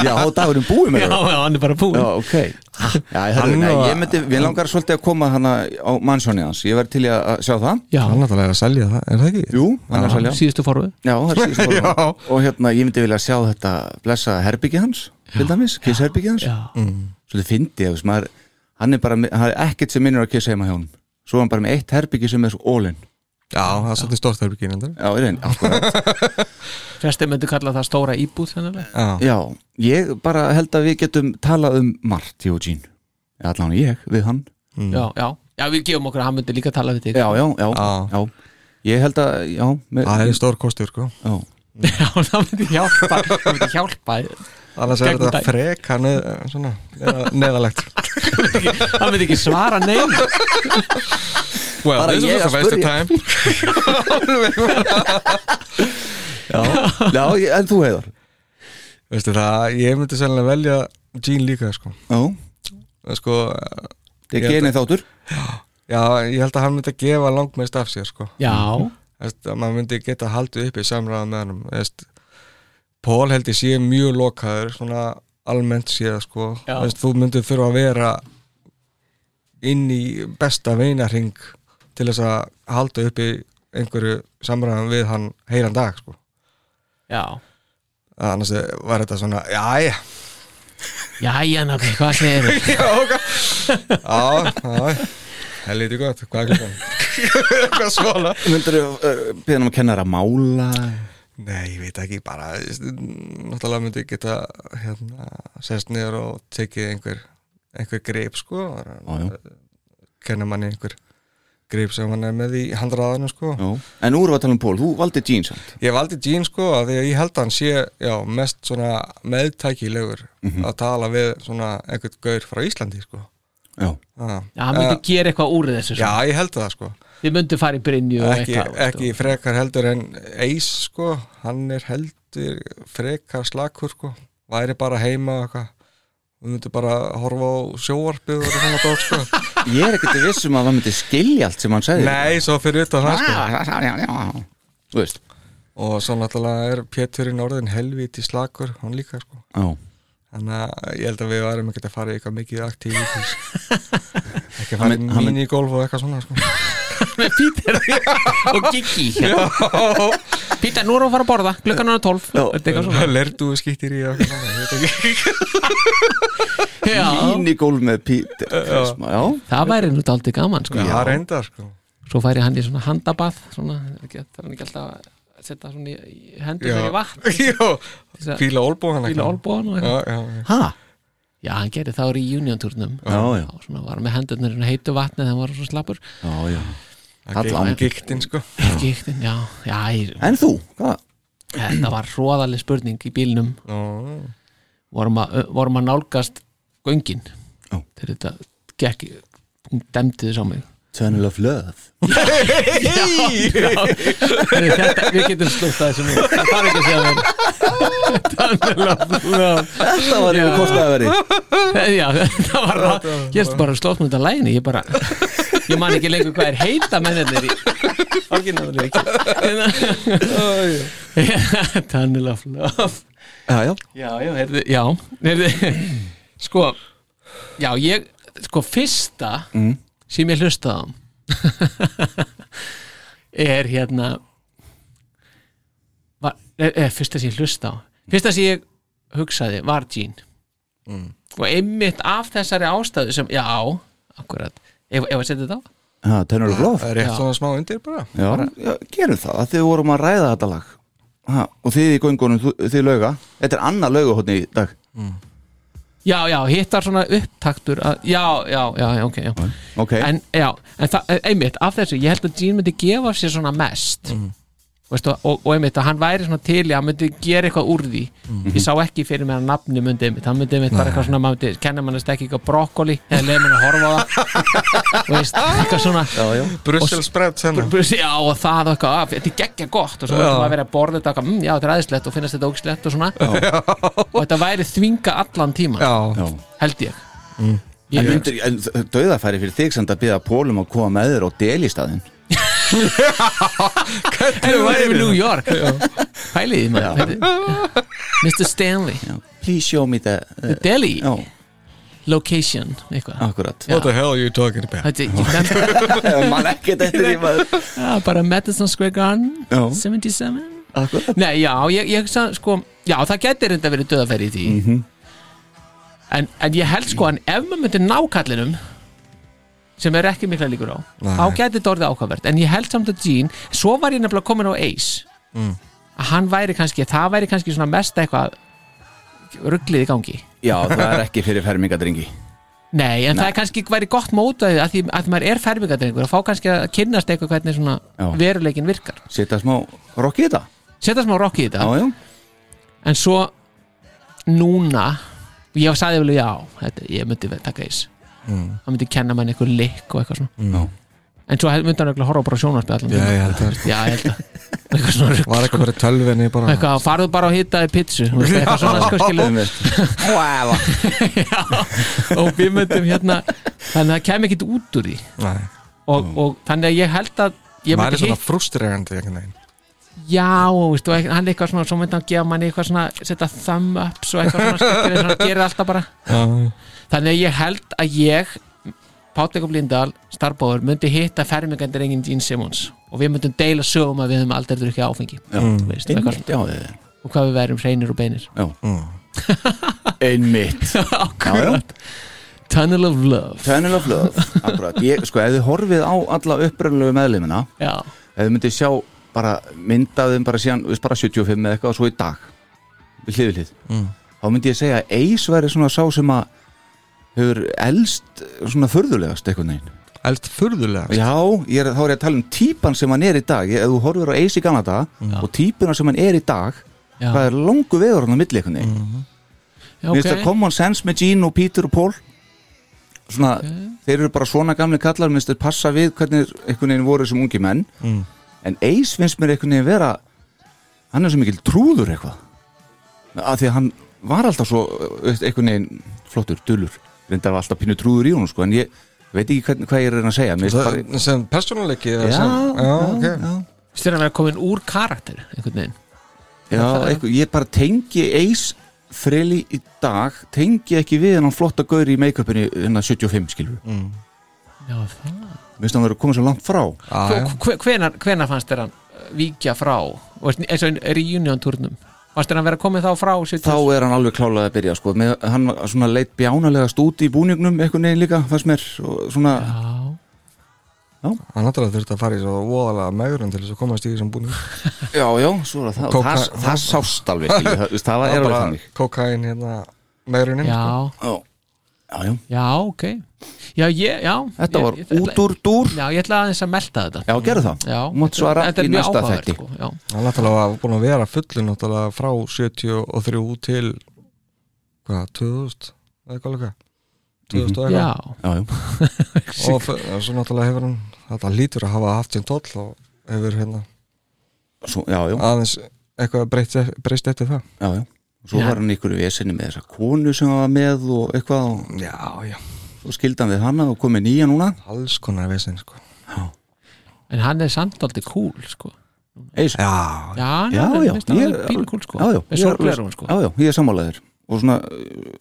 Speaker 5: já og dagurinn búið
Speaker 7: Já, Ah,
Speaker 5: með
Speaker 7: já, hann er bara búinn
Speaker 5: Já, ok Já, herru,
Speaker 6: Hann
Speaker 5: nei,
Speaker 6: var-
Speaker 5: ég myndi, við langar svolítið að koma hana á mannsjónið hans Ég verð til í að að sjá það
Speaker 7: Já,
Speaker 6: Hann náttúrulega er að selja það, er það ekki?
Speaker 5: Jú, hann er að selja
Speaker 7: síðustu forvið
Speaker 5: Já, það er síðust
Speaker 6: Já.
Speaker 5: fórum. Og hérna, ég myndi vilja sjá þetta blessa herbyggi hans Til dæmis, kiss herbyggi hans
Speaker 7: Já,
Speaker 5: Svolítið fyndi, ef maður Hann er bara, með- hann er ekkert sem minnur að kiss heima hjá honum Svo er hann bara með eitt herbyggi sem er svo ólinn
Speaker 6: Já, það er svolítið stórt hérna. herbyggin endur
Speaker 5: Já, er einn, akkurat
Speaker 7: flestir myndi kalla það stóra íbúð sennilega.
Speaker 6: Já,
Speaker 5: Já, ég bara held að við getum talað um margt, Jógín Allan ég, við hann
Speaker 7: Já, já, já, við gefum okkur að hann myndi líka tala við þig
Speaker 5: Já, já, já,
Speaker 6: Já.
Speaker 5: já. Ég held að, já, með,
Speaker 6: það er stór kostur sko
Speaker 5: já.
Speaker 7: Já, það myndi hjálpa Það myndi hjálpa
Speaker 6: Annars er
Speaker 7: Gegnum
Speaker 6: þetta
Speaker 7: daginn.
Speaker 6: frekar neð, svona, neða, neðalegt
Speaker 7: Það myndi ekki svara neinu
Speaker 6: Well,
Speaker 5: Bara this was ég a að waste of spyrja.
Speaker 6: time
Speaker 5: já, ég- en þú heiðar
Speaker 6: Veistu það, ég myndi sennilega velja Jean líka sko
Speaker 5: Já,
Speaker 6: Sko,
Speaker 5: það
Speaker 6: Ég
Speaker 5: er
Speaker 6: held
Speaker 5: genið þáttur
Speaker 6: já, ég held að hann myndi gefa langmest af sér sko
Speaker 7: Já,
Speaker 6: Veistu, að maður myndi geta haldið upp í samræða með hann Veistu, Pól held ég sé mjög lokaður svona almennt séð sko
Speaker 7: Já.
Speaker 6: Veistu, þú myndir þurfa að vera inn í besta veinarhing til þess að halda upp í einhverju samræðan við hann heilan dag sko
Speaker 7: já
Speaker 6: annars var þetta svona, já, já,
Speaker 7: Jæja, nákvæm, hvað segir þau?
Speaker 6: já, já helviti gott, hvað er klukkan? eitthvað svona
Speaker 5: Myndur þú beðið um að kenna þér að mála
Speaker 6: nei, ég veit ekki, bara þú veist, náttúrulega myndi ég geta hérna, sest niður og tekið einhver einhver greip, sko
Speaker 5: já.
Speaker 6: kenna manni einhver greip sem hann er með í handraðanum, sko
Speaker 5: Já. En úr var að tala um Pól, þú valdi jeans samt.
Speaker 6: ég valdi Jean, sko, af því að ég held að hann sé já, mest svona meðtækilegur
Speaker 5: Mhm.
Speaker 6: að tala við svona einhvern gaur frá Íslandi, sko
Speaker 5: Já,
Speaker 6: já,
Speaker 7: Já, hann myndi gera eitthvað úr þessu
Speaker 6: já ég held það, sko
Speaker 7: Þið myndi fara í Brynju og
Speaker 6: ekki,
Speaker 7: eitthvað sko.
Speaker 6: ekki
Speaker 5: sko.
Speaker 6: frekar heldur en Eis sko, hann er heldur frekar slakur sko væri bara heima og eitthvað við myndum bara að horfa á sjóvarpið og svona dót sko
Speaker 5: ég er ekkert viss um að það myndi skilja allt sem hann segði
Speaker 6: nei, svo fyrir utan það sko
Speaker 5: sko Þú veist
Speaker 6: og svo náttúrulega er Péturinn orðin helviti slakur, hann líka sko
Speaker 5: Já,
Speaker 6: þannig að ég held að við varum ekki að fara í eitthvað mikið aktívitis ekki
Speaker 5: Hann
Speaker 6: að fara
Speaker 5: mynd-
Speaker 6: í
Speaker 5: hann mynd-
Speaker 6: minigolf og eitthvað svona sko
Speaker 7: Með Pítur og Gigi hérna. Pítur, nú erum við að fara að borða Glukkan er 12 Þetta er eitthvað svona.
Speaker 6: lertu skýttir í og eitthvað svona, ég veit ekki
Speaker 7: Já,
Speaker 5: mínigólf með Pít Já,
Speaker 7: það væri nú daldið gaman sko.
Speaker 6: það reyndar sko
Speaker 7: Svo færi hann í svona handabað svona, ekki, Það er hann ekki alltaf að setja svona í, í hendur þegar í vatn
Speaker 6: Jó,
Speaker 7: Þess að
Speaker 6: fíla olbóðan
Speaker 7: Fíla olbóðan og eitthvað
Speaker 6: já, já, já.
Speaker 5: ha?
Speaker 7: Já, hann gerði það úr í juniortúrnum
Speaker 5: Já, já,
Speaker 7: og svona var hann með hendurnar í svona heitu vatni þegar hann var svo slappur
Speaker 5: já, já
Speaker 6: Það
Speaker 5: Allan.
Speaker 6: er giktin sko
Speaker 7: Giktin, já, já, ég,
Speaker 5: En þú, hvað?
Speaker 7: þetta var hróðaleg spurning í bílnum
Speaker 6: Ó,
Speaker 7: vorum að, vorum að nálgast göngin
Speaker 5: Já.
Speaker 7: þegar þetta gekk hún demdi þess á mig
Speaker 5: Tunnel of Love
Speaker 7: Heyrðu, þetta, við getum slúta þessu mjög það þarf ekki að segja mér Danilov
Speaker 5: Þetta var yfir kostnaðaveri
Speaker 7: já, þetta var það ég erst bara að slótt með þetta læginu ég bara ég man ekki lengur hvað er heita mennirnir í orginalleik Danilov já,
Speaker 5: Já, já
Speaker 7: já, heyrðu, já heyrðu, sko já, ég, sko fyrsta sem ég hlustaði á er hérna var, er, er, fyrsta sem ég hlusta á fyrsta sem ég hugsaði var Jean og einmitt af þessari ástæðu sem, já, akkurat ef, ef að setja þetta á
Speaker 5: Já, Tunnel of Love
Speaker 6: Það er rétt
Speaker 7: Já.
Speaker 6: svona smá undir bara
Speaker 5: Já, já gerum það að þið vorum að ræða þetta lag ha, og þið í göngunum, þú- þið lauga Þetta er annað laugahotni í dag
Speaker 7: já, já, hitt var svona upptaktur að, já, já, já, já, ok, já
Speaker 5: Ok,
Speaker 7: en, já, en það, eh, einmitt, af þessu ég held að Gene myndi gefa sér svona mest Veistu, og, og einmitt að hann væri svona til í að hann myndi gera eitthvað úr því ég sá ekki fyrir mér að nafni myndi einmitt hann myndi einmitt bara eitthvað svona maður myndi, kenna mann að stekki eitthvað brokkoli eða leið mann að horfa á það veist, eitthvað svona já, já.
Speaker 6: Brussel spread senna
Speaker 7: Já, og það og eitthvað, að, þetta er geggja gott og svo
Speaker 6: Já.
Speaker 7: myndi maður verið að borða þetta og eitthvað, mm, já, þetta er aðeinslegt og finnast þetta ógislegt og svona og þetta væri þvinga allan tíman
Speaker 6: Já,
Speaker 5: já
Speaker 7: held ég
Speaker 5: En, myndir, en döðafæri fyrir þig samt að byrja pólum að koma með þér og deli staðinn
Speaker 7: Ef við værum í New York Pæliði maður Mr. Stanley,
Speaker 5: Please show me the uh,
Speaker 7: Delhi
Speaker 5: Já,
Speaker 7: Location, eitthvað
Speaker 5: akkurat
Speaker 7: Já.
Speaker 6: what the hell are you talking about?
Speaker 7: Þetta ég kann
Speaker 5: Man ekki þetta því maður
Speaker 7: Já, bara Madison Square Garden
Speaker 5: Já.
Speaker 7: 77
Speaker 5: Akkurat
Speaker 7: Nei, já, ég, ég hugsa sko Já, það gæti reynda verið döðafæri í því
Speaker 5: Mhm.
Speaker 7: en, en ég held sko en ef maður myndir ná kallinum sem er ekki mikla líkur á
Speaker 6: Nei.
Speaker 7: þá gæti þetta orðið ákvæmvert en ég held samt að Gene svo var ég nefnilega komin á Ace
Speaker 5: Mm.
Speaker 7: að hann væri kannski það væri kannski svona mest eitthvað rugglið í gangi
Speaker 5: Já, það er ekki fyrir fermingadringi
Speaker 7: Nei, en það er kannski væri gott mótaðið að því að maður er fermingadrengur og fá kannski að kynnast eitthvað hvernig svona
Speaker 5: Já.
Speaker 7: veruleikin virkar.
Speaker 5: Sitta smá rock í þetta
Speaker 7: Setja smá rock í þetta,
Speaker 5: Já, já
Speaker 7: en svo núna, ég sagði vel já, þetta, ég myndi vel taka eis. Mm. Það myndi kenna mann einhver likk og eitthvað svona.
Speaker 5: Já.
Speaker 7: En svo myndi hann eitthvað horfa bara á sjónarspið allan.
Speaker 6: Já,
Speaker 7: tímann.
Speaker 6: ég held það
Speaker 7: Já, ég held að. Eitthvað svona rugl.
Speaker 6: Var eitthvað bara í tölvenni bara
Speaker 7: Eitthvað, farðu bara og hitaði pizzu. þú veist, Eitthvað svona sko skilur.
Speaker 5: Wow
Speaker 7: Já, og við myndum hérna, þannig að það kem ekkit út úr því.
Speaker 6: Nei,
Speaker 7: og, og þannig að ég held að ég
Speaker 6: Mm. maður
Speaker 7: myndi
Speaker 6: er svona
Speaker 7: hitt,
Speaker 6: frustrerandi einhvern veginn
Speaker 7: já, og veistu, og hann er eitthvað svona, svo myndi hann gefa manni eitthvað svona setja thumb ups og eitthvað svona skemmtilega sem hann gerir alltaf bara,
Speaker 6: Já,
Speaker 7: þannig að ég held að ég Páttleikum Blindal, starfbóður, myndi hitta fermingandir enginn Gene Simmons og við myndum deila sögum að við höfum aldrei drukki áfengi já, veist, og, eitthvað,
Speaker 5: Einmitt, já, þið
Speaker 7: svona. og hvað við værum hreinir og beinir
Speaker 5: Já Einmitt Já, já
Speaker 7: Akkurat Tunnel of Love
Speaker 5: Tunnel of Love Akkurat ég, Sko, ef þið horfið á alla uppröðlegu meðlimina
Speaker 7: Já,
Speaker 5: Ef þið myndið sjá bara myndaðum bara síðan Við bara 75 eða eitthvað og svo í dag Við hlið við hlið Þá myndi ég segja að Ace væri svona sá sem að Hefur elst svona förðulegast einhvern veginn
Speaker 6: Elst furðulega
Speaker 5: Já, ég er, þá er ég að tala um típan sem hann er í dag ég, Ef þú horfir á Ace í gamla dag og típuna sem hann er í dag
Speaker 7: Já.
Speaker 5: hvað er langu veður hann á milli einhvern veginn
Speaker 7: já,
Speaker 5: Mér finnst það
Speaker 7: ok
Speaker 5: common sense með Gene og Peter og Paul Svona, þeir eru bara svona gamli kallar minnst þeir passa við hvernig þeir einhvern veginn voru sem ungi menn en Ace finnst mér einhvern veginn vera hann er svo mikil trúður eitthvað af því að hann var alltaf svo veist, einhvern veginn flottur, dullur reyndar var alltaf pínu trúður í honum sko, en ég veit ekki hvern, hvað ég er að reyna að segja Mér finnst bara,
Speaker 6: Sem persónuleiki eða
Speaker 5: Já,
Speaker 6: sem- já, ok
Speaker 7: Styrir að vera komin úr karakter einhvern veginn
Speaker 5: Já, eitthvað, ég bara tengi Ace Freli í dag tengi ekki við hennan flotta gaur í make-upinu hérna hennar 75 skilur mm.
Speaker 7: Já, það
Speaker 5: minnst hann verið að koma svo langt frá
Speaker 6: Já, já.
Speaker 7: hvenar, hvenar fannst þér hann uh, víkja frá Og veist, eins og reunion turnum fannst þér hann vera komið þá frá
Speaker 5: þá er hann alveg klálað að byrja sko. Með, hann var svona leitt bjánalegast út í búningnum eitthvað neginn líka, fannst mér og svona,
Speaker 7: Já,
Speaker 6: Hann náttúrulega þurfti að fara í svo voðalega megrun til þess að komast í þessum búning
Speaker 5: já, já, svo er það
Speaker 6: Kóka-
Speaker 5: það, það, það sást alveg, skilur, það, það var, er alveg þannig
Speaker 6: kokain hérna sko. megrunin
Speaker 7: já,
Speaker 5: já, já, já,
Speaker 7: já, ok Já, ég, já
Speaker 5: þetta
Speaker 7: ég,
Speaker 5: var
Speaker 7: ég, ætla-
Speaker 5: út úr dúr
Speaker 7: Já, ég ætla aðeins að melta þetta
Speaker 5: já, gerðu það,
Speaker 7: Já,
Speaker 5: mátt svara
Speaker 7: þetta er
Speaker 5: í
Speaker 7: mjög
Speaker 5: næsta
Speaker 7: áhugavert,
Speaker 5: þætti
Speaker 7: sko, já.
Speaker 6: Hann náttúrulega var búin að vera fullu náttúrulega frá 73 til hvað, 2000 eða hvað líka 2001
Speaker 7: Mhm. Já,
Speaker 5: já, já.
Speaker 6: og f- svo náttúrulega hefur hann þetta lítur að hafa haft sinn tóll og hefur hérna
Speaker 5: Svo, já, já,
Speaker 6: aðeins eitthvað breyst, breyst eftir það
Speaker 5: já, já. Svo
Speaker 7: Já.
Speaker 5: var hann ykkur í vesinni með þessa konu sem hann var með og eitthvað og
Speaker 6: já, já,
Speaker 5: svo skildi hann við hana og komið nýja núna
Speaker 6: alls konar vesen sko.
Speaker 7: en hann er samt aldrei cool sko.
Speaker 5: Eis, já,
Speaker 7: Já,
Speaker 5: já,
Speaker 7: hann
Speaker 5: já,
Speaker 7: er
Speaker 5: ég-
Speaker 7: pínu cool sko.
Speaker 5: já, já,
Speaker 7: Með
Speaker 5: ég er alveg-
Speaker 7: sorglerum sko.
Speaker 5: já, já, ég er sammálaður og svona uh,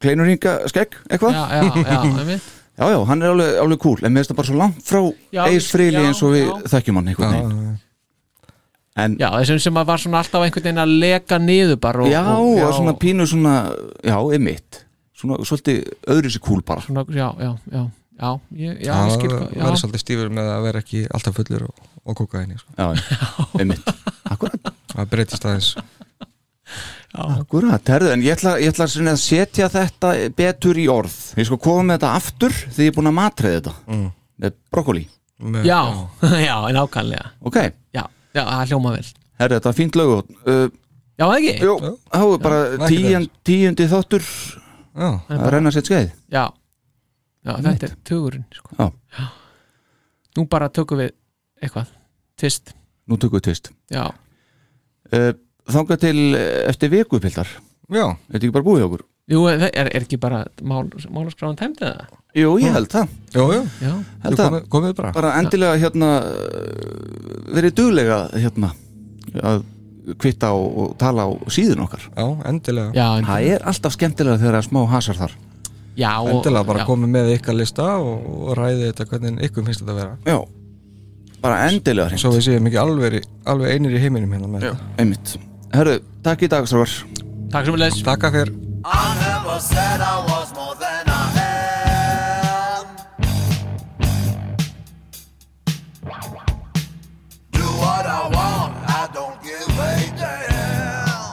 Speaker 5: kleinurhinga skegg, eitthvað
Speaker 7: Já,
Speaker 5: já.
Speaker 7: já, já, einmitt
Speaker 5: já, hann er alveg, alveg cool en mér finnst það bara svo langt frá
Speaker 7: Já,
Speaker 5: Eis Freyli
Speaker 7: já,
Speaker 5: eins og við
Speaker 7: já.
Speaker 5: þekkjum hann einhvern veginn en já,
Speaker 7: Já, þessum sem að var svona alltaf einhvern veginn að leka niður bara og,
Speaker 5: já,
Speaker 7: og,
Speaker 5: og svona pínu svona, já, emitt svona svolítið öðru sér cool bara
Speaker 7: svona, Já, já, já Já, ég, já, ég skil hvað
Speaker 6: verður
Speaker 7: já.
Speaker 6: svolítið stífur með að vera ekki alltaf fullur og, og kóka henni sko.
Speaker 5: já, emitt, akkurat
Speaker 6: það breytist aðeins
Speaker 5: Akkurat, herðu, en ég ætla, ég ætla svona að setja þetta betur í orð Ég sko koma með þetta aftur þegar ég er búin að matreða þetta mm. Með brokkoli,
Speaker 6: með,
Speaker 7: Já, já, en ákvæmlega
Speaker 5: ok
Speaker 7: Já, já, það hljóma vel
Speaker 5: Herðu, þetta er fínt lög uh,
Speaker 7: Já, það ekki?
Speaker 5: Jú, þá er
Speaker 6: Já,
Speaker 5: bara
Speaker 6: ekki
Speaker 5: tíund, tíundi þáttur
Speaker 6: já,
Speaker 5: að renna sér skeið
Speaker 7: Já, já þetta er tugurinn sko.
Speaker 5: Já.
Speaker 7: Nú bara tökum við eitthvað Fyrst,
Speaker 5: Nú tökum við tvist
Speaker 7: já,
Speaker 5: uh, Þangað til eh, eftir viku, pildar
Speaker 6: já,
Speaker 5: Þetta ekki bara búið hjá okkur?
Speaker 7: jú, er, er ekki bara mál, málaskráðan tæmdi það?
Speaker 5: Jú, ég held það,
Speaker 6: já, já.
Speaker 7: Já,
Speaker 6: Jú,
Speaker 5: held það.
Speaker 6: komið, komið bara
Speaker 5: Ah, Bara endilega hérna eh, verið duglega hérna að kvitta og, og tala á síðun okkar
Speaker 6: já, endilega
Speaker 7: já, en,
Speaker 5: Það er alltaf skemmtilega þegar það er smá hasar þar
Speaker 7: já og-
Speaker 6: Endilega bara
Speaker 7: já.
Speaker 6: komið með ykkar lista og, og ræði þetta hvernig ykkur finnst þetta að vera
Speaker 5: Já, bara endilega hreint
Speaker 6: Svo við séum ekki alveg, alveg einir í heiminum hérna með þetta
Speaker 5: Einmitt Herru, takk í dag, Srávar
Speaker 7: Takk sem við leys
Speaker 6: Takk fyrir
Speaker 4: I never said I was more than I am. Do what I want, I don't give a damn.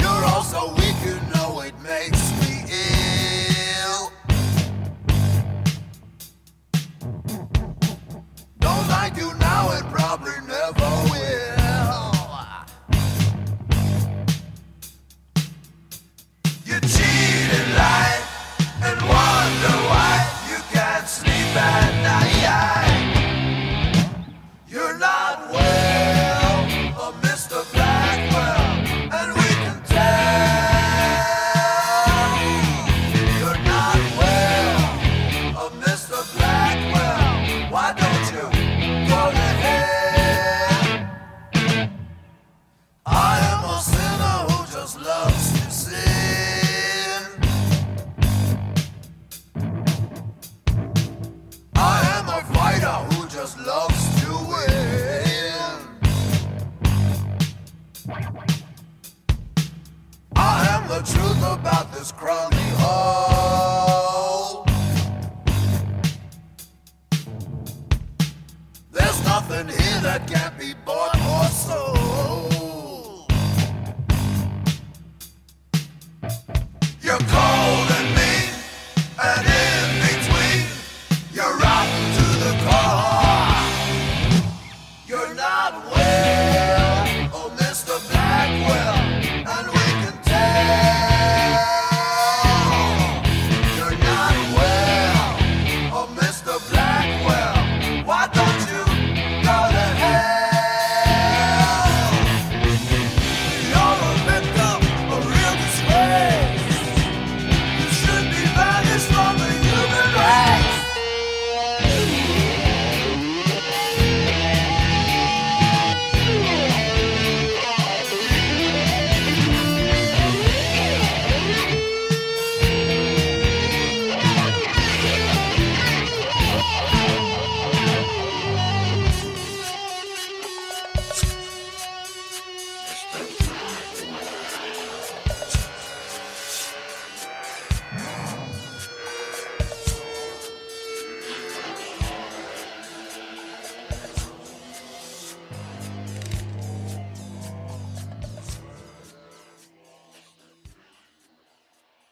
Speaker 4: You're all so weak, you know it makes me ill. Don't like you now, it probably never will. You cheated life and wonder why you can't sleep at night. You're not well, oh Mr. Blackwell, and we can tell you're not well. Oh, Mr. Blackwell, why don't you go to hell? I am a sinner who just loves to sin. I am a fighter who just loves to win. I am the truth about this crummy hole. There's nothing here that can't be oh, oh,